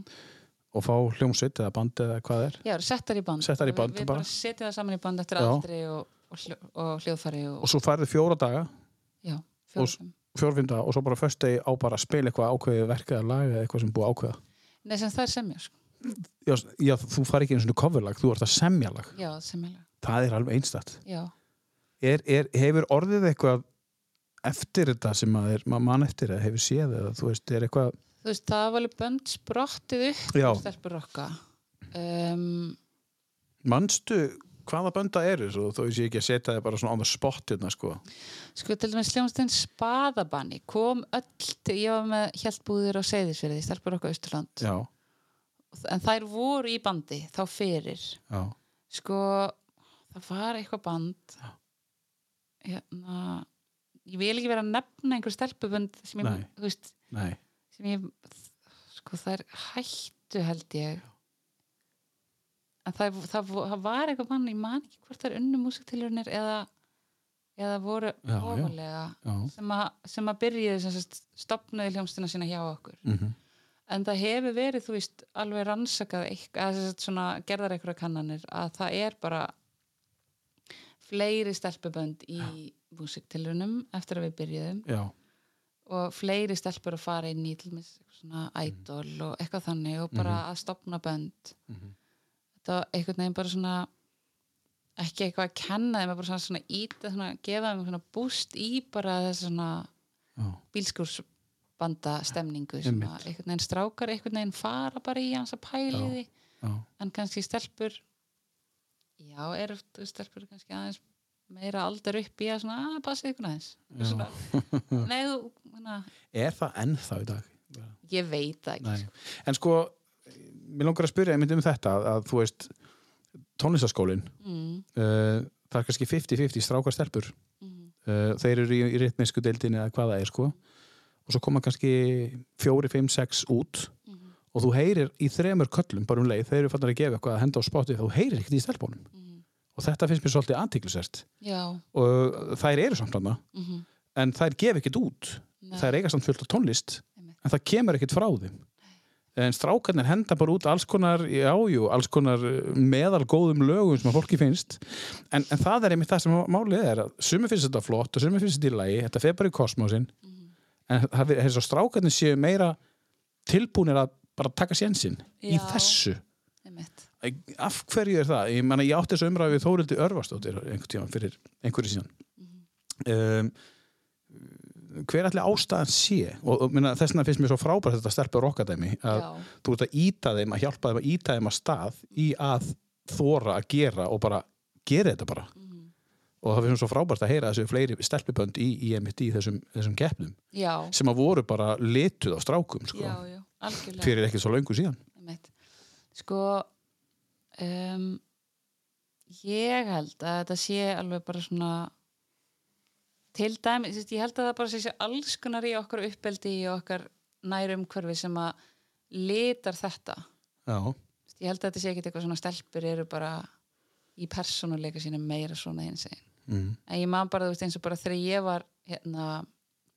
Speaker 1: og fá hljómsveit eða band eða hvað er.
Speaker 2: já settar í band
Speaker 1: Settar í band
Speaker 2: við, við
Speaker 1: bara.
Speaker 2: bara setjum það saman í band eftir
Speaker 1: Já.
Speaker 2: aldri og, og, hljó, og hljóðfæri og,
Speaker 1: Og svo færðu fjóra daga,
Speaker 2: já,
Speaker 1: og-
Speaker 2: fjórum
Speaker 1: fjórfimta og svo bara först degi á bara að spila eitthvað ákveðið verka eða laga eða eitthvað sem er búið að ákveða.
Speaker 2: Nei, sem það er semja, sko.
Speaker 1: Já, s- já þú fari ekki einu svona coverlag, þú ert að semja lag.
Speaker 2: Já, semjulega.
Speaker 1: Það er alveg einstætt.
Speaker 2: Já.
Speaker 1: er, er, hefur orðið eitthvað eftir þetta sem maður, maður mann eftir eða hefur séð eða þú veist, er eitthvað
Speaker 2: Þú veist, það var alveg bönd sprottið upp
Speaker 1: Já.
Speaker 2: úr stelpur okka. Um,
Speaker 1: mannstu hvaða bönda eru svo, þó ég sé ekki að setja þið bara svona á það spott hérna sko
Speaker 2: sko, til dæmis hljómsdinn Spaðabanni kom öll, til, ég var með hjæltbúðir á Seyðisverði, stelpur okka Ísturland.
Speaker 1: já,
Speaker 2: En þær voru í bandi, þá fyrir.
Speaker 1: já,
Speaker 2: Sko, það var eitthvað band. Já. Hérna, ég vil ekki vera að nefna einhver stelpubönd sem ég,
Speaker 1: Nei.
Speaker 2: þú veist,
Speaker 1: nei,
Speaker 2: sem ég sko það er hættu held ég en það, er- það, vo- það var eitthvað mann ég man ekki hvort það er unnu músiktilurinnir eða, eða voru
Speaker 1: já.
Speaker 2: ofalega
Speaker 1: já
Speaker 2: sem, að- sem að byrjaði sem sagt, stopnaði hljómstina sína hjá okkur
Speaker 1: mm
Speaker 2: en það hefur verið þú veist alveg rannsakað eitthvað, eða sem sagt, svona, gerðar einhverja kannanir að það er bara fleiri stelpubönd í músiktilurinnum eftir að við byrjuðum
Speaker 1: já,
Speaker 2: og fleiri stelpur að fara inn í til dæmis eitthvað svona
Speaker 1: Mhm.
Speaker 2: idol og eitthvað þannig og bara að stopna bönd þetta var einhvern veginn bara svona ekki eitthvað að kenna þeim bara svona, svona íta, svona, gefa þeim svona búst í bara þess svona
Speaker 1: já,
Speaker 2: bílskúrsbanda stemningu sem
Speaker 1: Einmitt.
Speaker 2: að einhvern veginn strákar einhvern veginn fara bara í hans að pæli
Speaker 1: Já.
Speaker 2: því
Speaker 1: já,
Speaker 2: en kannski stelpur já, eru stelpur kannski aðeins meira aldar upp í að svona, að, passið ykkur aðeins svona, nei, þú, hana,
Speaker 1: er það ennþá í dag?
Speaker 2: Ég veit það ekki.
Speaker 1: Nei. en sko, mér langar að spyrja einmitt um þetta að, að þú veist tónlistaskólin
Speaker 2: Mm,
Speaker 1: uh, það er kannski 50-50 strákar stelpur
Speaker 2: mm,
Speaker 1: uh, þeir eru í, í ritmisku deildinni eða hvað það er sko og svo koma kannski fjóri, fimm, sex út og þú heyrir í þremur köllum bara um leið, þeir eru fannar að gefa eitthvað að henda á spotti þú heyrir ekkert í stelpunum
Speaker 2: mm,
Speaker 1: og þetta finnst mér svolítið antiklisert
Speaker 2: já.
Speaker 1: og þær eru samt hana
Speaker 2: Mm -hmm.
Speaker 1: en þær gefa ekkert út, þær eiga samt fullt af tónlist
Speaker 2: Einmitt.
Speaker 1: en það kemur ekkert frá þeim en strákarnir henda bara út alls konar, jájú, alls konar uh, meðalgóðum lögum sem að fólki finnst en, en það er einmitt það sem málið er að sumi finnst þetta flott og sumi finnst þetta í lagi þetta fer bara í kosmósin en það er þess að strákarnir séu meira tilbúnir að bara taka sénsinn í
Speaker 2: Já.
Speaker 1: þessu
Speaker 2: Einmitt.
Speaker 1: af hverju er það? Ég, mena, ég átti þessu umræðu við Þórildi Örvarsdóttir einhver tíma fyrir einhverju síðan
Speaker 2: Mhm.
Speaker 1: um, hver allir ástæðan sé og, og minna, þessna finnst mér svo frábært þetta stelpur okkadæmi að
Speaker 2: Já.
Speaker 1: þú ert að íta þeim að hjálpa þeim að íta þeim að stað í að þóra að gera og bara gera þetta bara
Speaker 2: Mhm.
Speaker 1: og það finnst mér svo frábært að heyra þessu fleiri stelpubönd í, í, einmitt í þessum, þessum keppnum
Speaker 2: Já.
Speaker 1: sem að voru bara lituð á strákum sko,
Speaker 2: Já, já. Algjörlega.
Speaker 1: fyrir ekki svo löngu síðan
Speaker 2: Einmitt. Sko, um, ég held að þetta sé alveg bara svona til dæmi, þú veist, ég held að það bara sé sér alls konar í okkar uppeldi og okkar nærumhverfi sem að litar þetta.
Speaker 1: Já,
Speaker 2: Þú veist, Ég held að þetta sé ekki eitthvað svona stelpur eru bara í persónuleika sína meira svona eins einn.
Speaker 1: mm.
Speaker 2: en ég man bara, þú veist, eins og bara þegar ég var hérna,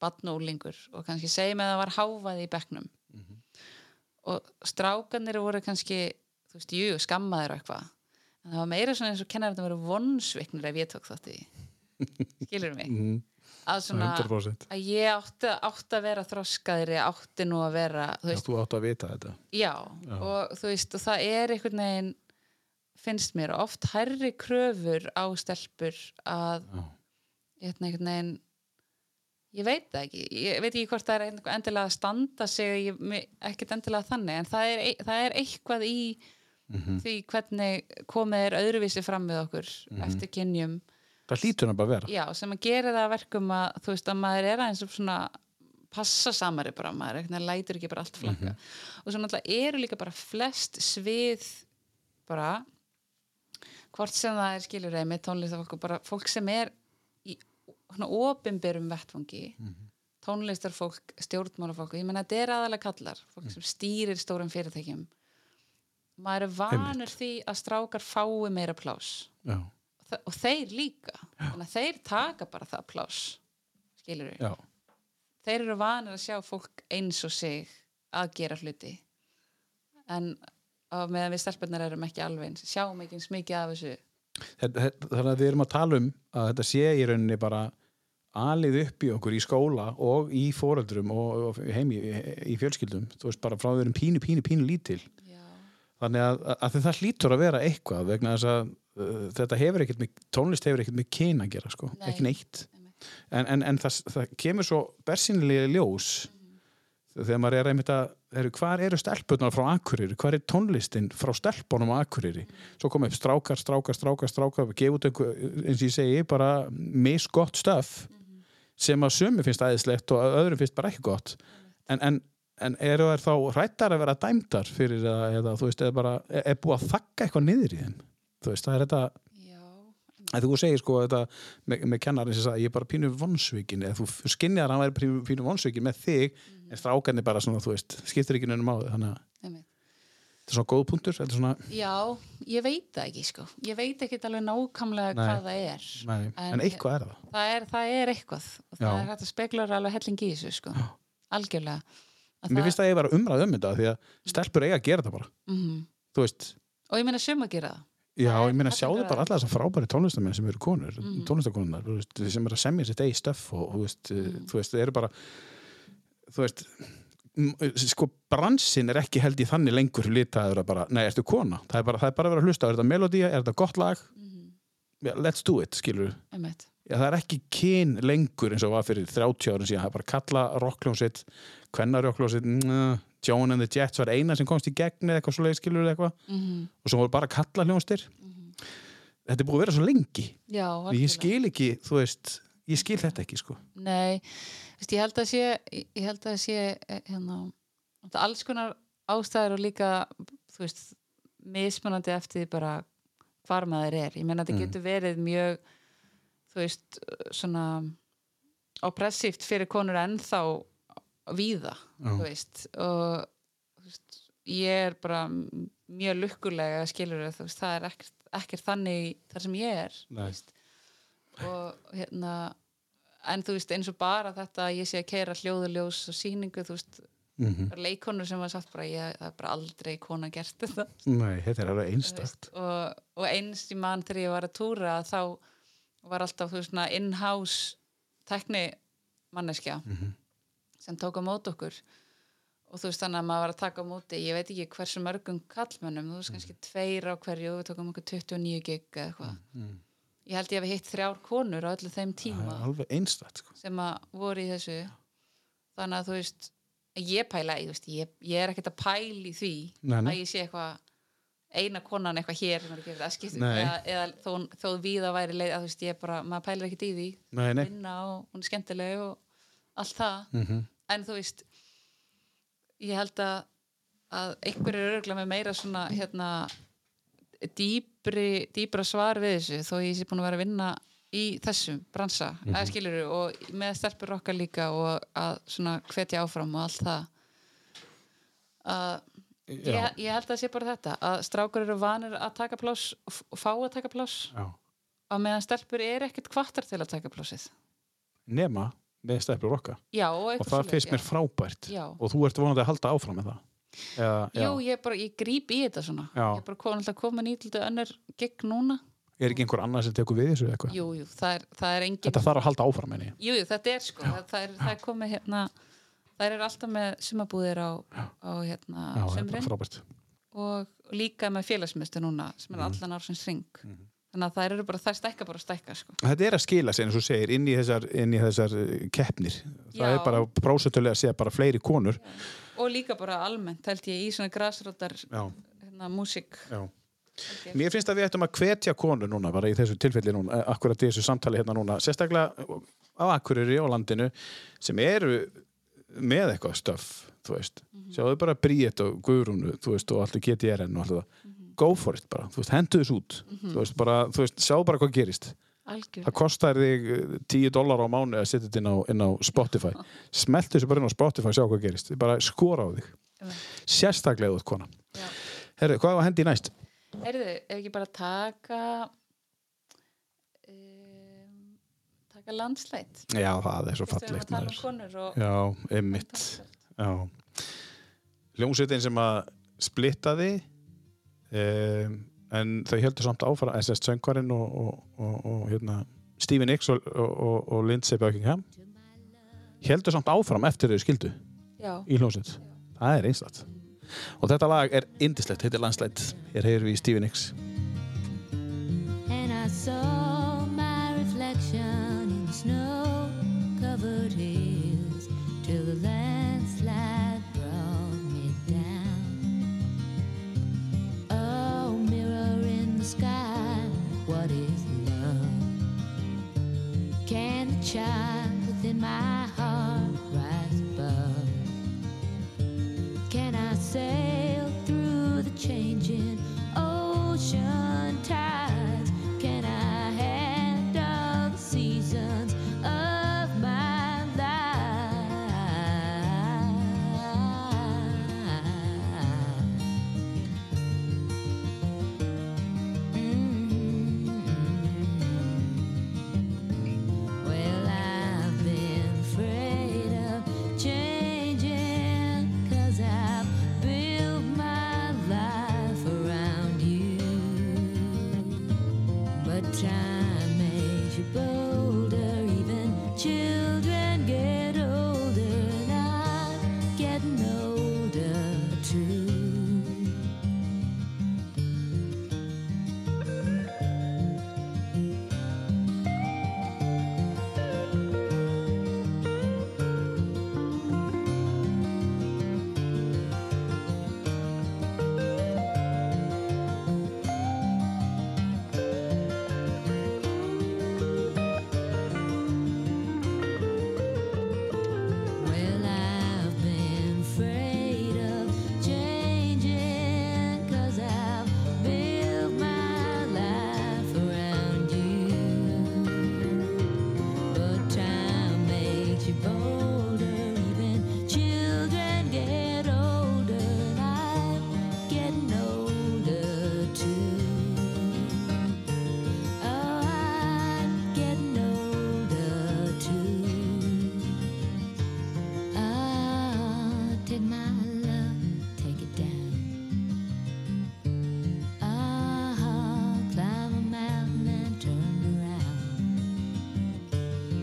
Speaker 2: batnúlingur og kannski segjum að það var háfaði í bekknum og strákanir voru kannski þú veist, jú, skammaðir og eitthvað en það var meira svona eins og kennarinn voru vonsviknir ef ég tók þátt í því skilur mig
Speaker 1: Mm.
Speaker 2: að svona,
Speaker 1: 100%
Speaker 2: að ég átti, átti að vera þroskaðri, átti nú að vera þú
Speaker 1: Já,
Speaker 2: veist,
Speaker 1: þú átt að vita þetta
Speaker 2: já, og þú veist, og það er einhvern veginn finnst mér oft hærri kröfur á stelpur að
Speaker 1: Já.
Speaker 2: hérna einhvern veginn ég veit það ekki, ég veit ekki hvort það er einhver- endilega að standa sig ég, mér- ekkert endilega þannig, en það er, ei- það er eitthvað í því hvernig komið er öðruvísi fram við okkur eftir kynjum,
Speaker 1: Það hlýtur hann bara að vera
Speaker 2: já, sem að gera það að verkum að, þú veist, að maður er aðeins svona passa samari bara maður, ekki, lætur ekki bara allt flakka og svo náttúrulega eru líka bara flest svið bara hvort sem það er skilur eða með tónlist af okkur, bara fólk sem er í svona opinberum vettfangi tónlistarfólk, stjórnmálafólk ég menna þetta er aðalega kallar
Speaker 1: Mm.
Speaker 2: fólk sem stýrir stórum fyrirtækjum maður er vanur því að strákar fái meira plás
Speaker 1: já,
Speaker 2: Þa- og þeir líka þannig að þeir taka bara það plás skilur
Speaker 1: já,
Speaker 2: þeir eru vanir að sjá fólk eins og sig að gera hluti en á meðan við stelpunar erum ekki alveg eins sjáum ekki eins mikið af þessu
Speaker 1: Þetta- þetta- þannig að við erum að tala um að þetta sé í rauninni bara alið upp í okkur í skóla og í foreldrum og, og heimi í fjölskyldum, þú veist bara frá við erum pínu, pínu, pínu lítil
Speaker 2: já,
Speaker 1: þannig að, að því það hlýtur að vera eitthvað vegna þess að uh, þetta hefur ekkert með, tónlist hefur ekkert með kyn að gera sko,
Speaker 2: Nei.
Speaker 1: ekki neitt en, en, en það, það kemur svo bersýnilega ljós
Speaker 2: Mm.
Speaker 1: þegar maður er einmitt að eru, hvar eru stelpunar frá Akureyri, hvar er tónlistin frá stelpunum á Akureyri svo koma upp strákar, strákar, strákar, strákar gefa út einhver, eins og ég segi, bara misgott stöf sem að sumi finnst æðislegt og að öðrum finnst bara ekki gott en, en, en eru þær þá rættar að vera dæmdar fyrir að, eða þú veist, eða bara er, er búið að þakka eitthvað niður í þeim þú veist, það er þetta,
Speaker 2: já,
Speaker 1: að þú segir sko þetta með, með kennarinn sem sagði, ég er bara pínu vonsvikin eða þú skinnir að hann væri pínu, pínu vonsvikin með þig,
Speaker 2: Mhm.
Speaker 1: en strákarnir bara svona, þú veist, skiptir ekki nefnum á þau, þannig að
Speaker 2: einmitt.
Speaker 1: þetta er svona góð punktur, þetta er svona
Speaker 2: já, ég veit það ekki sko ég veit ekki alveg nákvæmlega
Speaker 1: Nei.
Speaker 2: hvað það er
Speaker 1: nei, en, eitthvað er það
Speaker 2: það er, það er eitthvað og það
Speaker 1: Já.
Speaker 2: er hægt að spekla alveg helling í þessu sko algjörlega Að
Speaker 1: mér
Speaker 2: það- Mm.
Speaker 1: finnst að ég vera umræð um þetta, því að stelpur eiga að gera þetta bara,
Speaker 2: Mhm.
Speaker 1: þú veist
Speaker 2: og ég meina sum að gera það
Speaker 1: Já,
Speaker 2: Það er
Speaker 1: ég meina
Speaker 2: allir
Speaker 1: sjáðu
Speaker 2: bara-
Speaker 1: bara alla þessar frábæri tónlistamenn sem eru konur, mm. tónlistakonurnar þú veist, sem eru að semja sitt eigi stöf og þú veist, mm. þú veist, þeir eru bara þú veist m- sko, bransin er ekki held í þannig lengur litaður að bara, nei, ertu kona það er bara, það er bara að vera að hlusta, er þetta melodía, er þetta gott lag yeah, let's do it, skilur
Speaker 2: einmitt.
Speaker 1: Já, það er ekki kyn lengur eins og var fyrir 30 árum síðan, það er bara kalla rockljónsitt, kvennarjockljónsitt mm, Joan and the Jets var eina sem komst í gegn eða eitthvað svo leiðskilur eða eitthvað
Speaker 2: Mhm.
Speaker 1: og svo voru bara kalla hljónstir þetta er búið að vera svo lengi
Speaker 2: já,
Speaker 1: ég
Speaker 2: Mhm. algjörlega.
Speaker 1: skil ekki, þú veist ég skil þetta ekki sko
Speaker 2: Nei, veist, ég held að sé ég ég held að sé eh, hérna, náttúrulega alls konar ástæður og líka þú veist, mismunandi eftir því bara hvar maður er ég meina þetta getur verið mjög þú veist, svona oppressíft fyrir konur ennþá víða þú veist, og þú veist, ég er bara mjög lukkulega skilur þú veist, það er ekkert, ekkert þannig þar sem ég er þú
Speaker 1: Nei.
Speaker 2: veist. og hérna en þú veist eins og bara þetta að ég sé að keira hljóðuljós og sýningu þú veist
Speaker 1: mm
Speaker 2: bara leikonur sem var sagt bara ég, það er bara aldrei kona gert þetta
Speaker 1: nei, þetta er alveg
Speaker 2: þú veist.
Speaker 1: einstakt
Speaker 2: og, og eins í mann þegar ég var að túra þá var alltaf þú veist svona in-house tekni manneskja
Speaker 1: Mm-hmm.
Speaker 2: sem tók á mót okkur og þú veist þannig að maður var að taka á móti ég veit ekki hversu mörgum kallmönnum þú veist kannski tveir á hverju við tókum okkur 29 gig eða eitthvað ég held ég hafi hitt þrjár konur á öllu þeim
Speaker 1: það
Speaker 2: tíma
Speaker 1: er alveg einstakt sko.
Speaker 2: sem að voru í þessu þannig að þú veist ég pæla, ég, veist, ég, ég er ekkert að pæli því
Speaker 1: Nei, nei.
Speaker 2: að ég sé eitthvað eina konan eitthvað hér sem er ekki að skipta
Speaker 1: Nei.
Speaker 2: eða, eða þó, þó víða væri leið að þú veist ég bara, maður pælir ekkert í því
Speaker 1: nei, nei,
Speaker 2: vinna og hún er skemmtileg og allt það
Speaker 1: Mm-hmm.
Speaker 2: en þú veist ég held að, að einhverjir eru örgulega með meira svona hérna dýpri, dýpra svar við þessu þó ég sé búin að vera að vinna í þessum bransa, eða
Speaker 1: Mhm.
Speaker 2: skilur og með stelpur okkar líka og að svona hvetja áfram og allt það að
Speaker 1: Já.
Speaker 2: ég, ég held að það sé bara þetta að strákur eru vanir að taka pláss og f- og fá að taka pláss
Speaker 1: Já.
Speaker 2: að meðan stelpur er ekkert kvartar til að taka plássið
Speaker 1: nema með stefnur okkar
Speaker 2: Já, og,
Speaker 1: og
Speaker 2: eitthvað
Speaker 1: það
Speaker 2: svoleiðis,
Speaker 1: finnst
Speaker 2: já.
Speaker 1: mér frábært
Speaker 2: Já.
Speaker 1: og þú ert vonandi að halda áfram með það Eða, já.
Speaker 2: Jú, ég, bara, ég gríp í þetta svona
Speaker 1: Já.
Speaker 2: Ég er bara komin alltaf komin í til þetta önnur gegn núna
Speaker 1: er ekki einhver annar sem tekur við þessu eða eitthvað
Speaker 2: Jú, jú, það er, það er engin
Speaker 1: þetta þarf að halda áfram enni
Speaker 2: Jú, jú, þetta er sko það, það, er, það er komið hérna Það er alltaf með sumabúðir á, á hérna,
Speaker 1: já, það er bara
Speaker 2: sumrin
Speaker 1: frábært Mhm.
Speaker 2: og, og líka með félagsmyndu núna sem er allan ársins ring Þannig að þær eru bara, þær stækka bara að stækka sko.
Speaker 1: þetta er að skila sig eins og þú segir inn í þessar, inn í þessar eh, keppnir það
Speaker 2: Já.
Speaker 1: er bara prósutölu að sé bara fleiri konur
Speaker 2: og líka bara almennt, held ég, í svona grasrótar
Speaker 1: já,
Speaker 2: hérna, músík
Speaker 1: já.
Speaker 2: Held ég.
Speaker 1: Mér finnst að við ættum að hvetja konur núna bara í þessu tilfelli núna, eh, akkurat í þessu samtali hérna núna sérstaklega á Akureyri á landinu sem eru með eitthvað stöf þú veist, sjáðu bara Bríett og Guðrúnu, þú veist, og alltaf GTRN og alltaf það, go for it bara, þú veist, hendu þess út þú veist, bara, þú veist, sjáðu bara hvað gerist
Speaker 2: algjör
Speaker 1: það kostar þig eh, 10 dólar á mánu að setja þetta inn á, inn á Spotify smeltu þessu bara inn á Spotify og sjá hvað gerist bara skora á þig, sérstaklega út kona
Speaker 2: Já.
Speaker 1: Herru, hvað var hendi í næst?
Speaker 2: Heyrðu, ef ekki bara taka um, taka landslæt
Speaker 1: Já, það er svo
Speaker 2: Fyrst við erum að
Speaker 1: fallegt
Speaker 2: tala um
Speaker 1: maður.
Speaker 2: konur og
Speaker 1: Já, einmitt Já Hljómsveitin sem að splittaði um, en þau heldur samt áfara SS Söngvarinn og, og, og, og hérna, Stephen Nicks og, og, og, og Lindsay Buckingham heldur samt áfram eftir þau skildu
Speaker 2: já,
Speaker 1: í hljómsveit Það er einstætt Og þetta lag er indislegt, heitir landslætt Hér heyrum við Stephen Nicks
Speaker 8: and I saw my reflection in snow covered hills till the landslide brought me down. Oh, mirror in the sky, what is love? Can the child within my heart rise above? Can I sail through the changing ocean tides? Can I handle the seasons of my life? Mm. Well, I've been afraid of changing, cause I've built my life around you. But time makes you bolder, even children get older, and I'm getting older too. Well, I've been afraid of changing, cause I've built my life around you. But time makes you bolder, even children get older, and I'm getting older too. Oh, I'm getting older too. Ah, take my love, take it down. Ah, climb a mountain and turn around.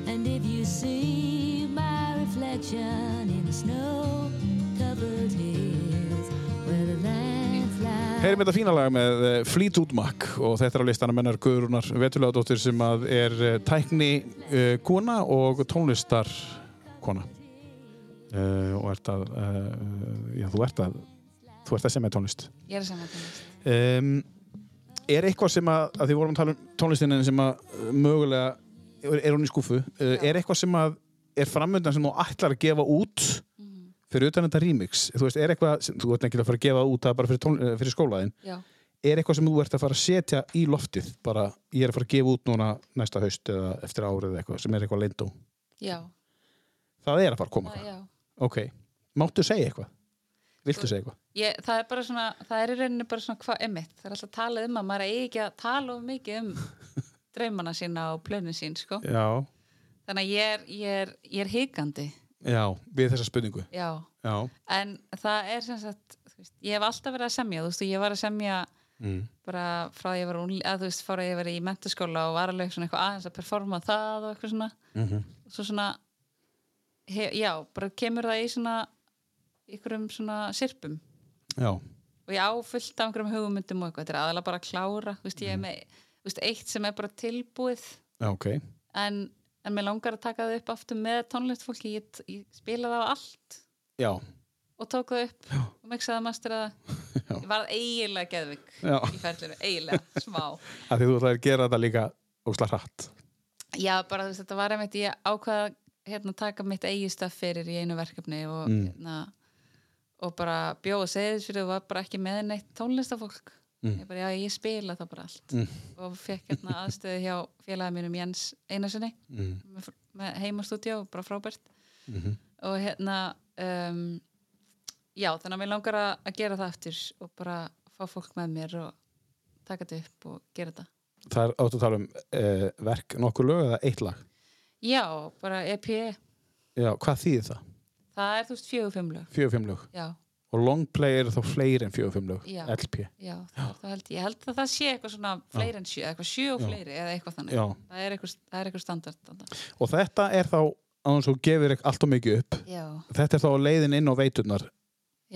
Speaker 8: And if you see my reflection in the snow covered hills where the landslide.
Speaker 1: Heyrim þetta fína lag með eh, Fleetwood Mac og þetta er á listanum mennar Guðrúnar Vetulegadóttir sem að er eh, tækni eh, kona og tónlistar kona uh, og ert að uh, já, þú ert að þú ert að semja tónlist
Speaker 2: ég er saman tónlist
Speaker 1: um, er eitthvað sem að, að því vorum að tala um tónlistinni sem að uh, mögulega er- er hún í skúfu uh, er eitthvað sem að er framöndan sem þú ætlar að gefa út fyrir utan þetta remix þú veist, er eitthvað, sem, þú ert ekki að fara að gefa út það bara fyrir, tón, eh, fyrir skólaðin
Speaker 2: já,
Speaker 1: er eitthvað sem þú ert að fara að setja í loftið bara ég er að fara að gefa út núna næsta haust eða eftir árið eða eitthvað sem er eitthvað lindó
Speaker 2: já,
Speaker 1: það er að fara að koma
Speaker 2: það,
Speaker 1: eitthvað
Speaker 2: já.
Speaker 1: ok, máttu segja eitthvað viltu segja eitthvað
Speaker 2: Ég, það er bara svona, það er í rauninni bara svona hvað emitt, það er alltaf talað um að maður eigi ekki að tala of mikið um draumana sína og plönin sín, sko
Speaker 1: já,
Speaker 2: þannig að ég er, ég er, ég er hikandi
Speaker 1: já, við þessa spurningu
Speaker 2: já,
Speaker 1: já,
Speaker 2: en það er sem sagt, þú veist, ég hef alltaf verið að semja þú veist, og ég var að semja
Speaker 1: mm.
Speaker 2: bara frá því ég var ungli, að þú veist, frá því ég var í mentaskóla og var alveg svona eitthvað aðeins að performa það og eitthvað svona,
Speaker 1: Mm -hmm.
Speaker 2: svo svona he, já, bara kemur það í svona ykkurum svona sirpum
Speaker 1: já,
Speaker 2: og ég á fullt af einhverjum hugmyndum og eitthvað, þetta er aðalega bara að klára þú veist, ég er
Speaker 1: Mhm.
Speaker 2: með, þú veist, eitt sem er bara tilbúið
Speaker 1: já, ok
Speaker 2: en, en mér langar að taka það upp aftur með tónlistfólki, ég, ég spila það á allt
Speaker 1: já,
Speaker 2: og tók það upp já. og mixaði að mastera
Speaker 1: Já.
Speaker 2: það ég varð eiginlega geðvik
Speaker 1: Já.
Speaker 2: í ferlinu, eiginlega, smá
Speaker 1: að því þú ætlar að gera þetta líka ósla hratt
Speaker 2: já, bara þú veist, þetta var einmitt ég ákvaða hérna, taka mitt eigi staff fyrir í einu verkefni og, hérna, og bara bjóða segðis fyrir og var bara ekki með neitt tónlistafólk ég bara, já, ég spila það bara allt og fekk hérna aðstöðu hjá félagið mínum Jens Einarssoni
Speaker 1: Mm-hmm.
Speaker 2: mm. með, með heimastúdíu og bara frábært og hérna um, já, þannig að mér langar að, að gera það aftur og bara fá fólk með mér og taka þetta upp og gera þetta
Speaker 1: Það er áttu að tala um uh, verk nokkur lög eða eitt lag
Speaker 2: Já, bara E EP
Speaker 1: Já, hvað þýðir það?
Speaker 2: það er þú veist fjögur fimm lög
Speaker 1: Fjögur fimm lög
Speaker 2: já,
Speaker 1: og longplay eru þá fleiri en fjögur fimm lög
Speaker 2: Já.
Speaker 1: LP
Speaker 2: já, það held ég ég held að það sé eitthvað svona fleiri en sjö eða eitthvað sjö og fleiri eða eitthvað þannig
Speaker 1: Já.
Speaker 2: það er eitthvað, það er eitthvað standard þarna.
Speaker 1: og þetta er þá aðeins og gefur ekki allt og mikið upp
Speaker 2: já,
Speaker 1: þetta er þá leiðin inn á veiturnar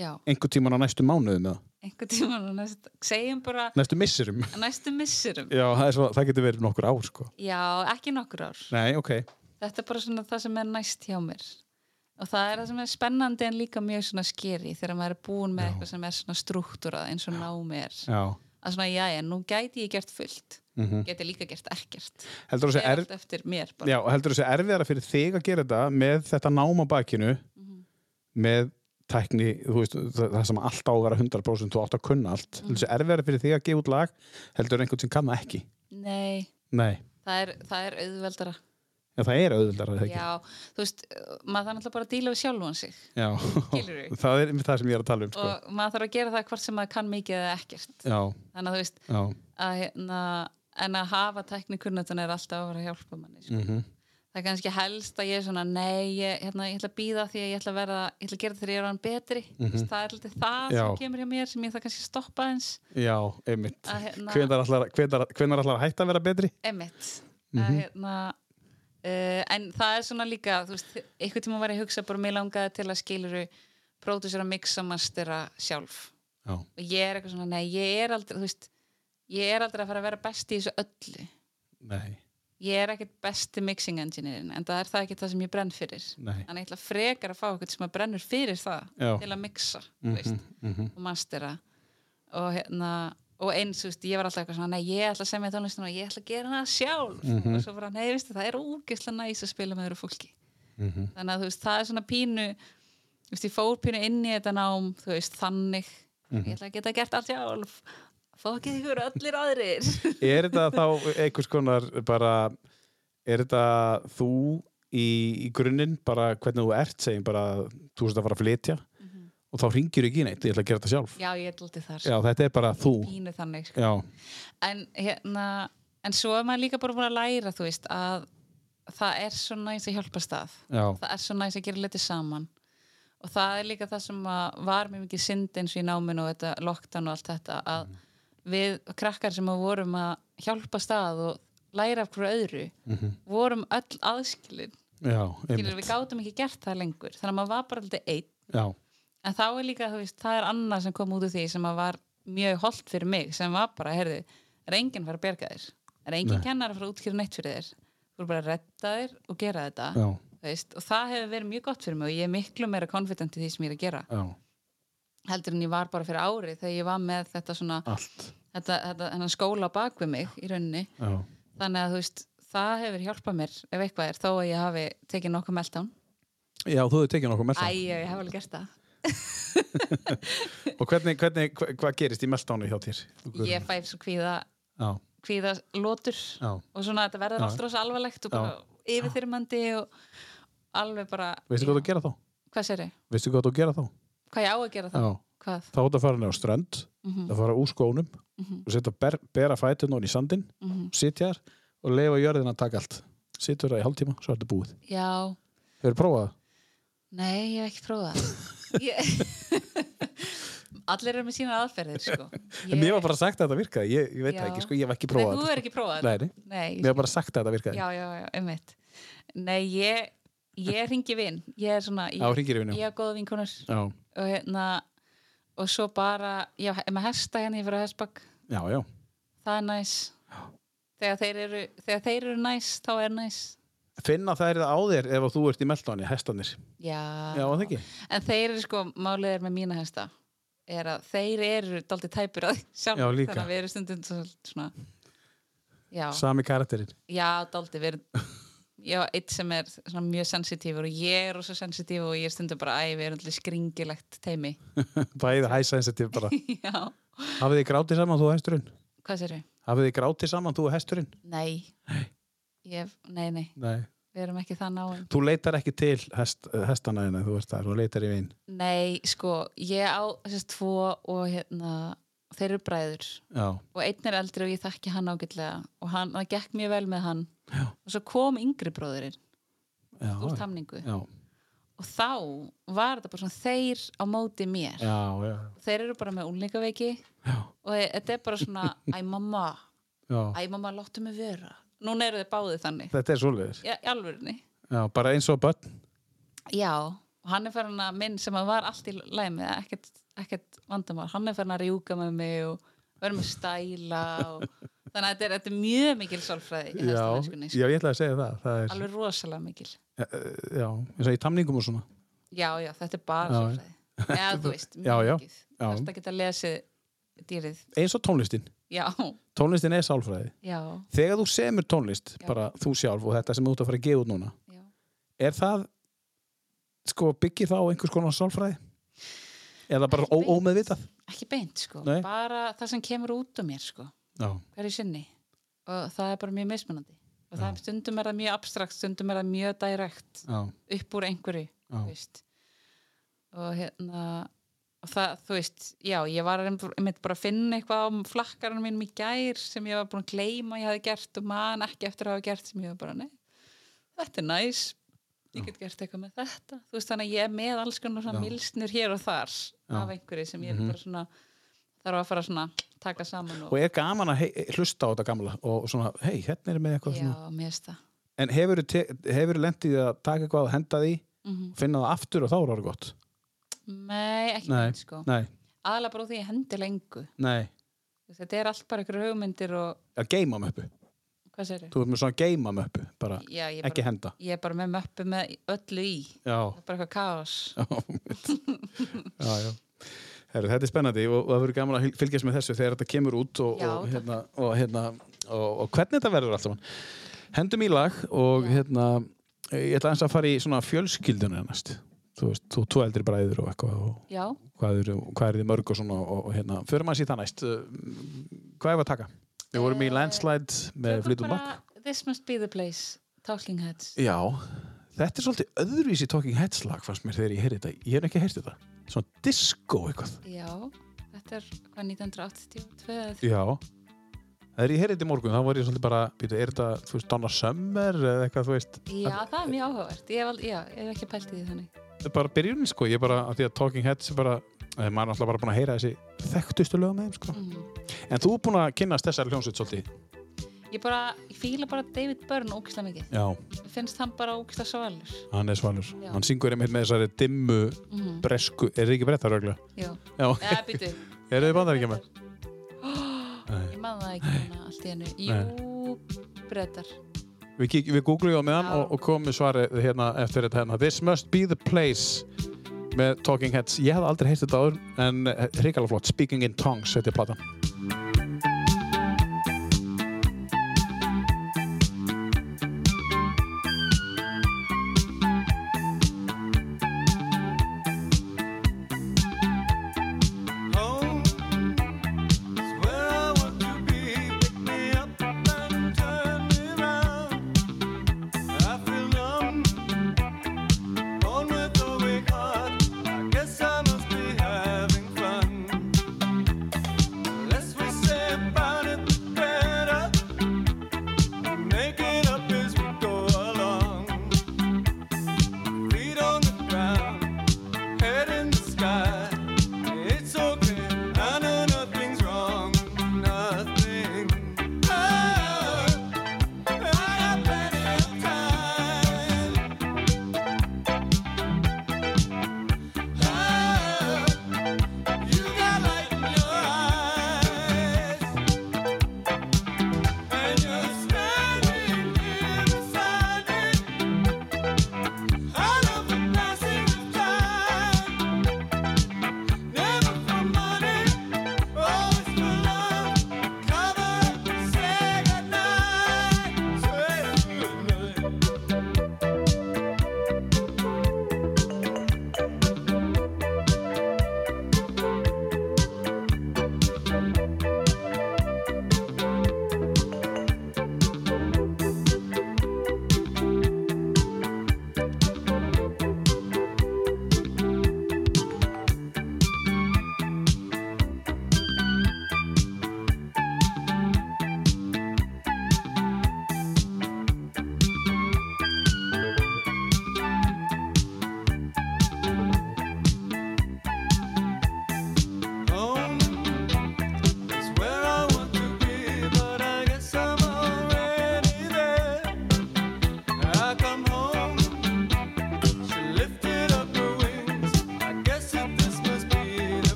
Speaker 2: já,
Speaker 1: einhver tíman á næstu mánuðum eða
Speaker 2: einhvern tíma næst, segjum bara
Speaker 1: næstu missurum
Speaker 2: að næstu missurum
Speaker 1: Já, það, er svo, það getur verið nokkur ár sko
Speaker 2: já, ekki nokkur ár
Speaker 1: Nei, ok
Speaker 2: þetta er bara svona það sem er næst hjá mér og það er það sem er spennandi en líka mjög svona skeri þegar maður er búin með eitthvað sem er svona struktúrað eins og námi er
Speaker 1: Já.
Speaker 2: að svona, já, já, nú gæti ég gert fullt mm -hmm. gæti líka gert ekkert
Speaker 1: Heldur þú
Speaker 2: Fer
Speaker 1: að
Speaker 2: allt eftir mér bara
Speaker 1: Já, heldur þessi erfiðara fyrir þig að gera þetta með þetta nám á bakinu
Speaker 2: Mhm.
Speaker 1: með tækni, þú veist, það, það sem allt á að vera 100% þú átt að kunna allt
Speaker 2: Mhm.
Speaker 1: heldur þessi erfiðara fyrir þig að gefa út lag heldur einhvern sem kann það ekki
Speaker 2: Nei,
Speaker 1: Nei,
Speaker 2: það er, það er auðveldara
Speaker 1: já, það er auðvildar það ekki
Speaker 2: Já, þú veist, maður þarf náttúrulega bara að díla við sjálfan sig
Speaker 1: Já,
Speaker 2: Skilurðu?
Speaker 1: það er það sem ég er að tala um sko.
Speaker 2: og maður þarf að gera það hvort sem maður kann mikið eða ekkert
Speaker 1: Já,
Speaker 2: þannig að þú veist
Speaker 1: já,
Speaker 2: að, hérna, en að hafa teknikunnatun er alltaf að vera að hjálpa manni sko.
Speaker 1: Mhm.
Speaker 2: það er kannski helst að ég er svona nei, ég, hérna, ég ætla að býða því að ég ætla að, verða, ég ætla að gera það þegar ég er hann betri mm -hmm. það er alltaf það
Speaker 1: Mhm. Já.
Speaker 2: sem kemur hjá mér sem ég það kannski að stoppa eins
Speaker 1: já, einmitt
Speaker 2: Að hérna-
Speaker 1: Hvenær ætlar hvenar, hvenar ætlar að hætta að vera betri?
Speaker 2: Emmett
Speaker 1: Mhm.
Speaker 2: að, hérna, uh, en það er svona líka þú veist, einhvern tíma var ég að hugsa bara mér langaði til að skiluru pródusera, mixa, mastera sjálf
Speaker 1: Já,
Speaker 2: og ég er eitthvað svona, nei, ég er aldrei þú veist, ég er aldrei að fara að vera best í þessu öllu
Speaker 1: nei,
Speaker 2: ég er ekkert besti mixing engineerin en það er það ekki það sem ég brenn fyrir
Speaker 1: nei
Speaker 2: þannig ég ætla frekar að fá eitthvað sem að brennur fyrir það
Speaker 1: Já. Mhm.
Speaker 2: til að mixa
Speaker 1: Mm-hmm.
Speaker 2: mm veist, og mastera og hérna og eins, þú veist, ég var alltaf eitthvað svona nei, ég ætla að semja tónlistina og ég ætla að gera hana sjálf
Speaker 1: Mhm.
Speaker 2: og svo bara, nei, veistu, það er úgislega næs að spila með öðru fólki
Speaker 1: Mm-hmm.
Speaker 2: þannig að þú veist, það er svona pínu þú veist, ég fór pínu inn í þetta nám þú veist, þannig
Speaker 1: Mhm.
Speaker 2: ég ætla að geta gert allt sjálf fokkið ykkur allir aðrir
Speaker 1: Er þetta þá einhvers konar bara, er þetta þú í, í grunninn bara hvernig þú ert, segjum bara þú veist að fara að flytja
Speaker 2: Mhm.
Speaker 1: og þá ringir ekki í neitt, ég ætla að gera þetta sjálf.
Speaker 2: já, ég er alltaf þar,
Speaker 1: Já,
Speaker 2: sko,
Speaker 1: þetta er bara þú.
Speaker 2: pínu þannig sko.
Speaker 1: Já,
Speaker 2: en hérna en svo er maður líka bara búin að læra þú veist að það er svo næs að hjálpa stað
Speaker 1: já,
Speaker 2: það er svo næs að gera liti saman og það er líka það sem að var mjög mikið synd eins og í náminu og þetta lockdown og allt þetta að
Speaker 1: Mm.
Speaker 2: við krakkar sem að vorum að hjálpa stað og læra af hverju öðru vorum öll aðskilin
Speaker 1: mhm. já,
Speaker 2: Skilur,
Speaker 1: einmitt.
Speaker 2: við gátum ekki gert það lengur þannig að maður var bara alltaf einn
Speaker 1: Já,
Speaker 2: en þá er líka, þú veist, það er annað sem kom út úr því sem að var mjög holdt fyrir mig sem var bara, heyrðu, er enginn að fara að berga þér er enginn
Speaker 1: Nei.
Speaker 2: kennar að fara að útkýra neitt fyrir þér þú er bara að redda þér og gera þetta
Speaker 1: já,
Speaker 2: þú veist, og það hefur verið mjög gott fyrir mig og ég er miklu meira confident í því sem ég er að gera
Speaker 1: já,
Speaker 2: heldur en ég var bara fyrir árið þegar ég var með þetta svona,
Speaker 1: allt.
Speaker 2: þetta, þetta þennan skóla á bak við mig í rauninni
Speaker 1: Já,
Speaker 2: þannig að þú veist, það hefur hjálpað mér ef eitthvað er, þó að ég hafi tekið nokkuð meltdown,
Speaker 1: já þú hefur tekið nokkuð
Speaker 2: æ,
Speaker 1: meltdán.
Speaker 2: ég hef alveg gert það
Speaker 1: Og hvernig, hvernig, hva, hvað gerist í meltdánu hjá þér?
Speaker 2: ég fæ svo kvíða,
Speaker 1: Já,
Speaker 2: kvíða lotur
Speaker 1: já.
Speaker 2: og svona þetta verður
Speaker 1: Já.
Speaker 2: allt rosa alvarlegt og bara yfirþyrmandi og alveg bara
Speaker 1: Veistu hvað þú að gera þá?
Speaker 2: hvað sér ég,
Speaker 1: Veistu hvað þú að gera þá?
Speaker 2: hvað ég á að gera það
Speaker 1: Já.
Speaker 2: hvað, Mhm.
Speaker 1: þá átt að fara niður á strönd að fara úr skónum og setja ber, bera fætun ofan í sandin
Speaker 2: Mhm.
Speaker 1: sitja þar og leifa jörðin að taka allt situr það í hálftíma, svo er þetta búið
Speaker 2: já,
Speaker 1: Þau eru prófað það?
Speaker 2: nei ég hef ekki prófað það. ég... allir eru með sína aðferðir sko.
Speaker 1: En Mér var bara sagt að þetta virkaði, ég, ég veit það
Speaker 2: Já.
Speaker 1: ekki sko, ég hef ekki prófað
Speaker 2: nei, þú
Speaker 1: þetta,
Speaker 2: er ekki prófað
Speaker 1: Nei, nei.
Speaker 2: nei
Speaker 1: Mér var bara sagt að þetta virkaði
Speaker 2: já, já, já, einmitt nei, ég, ég ringi vinn ég er svona,
Speaker 1: Já,
Speaker 2: ég,
Speaker 1: hringir í vinnu
Speaker 2: ég er góða vinkonur
Speaker 1: Já,
Speaker 2: og hérna og svo bara, já, er maður hesta hérna ég fyrir að hestbakk
Speaker 1: já, já,
Speaker 2: það er næs þegar þeir, eru, þegar þeir eru næs þá er næs
Speaker 1: Finna það er það á þér ef að þú ert í meltdóni, hestanir
Speaker 2: já.
Speaker 1: Já, það ekki
Speaker 2: en þeir eru sko, málið er með mína hesta er að þeir eru daldið tæpur að sjálf,
Speaker 1: Já, líka.
Speaker 2: þannig að við erum stundum svolítið svona já,
Speaker 1: Sami karakterinn
Speaker 2: já, daldið við erum ég á eitt sem er svona mjög sensitífur og ég er rosa sensitíf og ég er stundum bara æ, við erum allir skringilegt teimi
Speaker 1: Bæði hæsænsetíf bara.
Speaker 2: já,
Speaker 1: Hafið þið grátið saman þú og hesturinn?
Speaker 2: hvað sér við?
Speaker 1: Hafið þið grátið saman þú og hesturinn?
Speaker 2: Nei ég, hef- nei, nei,
Speaker 1: Nei.
Speaker 2: við erum ekki það náum
Speaker 1: Þú leitar ekki til hest, hestana hérna, þú veist það, þú leitar í vin.
Speaker 2: nei, sko, ég á þessast tvo og hérna þeir eru bræður
Speaker 1: Já.
Speaker 2: og einn er eldri og ég þekki hann ágætlega og hann, það gekk mjög vel með hann já. og svo kom yngri bróðurinn
Speaker 1: Já.
Speaker 2: úr tamningu
Speaker 1: Já.
Speaker 2: og þá var þetta bara svona þeir á móti mér
Speaker 1: Já, já.
Speaker 2: þeir eru bara með úlingaveiki já. og e- þetta er bara svona æ mamma,
Speaker 1: já.
Speaker 2: æ mamma láttu mig vera núna eru þið báðið þannig
Speaker 1: Þetta er svoleiðis.
Speaker 2: já, í alvörinni
Speaker 1: Já, bara eins og börn.
Speaker 2: já, og hann er farin að minn sem að var allt í læg með ekkert, ekkert vandamál, hann er farin að rjúka með mig og vera með stæla og þannig að þetta er, þetta er mjög mikil sálfræði í
Speaker 1: Já,
Speaker 2: hestamennskunni sko.
Speaker 1: já, ég ætlaði að segja það. það er,
Speaker 2: alveg rosalega mikil
Speaker 1: já, eins og í tamningum og svona. já,
Speaker 2: já, já, þetta er
Speaker 1: Já,
Speaker 2: bara sálfræði eða þú veist,
Speaker 1: Já, já,
Speaker 2: mikið
Speaker 1: já.
Speaker 2: þetta geta lesið dýrið
Speaker 1: Eins og tónlistin.
Speaker 2: já,
Speaker 1: Tónlistin er sálfræði.
Speaker 2: já,
Speaker 1: Þegar þú semur tónlist,
Speaker 2: Já.
Speaker 1: bara þú sjálf og þetta sem þú ert að fara að gefa út núna,
Speaker 2: já
Speaker 1: er það, sko, byggir það á einhvers konar sálfræði? Eða bara
Speaker 2: Ekki beint.
Speaker 1: ómeðvitað?
Speaker 2: ekki beint sko,
Speaker 1: Nei.
Speaker 2: bara það sem kemur út um mér sko,
Speaker 1: Já,
Speaker 2: hverju sinni og það er bara mjög mismunandi og það er stundum er það mjög abstrakt, stundum er það mjög direkt,
Speaker 1: já,
Speaker 2: upp úr einhverju
Speaker 1: Já.
Speaker 2: þú veist og hérna og það, þú veist, já, ég var einb- einmitt bara að finna eitthvað á flakkarunum mínum í gær sem ég var búin að gleyma ég hafi gert og man ekki eftir að hafa gert sem ég var bara, nei, þetta er næs ég get gert eitthvað með þetta þú veist þannig að ég er með alls konar svona
Speaker 1: Já.
Speaker 2: milsnir hér og þar
Speaker 1: Já. Mhm.
Speaker 2: af einhverju sem ég er bara svona þarf að fara svona taka saman og,
Speaker 1: Og er gaman að hei, hlusta á þetta gamla og svona, hei, hérna er með eitthvað
Speaker 2: já,
Speaker 1: svona.
Speaker 2: mér finnst það
Speaker 1: En hefur þú lendið að taka eitthvað og henda því,
Speaker 2: Mhm.
Speaker 1: finna það aftur og þá er það gott?
Speaker 2: nei, ekki
Speaker 1: Nei,
Speaker 2: mynd sko
Speaker 1: nei,
Speaker 2: aðalega bara úr því að ég hendi lengu
Speaker 1: nei.
Speaker 2: þetta er allt bara einhverju hugmyndir og
Speaker 1: Að geima möppu.
Speaker 2: hvað sér
Speaker 1: Þú ert með svona geima möppu, bara
Speaker 2: Já, ég,
Speaker 1: ekki
Speaker 2: bara,
Speaker 1: henda.
Speaker 2: ég er bara með möppu með öllu í
Speaker 1: Já.
Speaker 2: það er bara eitthvað kaos
Speaker 1: Já, einmitt. já, já. Heru, þetta er spennandi og, og það verður gaman að hyl- fylgjast með þessu þegar þetta kemur út og,
Speaker 2: Já,
Speaker 1: og,
Speaker 2: takk.
Speaker 1: hérna, og, hérna, og, og hvernig þetta verður allt saman. Hendum í lag og
Speaker 2: Já.
Speaker 1: hérna, ég ætla eins að fara í svona fjölskyldunum ennast. Þú veist, þú tvo eldri bræður og eitthvað og
Speaker 2: já,
Speaker 1: hvað eru hvað er þið mörg og svona og, og hérna, förum að síðan næst. Um, Hvað er að taka? Við vorum í
Speaker 2: Eh,
Speaker 1: Landslide með
Speaker 2: Tökum
Speaker 1: Flytum Bakk.
Speaker 2: bara This must be the place, Talking Heads
Speaker 1: Já, þetta er svolítið öðruvísi Talking Heads lag fannst mér þegar ég heyrði þetta. Ég hef ekki heyrti þetta. Svona disco eitthvað.
Speaker 2: já, þetta er hvað 1982 eða eitthvað.
Speaker 1: Já Þegar ég heyrði þetta í morgun, þá var ég svolítið bara býtu, er þetta, þú veist, Donna Summer eða eitthvað, þú veist,
Speaker 2: já, það er mjög áhugavert ég hef, ald- já, ég hef ekki pælt í því þannig
Speaker 1: þetta er bara byrjunin, sko ég er bara, að því að Talking Heads er bara eh, maður er alltaf bara búin að heyra þessi þekktustu lögum með þeim, sko.
Speaker 2: mm.
Speaker 1: En þú er búin að kynnast þessari hljómsveit svolítið.
Speaker 2: ég bara, ég fíla bara David Byrne ógislega mikið
Speaker 1: Já,
Speaker 2: Mér finnst hann bara ógislega svalur
Speaker 1: hann er svalur.
Speaker 2: Já.
Speaker 1: Hann syngur einmitt með þessari dimmu
Speaker 2: mm.
Speaker 1: bresku, er það ekki brettar ögla?
Speaker 2: já,
Speaker 1: Já,
Speaker 2: eða býtu
Speaker 1: eru þið bandar ekki með?
Speaker 2: ég man það ekki hana allt í hennu jú, brettar
Speaker 1: Við, kík, við googlum á meðan
Speaker 2: Já.
Speaker 1: og, og komum með svarið hérna eftir þetta hérna. This must be the place með Talking Heads. Ég hef aldrei heyrt þetta áður en eh, hrikalega flott. Speaking in Tongues, þetta er platan.
Speaker 6: Home is where I want to be. Pick me up and turn me round. I feel numb, born with a weak heart. I guess I must be having fun. Let's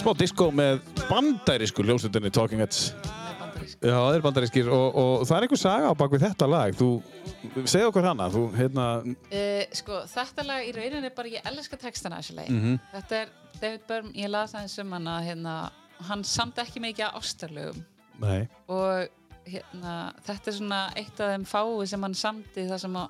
Speaker 1: smá disco með bandarísku ljósundinni Talking Heads. Já, það er bandarískir og, og það er einhver saga á bak við þetta lag. Þú, segð okkur hana, þú, hérna,
Speaker 2: Uh, sko, þetta lag í rauninni er bara, ég elska textana þessu lagi.
Speaker 1: Mhm.
Speaker 2: Mm -hmm. Þetta er David Byrne, ég las aðeins um hana, hérna, hann samt ekki mikið af ástarlögum
Speaker 1: nei,
Speaker 2: og hérna, þetta er svona eitt af þeim fáu sem hann samdi þar sem að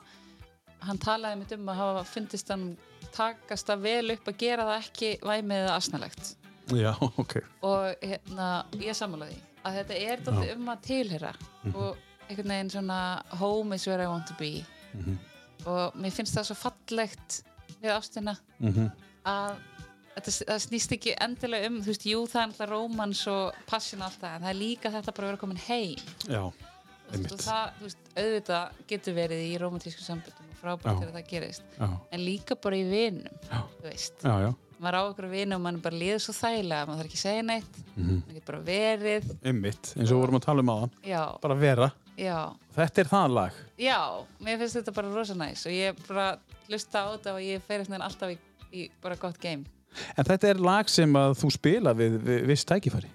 Speaker 2: hann talaði mitt um að hafa fundist hann takast það vel upp að gera það ekki væmið eða asnalegt
Speaker 1: já, ok.
Speaker 2: og hérna, ég sammála því að þetta er dóttir um að tilhera
Speaker 1: Mhm.
Speaker 2: og einhvern veginn svona home is where I want to be
Speaker 1: Mhm.
Speaker 2: og mér finnst það svo fallegt við ástina
Speaker 1: Mhm.
Speaker 2: að þetta, það snýst ekki endilega um þú veist, jú það er alltaf rómans og passion og allt það, en það er líka þetta bara að vera komin heim
Speaker 1: Já,
Speaker 2: Þú veist, og
Speaker 1: einmitt.
Speaker 2: það, þú veist, auðvitað getur verið í romantísku sambundum og frábært
Speaker 1: Já.
Speaker 2: þegar það gerist
Speaker 1: Já,
Speaker 2: en líka bara í vinum
Speaker 1: Já.
Speaker 2: þú veist,
Speaker 1: já, já,
Speaker 2: maður á okkur vinum og mann bara líður svo þægilega, maður þarf ekki að segja neitt
Speaker 1: Mhm.
Speaker 2: maður getur bara verið
Speaker 1: einmitt, eins og við vorum að tala um aðan.
Speaker 2: já,
Speaker 1: Bara vera.
Speaker 2: já,
Speaker 1: Þetta er það lag.
Speaker 2: já, mér finnst þetta bara rosa næs og ég bara lusta á þetta og ég fer einhvern veginn alltaf í, í bara gott game
Speaker 1: En þetta er lag sem að þú spila við, við viss tækifæri.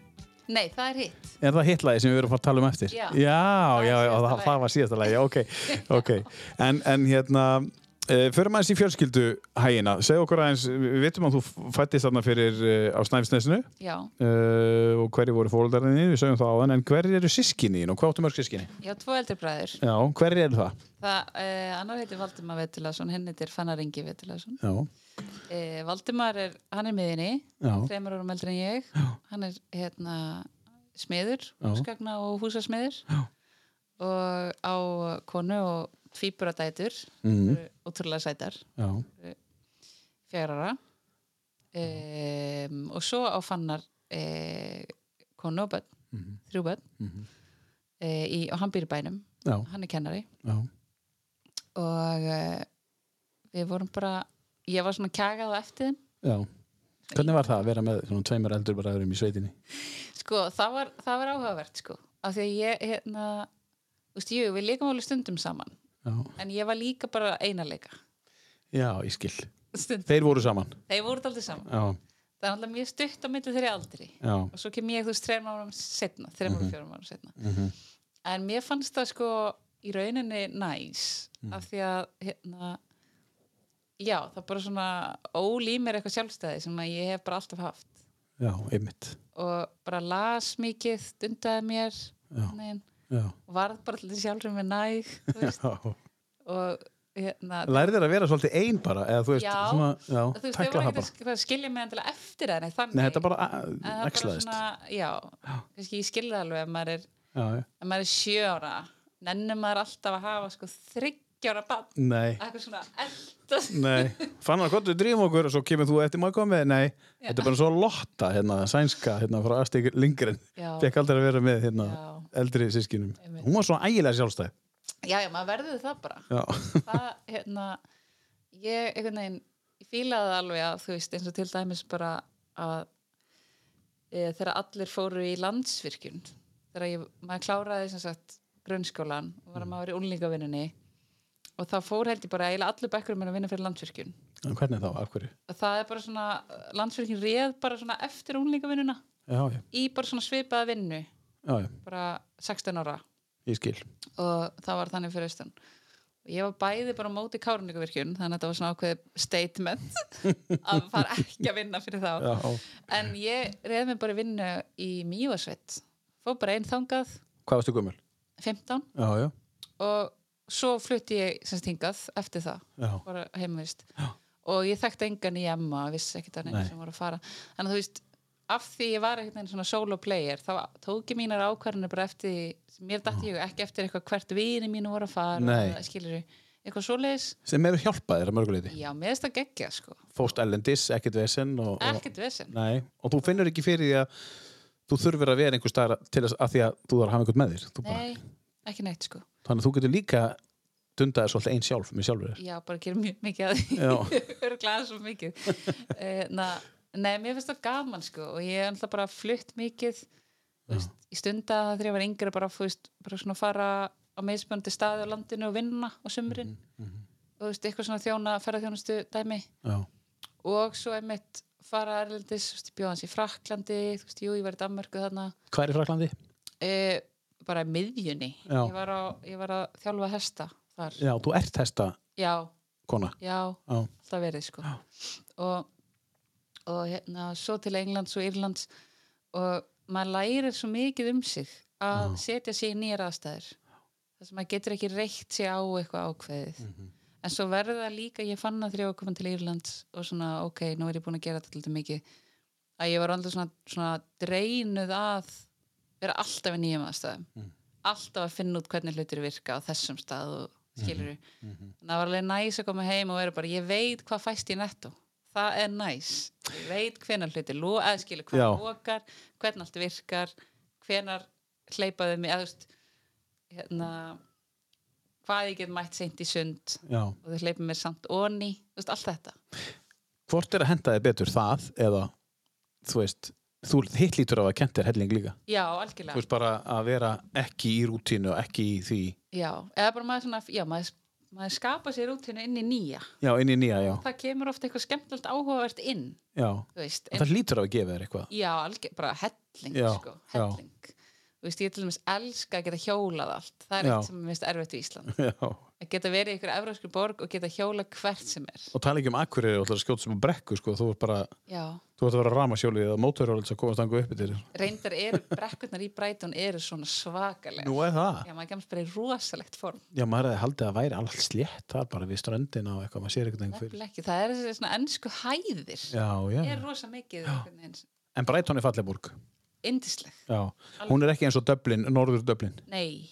Speaker 2: nei, það er hitt
Speaker 1: Er það hitt lagi sem við erum að fara að tala um eftir?
Speaker 2: Já.
Speaker 1: já, já, já,
Speaker 2: síðasta
Speaker 1: það,
Speaker 2: lagið.
Speaker 1: það var síðasta lagi, ok, ok. En, en hérna, uh, förum aðeins í fjölskyldu hægina. Segð okkur aðeins, við vitum að þú fættist þarna fyrir uh, á Snæfisnesinu
Speaker 2: já,
Speaker 1: uh, og hverju voru fóröldarinn við sögum það á þann, en hverju eru sískinni þín og hvað áttu mörg sískinni?
Speaker 2: ég á tvo eldri bræður
Speaker 1: Já, hverju eru það?
Speaker 2: það, uh, annar heitir Valdimar Vetulason henni heitir Fannar Ingi Vetulason
Speaker 1: Já,
Speaker 2: uh, Valdimar er, hann er miðinni
Speaker 1: já,
Speaker 2: þreymur árum eldri en ég hann er hérna smiður,
Speaker 1: Já.
Speaker 2: skagna og húsasmiður
Speaker 1: Já.
Speaker 2: og á konu og tvíburadætur
Speaker 1: Mhm.
Speaker 2: mm. ótrúlega sætar
Speaker 1: já,
Speaker 2: fjárara um, og svo á fannar eh, konu og bönn þrjú bönn
Speaker 1: Mhm.
Speaker 2: eh, í, og hann býr í bænum,
Speaker 1: já,
Speaker 2: hann er kennari
Speaker 1: já.
Speaker 2: og eh, við vorum bara ég var svona kjagað á eftir þeim
Speaker 1: Já. Hvernig var það að vera með svona, tveimur eldur bara öðrum í sveitinni?
Speaker 2: Sko, það var, það var áhugavert, sko. Af því að ég, hérna, þú veist, jú, við leikum alveg stundum saman.
Speaker 1: Já,
Speaker 2: En ég var líka bara einarleika.
Speaker 1: já ég skil.
Speaker 2: Stund.
Speaker 1: Þeir voru saman.
Speaker 2: Þeir voru aldrei saman.
Speaker 1: Já,
Speaker 2: Það er alltaf mjög stutt á milli þeirri aldri.
Speaker 1: já,
Speaker 2: Og svo kem ég, þú veist, þreim árum setna, þreim árum, fjórum árum setna.
Speaker 1: Mhm.
Speaker 2: En mér fannst það, sko, í rauninni næs.
Speaker 1: Mhm.
Speaker 2: Af því að, hérna, já, það bara svona ólí mér eitthvað sjálfstæði sem að ég hef bara alltaf haft.
Speaker 1: já, einmitt.
Speaker 2: Og bara las mikið, dundaði mér,
Speaker 1: Já,
Speaker 2: neginn.
Speaker 1: já.
Speaker 2: varð bara til sjálfur með næg þú veist,
Speaker 1: já.
Speaker 2: og hérna
Speaker 1: Lærið þér að vera svolítið einn bara, eða þú veist,
Speaker 2: Já.
Speaker 1: svona, já,
Speaker 2: þú veist, þau
Speaker 1: tækla
Speaker 2: voru
Speaker 1: það
Speaker 2: ekki
Speaker 1: bara.
Speaker 2: að sk- að skilja mig endilega eftir það, nei, þannig
Speaker 1: Nei, þetta bara
Speaker 2: En það er bara
Speaker 1: axlaðist.
Speaker 2: svona, já, kannski ég skilja það alveg ef maður er,
Speaker 1: Já, já.
Speaker 2: ef maður er sjö ára nennum maður alltaf að hafa sko þryggjára bann,
Speaker 1: Nei,
Speaker 2: eitthvað svona eldast
Speaker 1: nei. Fannar, hvað þú drýfum okkur og svo kemur þú eftir maður komið? Nei, þetta er bara svo lotta, hérna, sænska, hérna, frá Astig Lindgren.
Speaker 2: Já.
Speaker 1: Fekk aldrei að vera með, hérna,
Speaker 2: Já.
Speaker 1: eldri sískinum.
Speaker 2: Einmitt.
Speaker 1: Hún var svona ægilega sjálfstæð.
Speaker 2: já, já, maður verður það bara
Speaker 1: Já,
Speaker 2: það, hérna ég, einhvern veginn, ég fílaði það alveg að þú veist, eins og til dæmis bara að e, þegar allir fóru í landsvirkjun þegar ég, maður kláraði sem sagt grunnskólan og var að maður í unlingavinnunni og það fór held ég bara eiginlega allur bekkurum minn að vinna fyrir landsvirkjun
Speaker 1: En hvernig þá, af hverju?
Speaker 2: og það er bara svona, landsvirkjun réð bara svona eftir unlingavinnuna
Speaker 1: Já, já,
Speaker 2: í bara svona svipaða vinnu
Speaker 1: já, já.
Speaker 2: bara 16 ára
Speaker 1: Ég skil.
Speaker 2: og það var þannig fyrir austan og ég var bæði bara á móti kárningavirkjun þannig að þetta var svona ákveðið statement að fara ekki að vinna fyrir þá
Speaker 1: Já,
Speaker 2: en ég reyði mig bara í vinnu í Mývarsveit fór bara einn þangað,
Speaker 1: hvað varstu gömul?
Speaker 2: 15
Speaker 1: Já, já,
Speaker 2: og svo flutti ég sem stingað eftir það,
Speaker 1: já,
Speaker 2: bara heimvist
Speaker 1: Já.
Speaker 2: og ég þekkti engan í Emma vissi ekkert að neina
Speaker 1: Nei.
Speaker 2: sem voru að fara þannig að þú veist, af því ég var ekkert einn svona solo player, þá tók ég mínar ákvarðinu bara eftir, því- mér dætti ég ekki eftir eitthvað hvert vini mínu voru að fara
Speaker 1: Nei.
Speaker 2: eða skilur eitthvað svoleiðis
Speaker 1: sem eru hjálpað þér að mörguleiti
Speaker 2: já, mér finnst það geggja sko,
Speaker 1: fóst ellendis, ekkert vesen og, og,
Speaker 2: ekkert vesen
Speaker 1: nei, og þú finnur ekki fyrir því að þú þurfir að vera einhver staðar til þess að því að þú þarf að hafa einhvern með þér Þú bara,
Speaker 2: nei, ekki neitt sko
Speaker 1: þannig að þú getur líka dundaðir svolítið einn sjálf með sjálfur þér
Speaker 2: já, bara gera mjög mikið að því
Speaker 1: Já.
Speaker 2: örglaða svo mikið uh, na, nei, mér finnst það gaman sko og ég er alltaf bara flutt mikið þú veist, í stunda þegar ég var yngri bara, þú veist, bara svona fara á meðspjöndi staði á landinu og vinna á sumrin
Speaker 1: Mhm,
Speaker 2: og þú veist, eitthvað svona þjóna ferðarþjónustu dæmi
Speaker 1: já,
Speaker 2: og svo einmitt fara erlendis, þú veist, ég bjóð hans í Fraklandi, þú veist, jú, ég var í Danmörku þarna,
Speaker 1: Hvað er í Fraklandi?
Speaker 2: e, bara í miðjunni.
Speaker 1: Já.
Speaker 2: Ég var, á, ég var að þjálfa hesta þar.
Speaker 1: Já, þú ert hesta
Speaker 2: Já,
Speaker 1: kona.
Speaker 2: já,
Speaker 1: Já.
Speaker 2: alltaf verið, sko. Og, og hérna, svo til Englands og Írlands og maður lærir svo mikið um sig að setja sig í nýjar aðstæður. Þess að maður getur ekki reykt sig á eitthvað ákveðið.
Speaker 1: Mhm.
Speaker 2: En svo verður það líka, ég fann það þegar ég var komin til Írlands og svona, ok, nú er ég búin að gera þetta alltaf mikið, að ég var alltaf svona, svona dreinuð að vera alltaf í nýjum aðstæðum.
Speaker 1: Mm.
Speaker 2: Alltaf að finna út hvernig hlutir virka á þessum stað og skilur
Speaker 1: Mhm.
Speaker 2: mm Þannig að það var alveg næs að koma heim og vera bara, ég veit hvað fæst í netto. Það er næs. Ég veit hvenar hlutir, lo- eða skilur hvað
Speaker 1: Já.
Speaker 2: lokar, hvernig allt virkar, hvenar hleypaðu mig, eða þú veist, hérna, hvað ég get mætt seint í sund
Speaker 1: Já.
Speaker 2: og þau hleypa mér samt onni, þú veist, allt þetta
Speaker 1: Hvort er að henda þér betur það eða, þú veist, þú hitt lítur af að kent þér helling líka.
Speaker 2: já,
Speaker 1: Þú
Speaker 2: algjörlega,
Speaker 1: veist bara að vera ekki í rútínu og ekki í því.
Speaker 2: já, eða bara maður svona já, maður, maður skapa sér rútinu inn í nýja
Speaker 1: Já, inn í nýja, já.
Speaker 2: það kemur ofta eitthvað skemmtilegt áhugavert inn
Speaker 1: Já.
Speaker 2: þú veist,
Speaker 1: Það lítur af að gefa þér eitthvað.
Speaker 2: já, algjörlega, bara helling
Speaker 1: Já,
Speaker 2: sko,
Speaker 1: já.
Speaker 2: helling þú veist, ég til dæmis elska að geta hjólað allt það er
Speaker 1: Já.
Speaker 2: eitt sem er mest erfitt í Ísland
Speaker 1: Já.
Speaker 2: að geta verið í ykkur evróskur borg og geta hjólað hvert sem er
Speaker 1: Og tala ekki um akkurir og ætlar að skjóta sem að brekku, sko. Þú ert bara,
Speaker 2: já,
Speaker 1: þú ert að vera ramasjólið eða mótorhjólið sem komast þangu uppi til þér.
Speaker 2: reyndar eru brekkurnar í Brighton eru svona svakalega
Speaker 1: Nú er það.
Speaker 2: já, maður kemst bara í rosalegt form
Speaker 1: Já, maður hefði haldið að væri allt slétt þar bara við ströndina og eitthvað, maður sér eitthvað einhver fyrir.
Speaker 2: Nefnilega ekki, það er þessi svona ennsku hæðir
Speaker 1: Já, já.
Speaker 2: er rosa mikið einhvern veginn
Speaker 1: En Breitón er falleburg.
Speaker 2: indisleg,
Speaker 1: Já. Hún er ekki eins og Dublin, norður Dublin.
Speaker 2: nei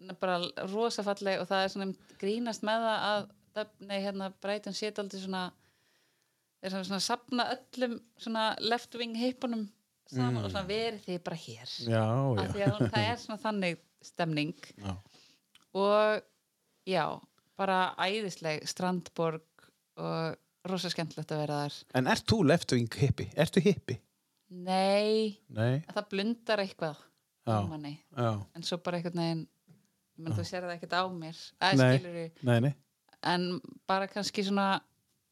Speaker 2: Hún er bara rosa falleg og það er svona einmitt grínast með það að Dub- nei, hérna, Brighton sé aldrei svona er svona, svona sapna öllum svona left wing hippunum saman og svona verið þið bara hér
Speaker 1: Mm. Já,
Speaker 2: af því að hún, það er svona þannig stemning
Speaker 1: Já.
Speaker 2: og já, bara æðisleg strandborg og rosa skemmtilegt að vera þar
Speaker 1: En ert þú left-wing hippi? Ertu hippi?
Speaker 2: nei,
Speaker 1: Nei.
Speaker 2: að það blundar eitthvað
Speaker 1: Já.
Speaker 2: á manni,
Speaker 1: Já.
Speaker 2: en svo bara einhvern veginn ég menn þú sér það ekkert á mér að
Speaker 1: Nei.
Speaker 2: skilur
Speaker 1: Nei, nei.
Speaker 2: en bara kannski svona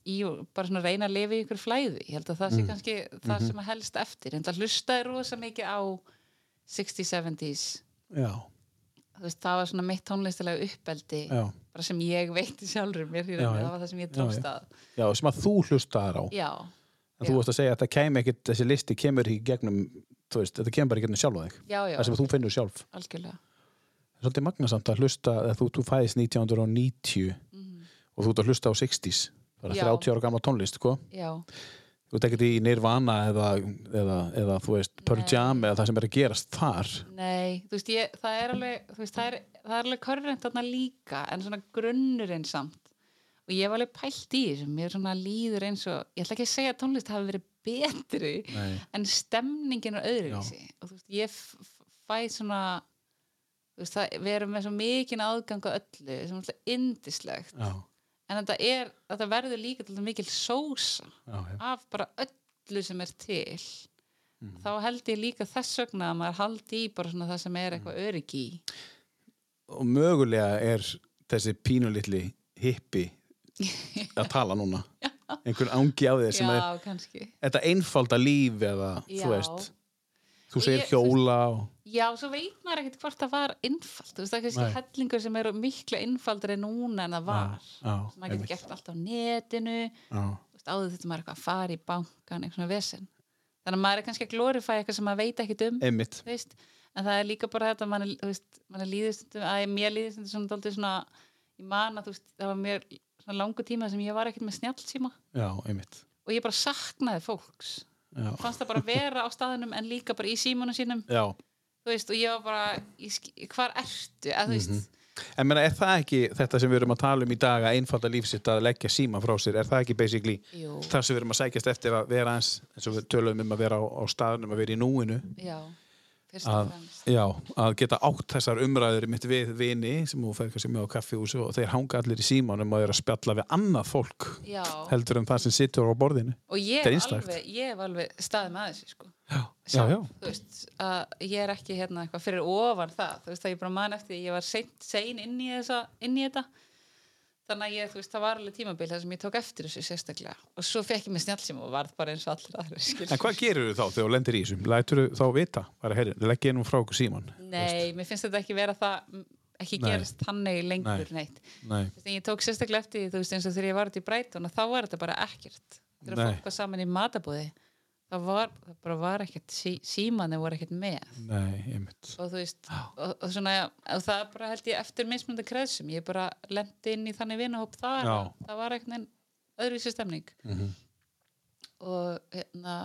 Speaker 2: í, bara svona reyna að lifa í ykkur flæði ég held
Speaker 1: Mhm.
Speaker 2: að það sé kannski það sem að helst eftir en það hlustaði rosa mikið á 60s, 70s
Speaker 1: Já,
Speaker 2: þú veist, það var svona mitt tónlistilega uppeldi
Speaker 1: já.
Speaker 2: bara sem ég veitti sjálfur mér í
Speaker 1: Já,
Speaker 2: rauninni,
Speaker 1: já.
Speaker 2: það var það sem ég
Speaker 1: Já,
Speaker 2: tókst
Speaker 1: já.
Speaker 2: að
Speaker 1: Já, sem að þú hlustaðar á.
Speaker 2: já,
Speaker 1: En þú
Speaker 2: já.
Speaker 1: veist að segja að það kemur ekkit, þessi listi kemur í gegnum, þú veist, þetta kemur bara í gegnum sjálfa þig.
Speaker 2: já, já,
Speaker 1: Það sem þú finnur sjálf.
Speaker 2: algjörlega
Speaker 1: Svolítið magnasamt að hlusta, að þú, þú fæðist 1990 og þú ert að hlusta á 60s. Bara
Speaker 2: Mhm. Já.
Speaker 1: 30 ára gamla tónlist, sko.
Speaker 2: já,
Speaker 1: Þú ert ekkert í Nirvana eða, eða, eða þú veist, Pearl
Speaker 2: Nei.
Speaker 1: Jam eða það sem er að gerast þar.
Speaker 2: nei, þú veist, ég, það er alveg þú veist, það er, það er alveg korrent þarna líka en svona grunnurinn samt og ég var alveg pælt í þessu mér svona líður eins og, ég ætla ekki að segja að tónlist hafi verið betri
Speaker 1: Nei.
Speaker 2: en stemningin er öðruvísi og þú veist, ég f- f- fæ svona þú veist, það, við erum með svo mikinn aðgang á öllu, sem er alltaf indislegt
Speaker 1: Já,
Speaker 2: en þetta er, þetta verður líka til mikil sósa
Speaker 1: já, já.
Speaker 2: af bara öllu sem er til
Speaker 1: Mhm.
Speaker 2: þá held ég líka þess vegna að maður haldi í bara svona það sem er
Speaker 1: Mhm.
Speaker 2: eitthvað öryggi í.
Speaker 1: og mögulega er þessi pínulitli hippi að tala núna einhvern ángi á þér sem er
Speaker 2: já, kannski
Speaker 1: þetta einfalda líf eða
Speaker 2: Já.
Speaker 1: þú veist þú
Speaker 2: Og
Speaker 1: segir
Speaker 2: ég-
Speaker 1: hjóla og,
Speaker 2: já, svo veit maður ekkert hvort það var innfald þú veist það er kannski
Speaker 1: Nei.
Speaker 2: hellingur sem eru mikla innfaldri núna en það var
Speaker 1: já,
Speaker 2: Sem maður getur
Speaker 1: einmitt,
Speaker 2: gert allt á netinu
Speaker 1: já,
Speaker 2: Þú veist, áður þetta maður eitthvað að fara í bankan eitthvað svona vesen þannig að maður er kannski að glorifæ eitthvað sem maður veit ekkert um
Speaker 1: einmitt
Speaker 2: þú veist, en það er líka bara þetta að manni, þú veist, manni líðist að mér líðist þetta svona daldið svona ég man að þú veist, það var mér svona langu tíma sem ég var ekkert með snjallsíma
Speaker 1: já, einmitt
Speaker 2: og ég bara saknaði fólks
Speaker 1: já,
Speaker 2: fannst það bara vera á staðinum en líka bara í símanum sínum
Speaker 1: já.
Speaker 2: þú veist, og ég var bara, ég, sk- hvar ertu að, þú veist,
Speaker 1: Mhm. en meina, er það ekki þetta sem við erum að tala um í dag að einfalda líf sitt að leggja síma frá sér, er það ekki basically
Speaker 2: Jú.
Speaker 1: það sem við erum að sækjast eftir að vera eins eins og við tölum um að vera á, á staðnum að vera í núinu
Speaker 2: já fyrst og
Speaker 1: að,
Speaker 2: fremst,
Speaker 1: já, að geta átt þessar umræður mitt við vini sem þú fer kannski með á kaffihúsi og þeir hanga allir í símanum og eru að spjalla við annað fólk
Speaker 2: já
Speaker 1: heldur en það sem situr á borðinu
Speaker 2: og
Speaker 1: Mhm.
Speaker 2: ég
Speaker 1: Þetta er
Speaker 2: hef
Speaker 1: einstakt.
Speaker 2: alveg, ég hef alveg staðið með þessu, sko
Speaker 1: já,
Speaker 2: sjálf, þú veist, að ég er ekki hérna eitthvað fyrir ofan það, þú veist, að ég bara man eftir því, ég var seint, sein inn í, þessa, inn í þetta þannig að ég, þú veist, það var alveg tímabil þar sem ég tók eftir þessu sérstaklega og svo fekk ég mér snjálsum og varð bara eins og allir aðra skil
Speaker 1: En hvað gerir þú þá þegar þú lendir í þessum? Lætur þú þá vita? Bara, herri, leggja nú frá okkur síman.
Speaker 2: Nei, mér finnst þetta ekki vera það m, ekki
Speaker 1: Nei.
Speaker 2: gerast þannig lengur neitt
Speaker 1: Nei.
Speaker 2: Þú veist, en ég tók sérstaklega eftir því, þú veist, eins og þegar ég var út í Brighton og þá var þetta bara ekkert þegar
Speaker 1: Nei.
Speaker 2: fólk var saman í matabúði það var, það bara var ekkert sí, símanni voru ekkert með
Speaker 1: Nei, einmitt.
Speaker 2: og þú veist, og, og svona og það bara held ég eftir mismunandi kreðsum ég bara lendi inn í þannig vinahóp þar
Speaker 1: Já.
Speaker 2: að það var ekkert enn öðruvísi stemning
Speaker 1: Mhm.
Speaker 2: og hérna,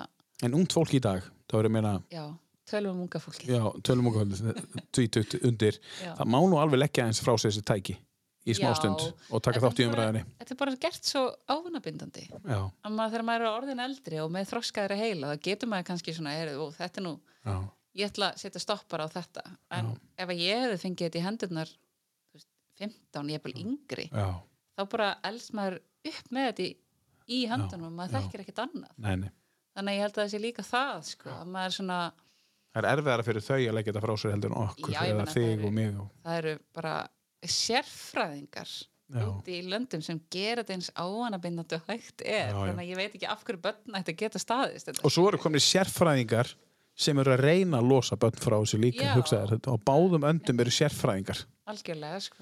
Speaker 1: En ungt fólk í dag, þá er ég að meina,
Speaker 2: já tölvum unga fólki
Speaker 1: já, tölum okkur tvítut undir,
Speaker 2: Já.
Speaker 1: það má nú alveg leggja eins frá sér þessi tæki í smá
Speaker 2: Já.
Speaker 1: stund og taka
Speaker 2: Þetta
Speaker 1: þátt í
Speaker 2: er bara-
Speaker 1: umræðinni.
Speaker 2: þetta er bara gert svo ávinnabindandi
Speaker 1: Já,
Speaker 2: að maður þegar maður er orðin eldri og með þroskaðri heila þá getur maður kannski svona er, ó, þetta er nú,
Speaker 1: já,
Speaker 2: ég ætla að setja stoppar á þetta en ef að ég hefði fengið þetta í hendurnar þú veist, 15, ég er bara yngri
Speaker 1: já,
Speaker 2: þá bara elst maður upp með þetta í, í hendunum og maður
Speaker 1: já.
Speaker 2: þekkir ekkert annað
Speaker 1: nei, nei.
Speaker 2: þannig að ég held að það sé líka það sko, að maður er svona,
Speaker 1: Það er erfiðara fyrir þau að leggja þetta frá sér heldur en okkur,
Speaker 2: Já, ég
Speaker 1: eða
Speaker 2: meina, það
Speaker 1: þig
Speaker 2: eru-
Speaker 1: og mig og,
Speaker 2: það eru bara sérfræðingar
Speaker 1: já,
Speaker 2: úti í löndum sem gera þetta eins áanabindandi og hægt
Speaker 1: Já,
Speaker 2: er
Speaker 1: já.
Speaker 2: þannig að ég veit ekki af hverju börn ætti að geta staðist þetta.
Speaker 1: og svo eru komin sérfræðingar sem eru að reyna að losa börn frá þessu líka,
Speaker 2: Já.
Speaker 1: hugsaðar þetta, og báðum öndum eru sérfræðingar
Speaker 2: algjörlega sko.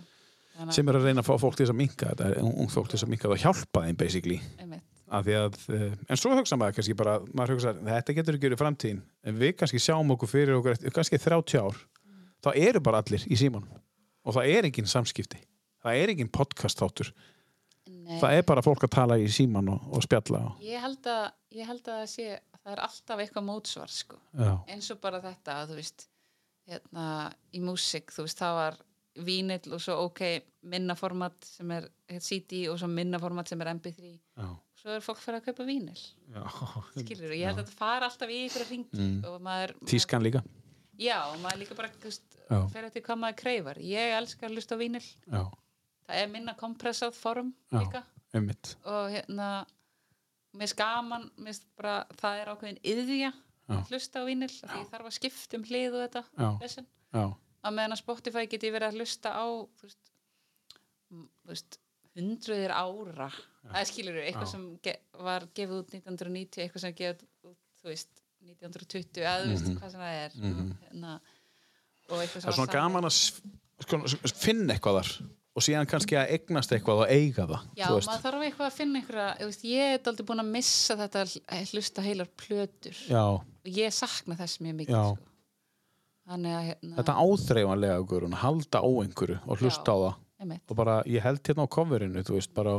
Speaker 2: þannig
Speaker 1: sem eru að reyna að fá fólk til þess að minka þetta, eh, ung fólk til þess að minka það og hjálpa þeim basically
Speaker 2: að einmitt,
Speaker 1: af því að, eh, en svo hugsa maður kannski bara, maður hugsa, þetta getur ekki verið framtíðin en við kannski sjáum okkur fyrir okkur eftir- kannski 30 ár,
Speaker 2: Mm.
Speaker 1: þá eru bara allir í símanum og það er engin samskipti það er engin podcast þáttur
Speaker 2: nei,
Speaker 1: það er bara fólk að tala í síman og, og spjalla og,
Speaker 2: ég, held að, ég held að það sé það er alltaf eitthvað mótsvar sko.
Speaker 1: já,
Speaker 2: eins og bara þetta að þú veist hérna, í músík, þú veist, það var vínill og svo ok, minnaformat sem er heit, CD og svo minnaformat sem er MP3
Speaker 1: já,
Speaker 2: svo er fólk fyrir að kaupa vínill
Speaker 1: já. Mm.
Speaker 2: skilur, ég held að þetta fara alltaf í ykkur að ringi og maður, maður,
Speaker 1: tískan líka
Speaker 2: já, og maður líka bara þú veist,
Speaker 1: Já.
Speaker 2: fer eftir hvað maður kreifar ég elska að hlusta á vínill,
Speaker 1: já,
Speaker 2: það er minna kompressað form
Speaker 1: Já.
Speaker 2: líka
Speaker 1: einmitt
Speaker 2: og hérna mér finnst gaman, mér finnst bara það er ákveðin yðja
Speaker 1: Já.
Speaker 2: að hlusta á vínill af því ég þarf að skipta um hlið og þetta
Speaker 1: Já.
Speaker 2: vesen.
Speaker 1: já,
Speaker 2: að meðan að Spotify geti verið að hlusta á þú veist, m- þú veist hundruðir ára eða skilur við, eitthvað
Speaker 1: Já.
Speaker 2: sem ge var gefið út 1990, eitthvað sem er gefið út þú veist, 1920 eða þú veist hvað sem það er hérna, og eitthvað
Speaker 1: Mhm. það
Speaker 2: sem
Speaker 1: er svona gaman að s- sko- s- finna eitthvað þar og síðan kannski að eignast eitthvað og eiga það
Speaker 2: Já,
Speaker 1: þú veist.
Speaker 2: maður þarf eitthvað að finna einhverja þú veist, ég er aldrei búin að missa þetta að hl- hlusta heilar plötur
Speaker 1: já,
Speaker 2: og ég sakna þess mjög mikið
Speaker 1: Já.
Speaker 2: sko. þannig að hérna,
Speaker 1: þetta áþreifanlega okkur, halda á einhverju og hlusta
Speaker 2: Já.
Speaker 1: á það
Speaker 2: einmitt,
Speaker 1: og bara ég held hérna á coverinu þú veist, bara,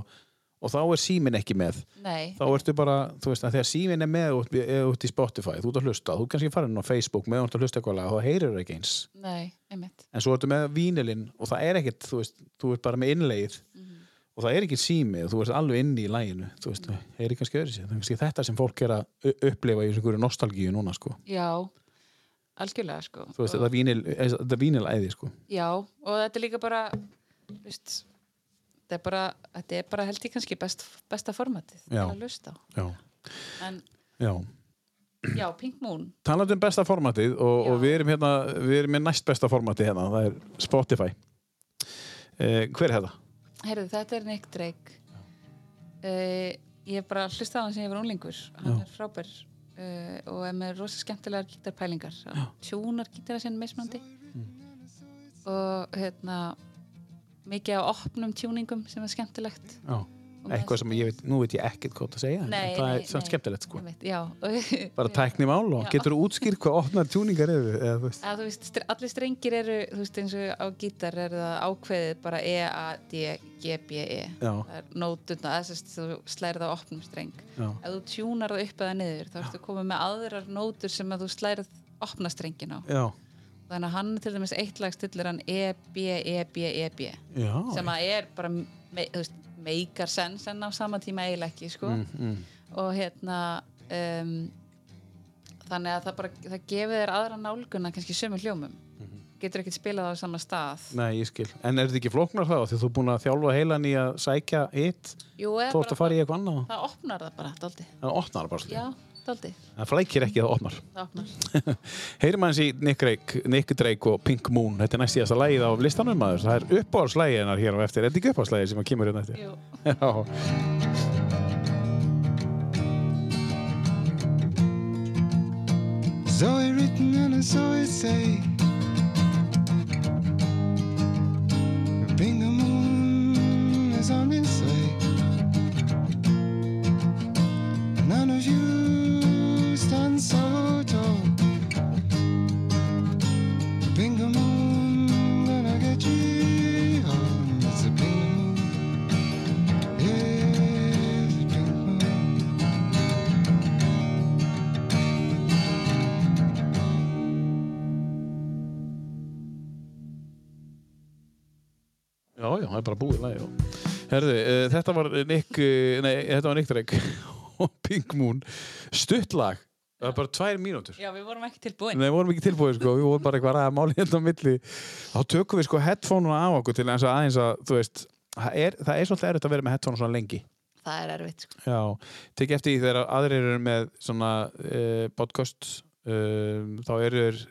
Speaker 1: og þá er síminn ekki með
Speaker 2: nei,
Speaker 1: þá ertu bara, þú veist, að þegar síminn er með og þú ert í Spotify, þú ert að hlusta þú ert kannski farin á Facebook með og ert að hlusta eitthvað lag og það heyrir ekki eins,
Speaker 2: nei, einmitt
Speaker 1: en svo ertu með vínilinn og það er ekkert, þú veist, þú ert bara með innlegið
Speaker 2: Mhm.
Speaker 1: og það er ekki sími og þú ert alveg inni í læginu, þú veist, það heyrir kannski öðru sér, það er kannski þetta sem fólk er að u- upplifa í þessu einhverju nostalgíu núna, sko
Speaker 2: já, algjörlega sko
Speaker 1: þú veist, þetta vínil, þetta vínilæði, sko
Speaker 2: Já, og þetta er líka bara þú veist, þetta er bara, þetta er bara held ég kannski best, besta formatið til
Speaker 1: Já.
Speaker 2: að lusta á
Speaker 1: já,
Speaker 2: en
Speaker 1: já
Speaker 2: já, Pink Moon
Speaker 1: talandi um besta formatið og,
Speaker 2: Já.
Speaker 1: og við erum hérna við erum með næst besta formatið hérna það er Spotify eh, hver er þetta?
Speaker 2: heyrðu, þetta er Nick Drake uh, ég hef bara hlustað á hann sem ég var unlingur hann er frábær uh, og er með rosa skemmtilegar gítarpælingar Hann tjúnar gítara sinni mismandi
Speaker 1: Mm.
Speaker 2: og hérna mikið á opnum tjúningum sem er skemmtilegt
Speaker 1: Já. eitthvað sem ég veit, nú veit ég ekkert hvað það segja en
Speaker 2: Nei,
Speaker 1: það
Speaker 2: nei,
Speaker 1: er samt
Speaker 2: nei.
Speaker 1: skemmtilegt sko
Speaker 2: Ég veit, já, og
Speaker 1: bara tækni mál og
Speaker 2: Já.
Speaker 1: getur þú útskýrt hvað opnar tjúningar eru eða, þú veist.
Speaker 2: að þú veist, str- allir strengir eru þú veist, eins og á gítar er það ákveðið bara E, A, D, G, B, E
Speaker 1: já,
Speaker 2: það er nótuna, þess að þú slærið á opnum streng
Speaker 1: já,
Speaker 2: ef þú tjúnar það upp eða niður þá ertu komið með aðrar nótur sem að þú slærið opna strengin á
Speaker 1: já,
Speaker 2: þannig að hann til dæmis eitt lag stillir hann E, B, E, B, E, B
Speaker 1: já
Speaker 2: sem að er bara me, þú veist, meikar sens en á sama tíma eiginlega ekki sko.
Speaker 1: Mhm. Mm-hmm.
Speaker 2: og hérna um, þannig að það bara það gefið þér aðra nálguna kannski sömu hljómum
Speaker 1: Mhm.
Speaker 2: getur ekkert spilað á sama stað
Speaker 1: Nei, ég skil. En er þetta ekki flóknar þá? Því þú er búin að þjálfa heilan í að sækja hitt,
Speaker 2: Jú, eða
Speaker 1: þú ert að
Speaker 2: bara,
Speaker 1: fara í eitthvað annað.
Speaker 2: það opnar það bara dálítið.
Speaker 1: Það opnar bara svolítið.
Speaker 2: Já, Daldi,
Speaker 1: Það flækir ekki það opnar.
Speaker 2: það opnar.
Speaker 1: Heyrim aðeins í Nick Drake, Nick Drake og Pink Moon. Þetta er næst síðasta lagið á listanum maður. Það er uppáhaldslægið hennar hér á eftir. Er þetta ekki uppáhaldslægið sem að kemur hérna eftir?
Speaker 2: Jú.
Speaker 1: Já.
Speaker 3: Zoe written and a Zoe say. Bring the moon is on its way. None of you stand so tall. Bring the moon, gonna get you home. It's a bring the moon. Yeah, bring the moon.
Speaker 1: Já, já, það er bara búið lagið. já. Herðu, uh, þetta var Nick, uh, nei, þetta var Nick Drake og Pink Moon. Stutt lag. Það er bara tvær mínútur.
Speaker 2: Já, við vorum ekki tilbúin.
Speaker 1: Nei, við vorum ekki tilbúið sko, við vorum bara eitthvað ræða máli hérna á milli. Þá tökum við sko headphone-una á okkur til eins og aðeins að, þú veist, það er, það er svolítið erfitt að vera með headphone svona lengi.
Speaker 2: Það er erfitt, sko.
Speaker 1: Já. Tekki eftir því þegar aðrir eru með svona uh, podcast, uh, þá eru þeir,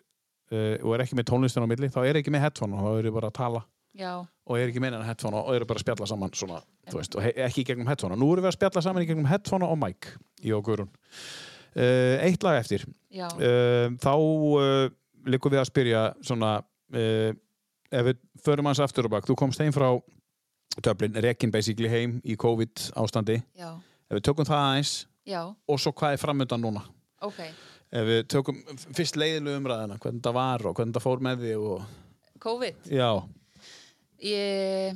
Speaker 1: uh, og er ekki með tónlistin á milli, þá eru ekki með headphone og þá eru bara að tala
Speaker 2: Já,
Speaker 1: og eru ekki með hennar headphone og eru bara að spjalla saman svona, þú veist, og he- ekki í gegnum headphone. Nú erum við að spjalla saman í gegnum headphone og mic í okkur. Uh, eitt lag eftir.
Speaker 2: já.
Speaker 1: Um, þá uh, likum við að spyrja svona uh, ef við förum hans aftur og bak þú komst heim frá Dublin, rekin basically heim í COVID ástandi
Speaker 2: Já,
Speaker 1: ef við tökum það aðeins
Speaker 2: já,
Speaker 1: og svo hvað er framöndan núna
Speaker 2: ok.
Speaker 1: ef við tökum f- fyrst leiðilu umræðina hvernig það var og hvernig það fór með því og...
Speaker 2: COVID,
Speaker 1: já,
Speaker 2: ég,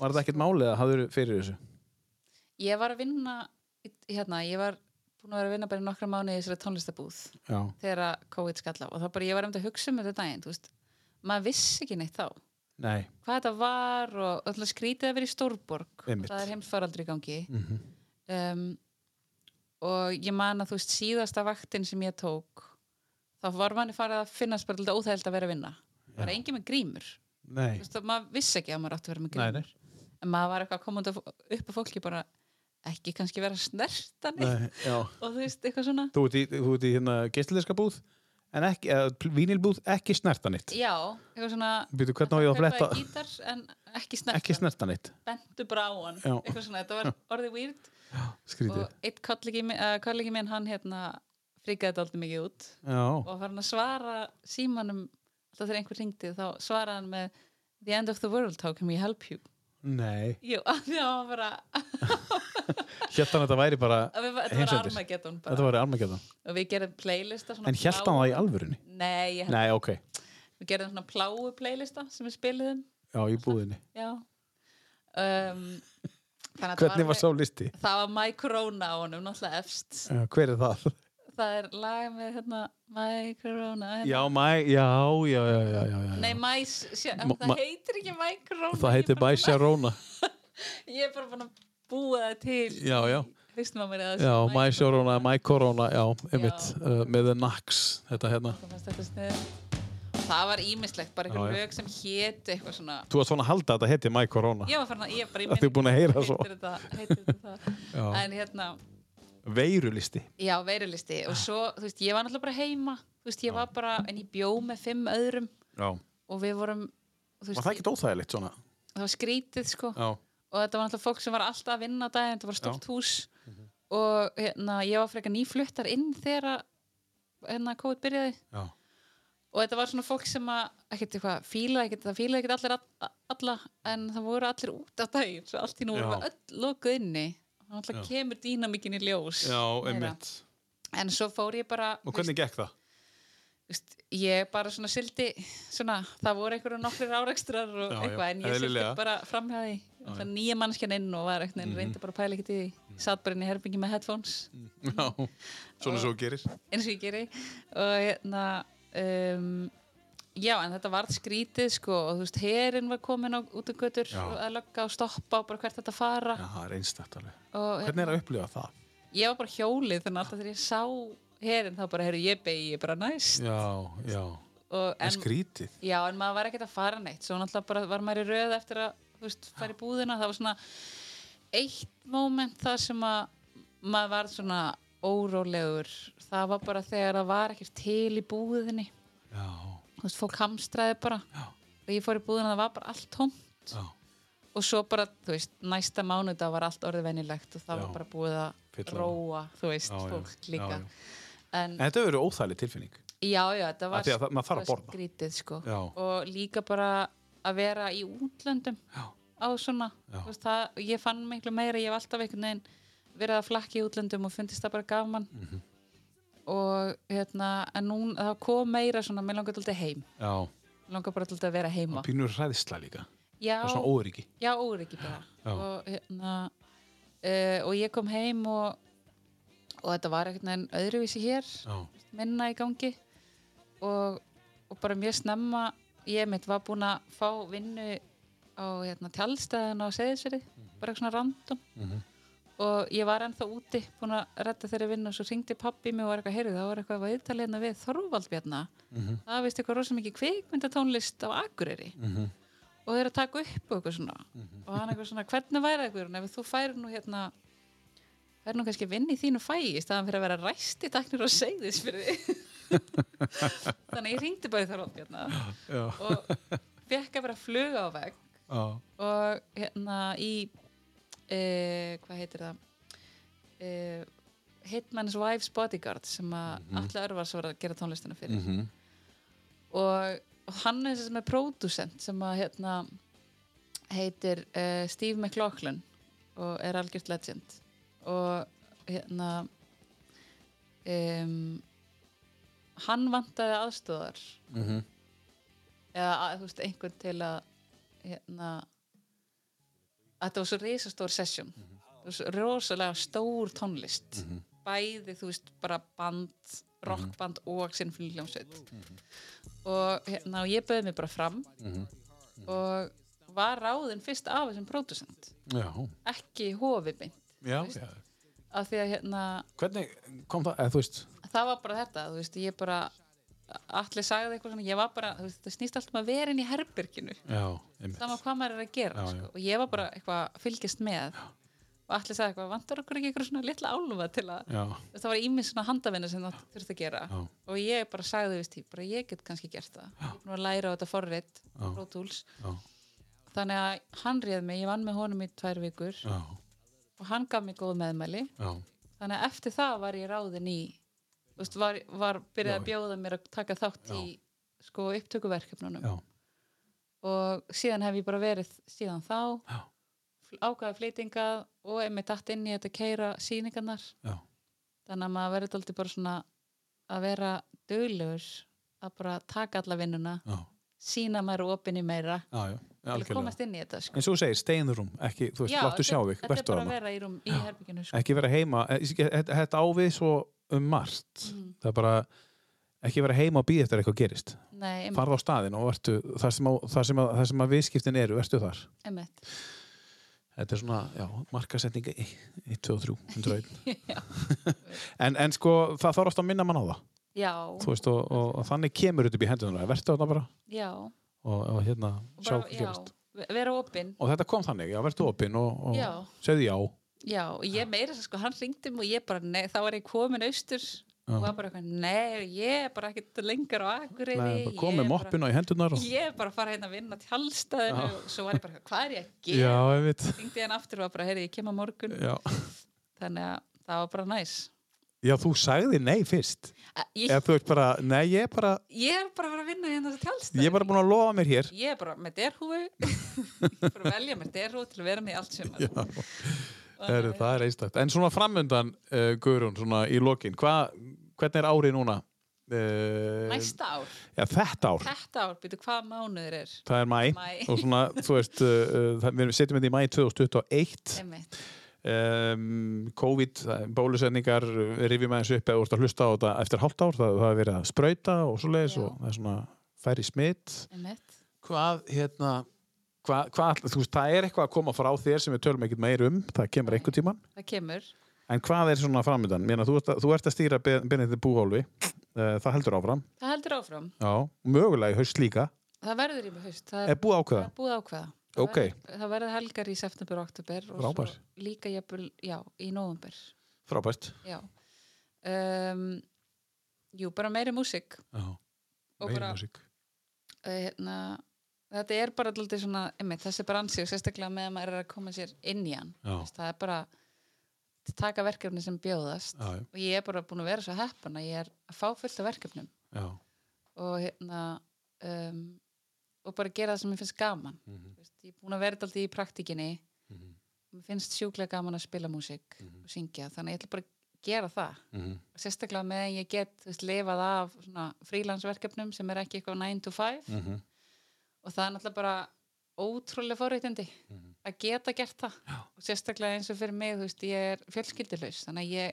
Speaker 1: var þetta ekkert málið að hafður fyrir þessu
Speaker 2: ég var að vinna, í- hérna, ég var búin að vera að vinna bara í nokkra mánuði í þessari tónlistabúð
Speaker 1: já,
Speaker 2: þegar að COVID skall á og þá bara, ég var um að hugsa um þetta daginn, þú veist, maður vissi ekki neitt þá.
Speaker 1: nei,
Speaker 2: hvað þetta var og öll að skrítið að vera í Stórborg
Speaker 1: Einmitt. Mhm.
Speaker 2: það er heimsfaraldri í gangi um, og ég man að þú veist síðasta vaktin sem ég tók þá var manni farið að finnast bara alltaf óþægild að vera að vinna það var engin með grímur þú
Speaker 1: nei,
Speaker 2: veist, að maður vissi ekki að maður átti að vera með
Speaker 1: nei,
Speaker 2: grímur
Speaker 1: nei.
Speaker 2: en maður var eitthvað að koma út af- upp á fólki bara ekki kannski vera snertan
Speaker 1: nei já.
Speaker 2: og þú veist eitthvað svona
Speaker 1: þú ert í, þú ert í hérna geisladiska búð en ekki, eða vínilbúð, ekki snerta neitt
Speaker 2: já, eitthvað svona
Speaker 1: Býtu, hvernig á ég að
Speaker 2: kaupa
Speaker 1: fletta
Speaker 2: gítar en ekki snertan,
Speaker 1: ekki snerta neitt
Speaker 2: bentu bara á hann
Speaker 1: Já.
Speaker 2: eitthvað svona, þetta var orðið weird
Speaker 1: skrítið
Speaker 2: og eitt kollegi, mi- eh, kollegi minn hann hérna frikaði þetta mikið út
Speaker 1: já,
Speaker 2: og var hann að svara símanum alltaf þegar einhver ringdi þá svaraði hann með the end of the world, how can we help you
Speaker 1: nei,
Speaker 2: jú, af því að hann var bara
Speaker 1: hérna þetta væri bara
Speaker 2: að við, þetta var
Speaker 1: Heimsendir.
Speaker 2: Armageddon
Speaker 1: þetta
Speaker 2: bara
Speaker 1: væri Armageddon,
Speaker 2: og við gerðum playlista svona
Speaker 1: en hérna
Speaker 2: bláu-
Speaker 1: það í alvörunni
Speaker 2: nei, ég held-
Speaker 1: nei, ok,
Speaker 2: við gerðum svona pláu playlista sem við spiliðum
Speaker 1: já, í búðinni
Speaker 2: já um, þannig að
Speaker 1: hvernig var
Speaker 2: alveg-
Speaker 1: sá listi,
Speaker 2: það var My Corona á honum, náttúrulega efst
Speaker 1: Já, hver er það
Speaker 2: það er lag með hérna My Corona hérna.
Speaker 1: já, mæ, já, já, já, já, já, já.
Speaker 2: Nei, mæs, sjá,
Speaker 1: Ma- ma-
Speaker 2: það heitir ekki mækrón
Speaker 1: það heitir Bæ Sharona
Speaker 2: Ég er bara búin að búa það til
Speaker 1: já, já,
Speaker 2: Hristum að mér að
Speaker 1: já,
Speaker 2: það sé
Speaker 1: Mæ
Speaker 2: micro-
Speaker 1: Sharona, Mæ Corona já, einmitt, uh, með The Nax þetta hérna,
Speaker 2: Mér fannst þetta sniðugt. Það var ímislegt, bara
Speaker 1: Já,
Speaker 2: eitthvað
Speaker 1: já.
Speaker 2: lög sem hétu eitthvað svona
Speaker 1: þú varst svona að halda að þetta heiti Mæ Corona
Speaker 2: Ég var farin að, ég bara í
Speaker 1: Ertu búin að heyra svo?
Speaker 2: Heitir þetta, heitir þetta það
Speaker 1: Já.
Speaker 2: En hérna,
Speaker 1: veirulisti,
Speaker 2: já, veirulisti Og svo, þú veist, ég var náttúrulega bara heima Þú veist, ég var bara, en ég bjó með fimm öðrum
Speaker 1: já,
Speaker 2: Og við vorum, þú
Speaker 1: var
Speaker 2: veist,
Speaker 1: það ekki óþægilegt svona,
Speaker 2: það var skrítið, sko
Speaker 1: já,
Speaker 2: og þetta var náttúrulega fólk sem var alltaf að vinna á daginn, þetta var stórt hús
Speaker 1: Mhm.
Speaker 2: og hérna, ég var frekar nýfluttar inn þegar að, hérna, COVID byrjaði
Speaker 1: já
Speaker 2: og þetta var svona fólk sem að, ekkert eitthvað, fílaði ekkert, það fílaði ekkert allir all- alla, en það voru allir út á daginn, svo allt í nú
Speaker 1: Já.
Speaker 2: voru við öll lokuð inni, og náttúrulega kemur dýnamikin í ljós, en svo fór ég bara
Speaker 1: og hvernig gekk það?
Speaker 2: veist, ég bara svona sildi svona, það voru einhverju nokkrir árekstrar og
Speaker 1: Já, já,
Speaker 2: eitthvað, en ég sildi
Speaker 1: eðlilega. Mhm.
Speaker 2: bara framhæði nýja mannskjan inn og var eitthvað mm reyndi bara að pæla ekkert í því, satt bara inn í herbyggi með headphones,
Speaker 1: Já, svona svo gerir
Speaker 2: eins Mm. og ég geri og hérna um, já, en þetta varð skrítið sko, og þú veist, herin var komin á, út um götur
Speaker 1: Já.
Speaker 2: og að lögga og stoppa og bara hvert þetta fara
Speaker 1: Já, það er einstætt alveg
Speaker 2: og hérna,
Speaker 1: Hvernig er að upplifa það?
Speaker 2: ég var bara hjólið þannig að alltaf þegar ég sá herin þá bara, heyrðu, ég begi, ég bara næst
Speaker 1: Já, já,
Speaker 2: og,
Speaker 1: en skrítið
Speaker 2: Já, en maður var ekkert að fara neitt svo náttúrulega bara var maður í röð eftir að þú veist, fara í búðina, það var svona eitt moment þar sem að maður var svona órólegur það var bara þegar það var ekkert til í búðinni
Speaker 1: Já,
Speaker 2: þú veist, fólk hamstraði bara
Speaker 1: Já.
Speaker 2: og ég fór í búðina það var bara allt tómt
Speaker 1: Já.
Speaker 2: og svo bara, þú veist, næsta mánudag var allt orðið venjulegt og það
Speaker 1: Já.
Speaker 2: var bara búið að
Speaker 1: Fylla á.
Speaker 2: róa, þú veist,
Speaker 1: Já, já.
Speaker 2: fólk
Speaker 1: Já,
Speaker 2: líka
Speaker 1: já.
Speaker 2: en
Speaker 1: En þetta verður óþæli tilfinning.
Speaker 2: já, já, þetta
Speaker 1: Af
Speaker 2: var,
Speaker 1: því að það- maður þarf að
Speaker 2: var
Speaker 1: borða.
Speaker 2: skrítið sko.
Speaker 1: Já.
Speaker 2: og líka bara að vera í útlöndum
Speaker 1: Já.
Speaker 2: á svona
Speaker 1: Já.
Speaker 2: þú veist, það, ég fann miklu meira, ég hef alltaf einhvern veginn verið að flakki í útlöndum og fundist það bara gaman
Speaker 1: Mhm.
Speaker 2: og hérna, en nú það kom meira svona, mér langar alltaf heim
Speaker 1: Já.
Speaker 2: Mig langar bara alltaf að vera heima
Speaker 1: Og pínur hræðisla líka.
Speaker 2: já,
Speaker 1: Það er svona óryggi.
Speaker 2: já, óryggi bara
Speaker 1: Já.
Speaker 2: og hérna uh, og ég kom heim og og þetta var einhvern veginn öðruvísi hér
Speaker 1: Já.
Speaker 2: minna í gangi og, og bara mjög snemma ég mitt var búin að fá vinnu á hérna, tjálstæðan á Seyðisveri, bara eitthvað svona random og ég var ennþá úti búin að retta þeirri vinnu og svo ringdi pappi mig og var eitthvað, heyrðu, það var eitthvað að viðtala hérna við Þorvaldbjarna, það veist eitthvað rosa mikið kvikmyndatónlist á Akureyri og þeir að taka upp og eitthvað svona og hann eitthvað svona, hvernig væri eitthvað ef þú færir nú hérna færir nú kannski að vinna í þínu fæi í staðan fyrir að vera ræsti taknir og segðis fyrir því þannig að ég ringdi bara í Þorvaldbjarna
Speaker 1: Já.
Speaker 2: og fekk að vera fluga á vegg
Speaker 1: Já.
Speaker 2: og hérna í uh, hvað heitir það uh, Hitman's Wife's Bodyguard sem að mm -hmm. Atli Örvars var að gera tónlistina fyrir
Speaker 1: Mhm.
Speaker 2: og, og hann er sem er pródusent sem að hérna heitir uh, Steve McLaughlin og er algjört legend og hérna um, hann vantaði aðstóðar
Speaker 1: Mhm.
Speaker 2: eða að, þú veist, einhvern til að hérna að þetta var svo risastór sesjón mm
Speaker 1: Mhm.
Speaker 2: -hmm. rosalega stór tónlist bæði, þú veist, bara band
Speaker 1: Mhm.
Speaker 2: rockband og sinn fljómsveit og hérna og ég bauði mig bara fram
Speaker 1: Mhm.
Speaker 2: og var ráðin fyrst af þessum pródusent
Speaker 1: Já.
Speaker 2: ekki hofið beint
Speaker 1: Já. Já.
Speaker 2: af því að hérna
Speaker 1: Hvernig kom það, eða þú veist,
Speaker 2: það var bara þetta, þú veist, ég bara allir sagði eitthvað svona, ég var bara þú veist, það snýst allt um að vera inn í herberginu
Speaker 1: já, einmitt.
Speaker 2: sama hvað maður er að gera
Speaker 1: Já, já.
Speaker 2: sko. og ég var bara eitthvað að fylgjast með og allir sagði eitthvað, vantar okkur ekki eitthvað svona litla álfa til að,
Speaker 1: Já,
Speaker 2: Þú veist, það var ímið svona handavinna sem það þurfti að gera
Speaker 1: Já.
Speaker 2: og ég bara sagði, þú veist, ég, bara ég get kannski gert það ég er búin að læra á þetta forrit Pro Tools,
Speaker 1: já,
Speaker 2: þannig að hann réð mig, ég vann með honum í tvær vikur
Speaker 1: já,
Speaker 2: og hann gaf mér góð meðmæli
Speaker 1: já,
Speaker 2: þannig að eftir það var ég ráðin í þú veist, var, var byrjað að bjóða mér að taka þátt í sko, upptökuverkefnunum
Speaker 1: já,
Speaker 2: og síðan hef ég bara verið síðan þá
Speaker 1: Já.
Speaker 2: fl- ákvaða flytinga og einmitt dætt inn í þetta keira síningarnar
Speaker 1: já,
Speaker 2: þannig að maður verður aldrei bara svona að vera duglegur að bara taka alla vinnuna
Speaker 1: já,
Speaker 2: sína maður opinni meira
Speaker 1: já, já,
Speaker 2: til að
Speaker 1: algjörlega.
Speaker 2: komast inn í þetta sko.
Speaker 1: En svo segir, steinrum, ekki, þú veist, láttu sjá þig,
Speaker 2: þetta er
Speaker 1: verðstu
Speaker 2: bara
Speaker 1: hana.
Speaker 2: að vera í, rúm, í herbygginu sko.
Speaker 1: Ekki vera heima, eh, ég- þetta þetta á við svo um margt. Það er bara, ekki vera heima og býða eftir að eitthvað gerist.
Speaker 2: Nei, Mm. einmitt,
Speaker 1: Farð á staðin og verðstu, þar sem, á, þar sem, að, þar sem að viðskiptin eru, verðstu þar.
Speaker 2: einmitt.
Speaker 1: Þetta er svona, já, markasetninga 1, 2 og 3, 101. en, en sko, það þarf ofta að minna mann á það.
Speaker 2: Já,
Speaker 1: Þú veist, og, og, og þannig kemur þetta upp í hendunar. Verðstu þarna bara
Speaker 2: já
Speaker 1: og, og hérna,
Speaker 2: Og
Speaker 1: sjá hvað
Speaker 2: bara, já,
Speaker 1: gerist.
Speaker 2: ve- vera opinn
Speaker 1: Og þetta kom þannig, já, verðstu opinn og, og
Speaker 2: Já.
Speaker 1: segðu já.
Speaker 2: Já, og ég meira þess að sko, hann ringdi mig og ég bara, nei, þá var ég komin austur og var bara eitthvað, nei, ég er bara ekkert lengur á Akureyri
Speaker 1: Nei, bara kom
Speaker 2: ég
Speaker 1: með
Speaker 2: er bara-
Speaker 1: moppinu í hendunar og...
Speaker 2: Ég er bara að fara hérna að vinna tjálstaðinu og svo var ég bara, eitthvað, hvað er ég að
Speaker 1: Já,
Speaker 2: gera?
Speaker 1: ég veit.
Speaker 2: Ringdi hann aftur og var bara, heyrði, ég kem á morgun
Speaker 1: Já.
Speaker 2: þannig að það var bara næs
Speaker 1: já, þú sagði nei fyrst.
Speaker 2: Eh,
Speaker 1: Eða
Speaker 2: Ég,
Speaker 1: þú ert bara, nei, ég er bara,
Speaker 2: ég er bara að fara að vinna hérna þessi tjálstaðinu
Speaker 1: ég er bara búin að lofa mér hér.
Speaker 2: Ég er bara með derhúfu ég er bara að velja með derhúfu til að vera með í allt sem
Speaker 1: Heru, það er einstakt. En svona framundan, uh, Guðrún, svona í lokin, hva, hvernig er árið núna? Uh,
Speaker 2: Næsta ár,
Speaker 1: Já, þetta ár.
Speaker 2: þetta ár, býtu hvað mánuður er
Speaker 1: Það er mæ.
Speaker 2: Maí.
Speaker 1: Og svona, þú veist, uh, uh, það- við setjum þetta í mæ 2021.
Speaker 2: Einmitt.
Speaker 1: um, COVID, það- bólusetningar rifjum aðeins upp eða úr að hlusta á þetta eftir hálft ár, það, það er verið að sprauta og svoleiðis
Speaker 2: Já.
Speaker 1: og það er svona færri smitt
Speaker 2: Einmitt.
Speaker 1: Hvað, hérna hvað, hvað, þú veist, það er eitthvað að koma frá þér sem við tölum ekkert meir um, það kemur einhvern tíman
Speaker 2: Það kemur
Speaker 1: en hvað er svona framöndan? Mér að þú, ert að- þú ert að stýra Benedikt Búhólfi uh, það heldur áfram,
Speaker 2: Það heldur áfram.
Speaker 1: já, mögulega í haust líka
Speaker 2: Það verður í mig haust. Það
Speaker 1: er
Speaker 2: er,
Speaker 1: búið
Speaker 2: það
Speaker 1: ákveða,
Speaker 2: er búið ákveða. Það
Speaker 1: ok,
Speaker 2: verður- Það verður helgar í september og oktober og
Speaker 1: Frábært.
Speaker 2: svo líka jafnvel, já, í november.
Speaker 1: frábært
Speaker 2: Já. um, jú, bara meiri músík
Speaker 1: Já,
Speaker 2: og
Speaker 1: meiri
Speaker 2: bara,
Speaker 1: músík.
Speaker 2: uh, hérna, þetta er bara alltaf svona, einmitt, þessi bransi og sérstaklega með að maður er að koma sér inn í hann
Speaker 1: Já,
Speaker 2: Þess, það er bara að taka verkefni sem bjóðast
Speaker 1: já,
Speaker 2: og ég er bara búin að vera svo heppin að ég er að fá fullt af verkefnum
Speaker 1: já.
Speaker 2: og hérna um, og bara gera það sem mér finnst gaman mm
Speaker 1: Mhm.
Speaker 2: veist, ég er búin að vera alltaf í praktikinni
Speaker 1: Mhm.
Speaker 2: mér finnst sjúklega gaman að spila músík og syngja, þannig að ég ætla bara að gera það
Speaker 1: Mhm.
Speaker 2: og sérstaklega með að ég get þú veist, lifað af svona frílansverkefnum sem er ekki eitthvað 9 to 5
Speaker 1: Mhm.
Speaker 2: og það er náttúrulega bara ótrúlega forréttindi
Speaker 1: Mhm.
Speaker 2: að geta gert það Já. og sérstaklega eins og fyrir mig, þú veist, ég er fjölskyldilaus þannig að ég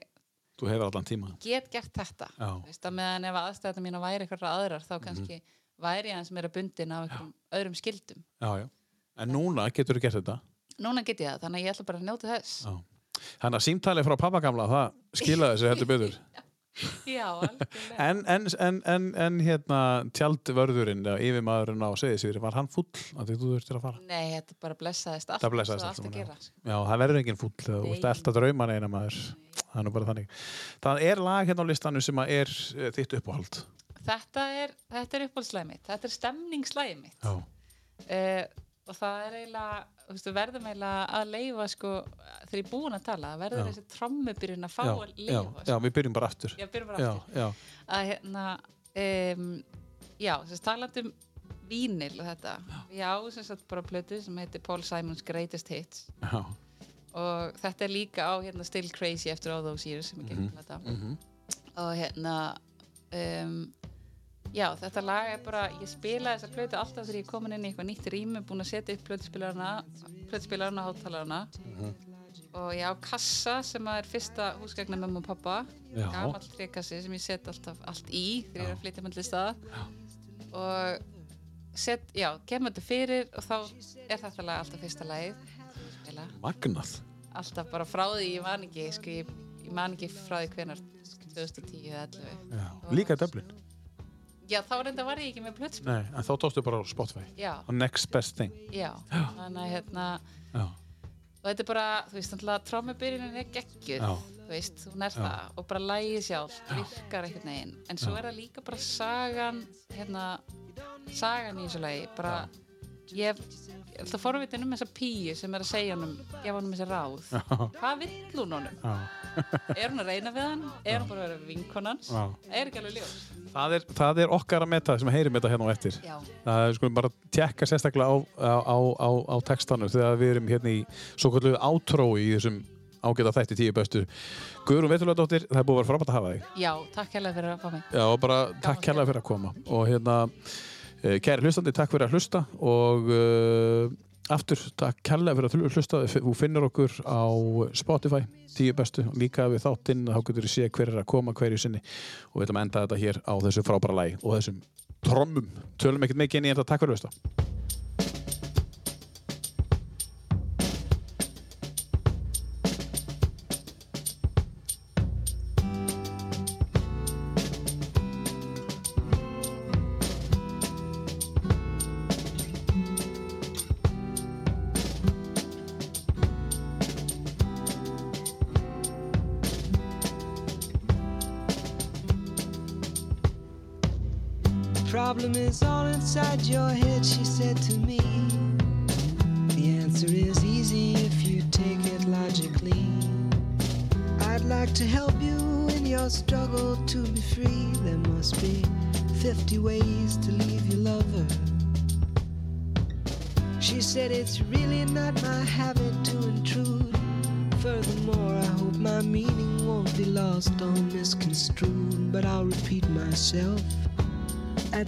Speaker 1: Þú hefur allan tíma.
Speaker 2: get gert þetta
Speaker 1: Já,
Speaker 2: Þú veist, að meðan ef aðstæðan mína væri eitthvað aðrar
Speaker 1: Mhm.
Speaker 2: þá kannski væri ég aðeins meira bundin af einhverjum öðrum skildum
Speaker 1: já, já. En núna getur þú gert þetta.
Speaker 2: núna get ég það, þannig að ég ætla bara að njóta þess
Speaker 1: Já. Þannig að símtalið frá pappa gamla, það skilaði þessu heldur betur.
Speaker 2: já, algjörlega
Speaker 1: En, en, en, en, en hérna tjaldvörðurinn, eða yfirmaðurinn á Seyðisvíri, var hann full að því þú þurftir að fara?
Speaker 2: nei, þetta bara blessaðist allt
Speaker 1: Það blessaðist
Speaker 2: svo
Speaker 1: allt
Speaker 2: allt að
Speaker 1: saman,
Speaker 2: gera sko.
Speaker 1: Já, það verður enginn full þegar þú ert
Speaker 2: Nei.
Speaker 1: elda drauman eina maður. Það er nú bara þannig. Það er lag hérna á listanu sem að er eh, þitt uppáhald.
Speaker 2: þetta er, þetta er uppáhaldslæði mitt þetta er stemningslæði mitt
Speaker 1: Já.
Speaker 2: uh, og það er eiginlega þú veist, við verðum eiginlega að leifa sko, þegar ég er búin að tala, það verður
Speaker 1: Já.
Speaker 2: þessi trommubyrjun að fá
Speaker 1: Já,
Speaker 2: að
Speaker 1: já,
Speaker 2: leifa
Speaker 1: já,
Speaker 2: sko.
Speaker 1: við byrjum bara aftur.
Speaker 2: ég byrjum bara
Speaker 1: Já,
Speaker 2: aftur
Speaker 1: já,
Speaker 2: að hérna um, já, þess að talandi um vínil og þetta já, sem sagt bara plötu sem heitir Paul Simons Greatest Hits
Speaker 1: já.
Speaker 2: og þetta er líka á hérna Still Crazy eftir All Those Years sem er gengum þetta
Speaker 1: mhm.
Speaker 2: og hérna um, já, þetta lag er bara ég spila þessa plötu alltaf þegar ég er komin inn í eitthvað nýtt rými, búin að setja upp plötuspilarna plötuspilarna og hátalarna og ég á kassa sem að er fyrsta húsgagna mamma og pappa
Speaker 1: Já.
Speaker 2: gamall trekassi sem ég set alltaf allt í þegar ég er að flytja með staða og set, já, kemur þetta fyrir og þá er þetta lag alltaf fyrsta lagið sem ég spila
Speaker 1: Magnað.
Speaker 2: alltaf bara frá því ég man ekki sko, ég, ég man ekki frá því sko, hvenar 2010 eða 11
Speaker 1: Já. Líka döblin.
Speaker 2: sko. já þá reynda var ég ekki með plötspil
Speaker 1: Nei, en þá tókstu bara á Spotify.
Speaker 2: já,
Speaker 1: Og next best thing.
Speaker 2: já, þannig að hérna
Speaker 1: Já,
Speaker 2: og þetta er bara, þú veist, náttúrulega trommubyrjunin er geggjur,
Speaker 1: Já.
Speaker 2: þú veist, hún er það og bara lægið sjálf, virkar einhvern veginn en svo er það líka bara sagan hérna, sagan í þessu lagi bara, ég hef ég er alltaf forvitin um þessa píu sem er að segja honum, gefa honum þessi ráð hvað vill hún honum?
Speaker 1: já,
Speaker 2: er hún að reyna við hann, er hún bara að vera vinkonans
Speaker 1: já.
Speaker 2: það er ekki alveg ljós
Speaker 1: Það er, það er okkar að meta sem heyrim þetta hérna á eftir.
Speaker 2: já,
Speaker 1: Það er skulum bara tjekka sérstaklega á, á, á, á, á textanum þegar við erum hérna í svo kallu átrói í þessum ágæta þætti tíu bestu. Guðrún Veitulagdóttir, það er búið að vera frábært að hafa þig.
Speaker 2: já, takk hérlega fyrir að fá mig
Speaker 1: Já, og bara takk
Speaker 2: að
Speaker 1: kærlega fyrir að koma og hérna, eh, kæri hlustandi takk fyrir að hlusta og uh, aftur, takk kærlega fyrir að hlu- hlusta þú finnur okkur á Spotify tíu bestu, líka við þáttinn þá getur þú sé hver er að koma hverju sinni og við ætlum að enda þetta hér á þessu frábæra lagi og þessum trommum, tölum ekkert mikið en ég enda takk fyrir að hlusta
Speaker 9: problem is all inside your head, she said to me. The answer is easy if you take it logically. I'd like to help you in your struggle to be free. There must be 50 ways to leave your lover. She said, It's really not my habit to intrude. Furthermore, I hope my meaning won't be lost or misconstrued, but I'll repeat myself. At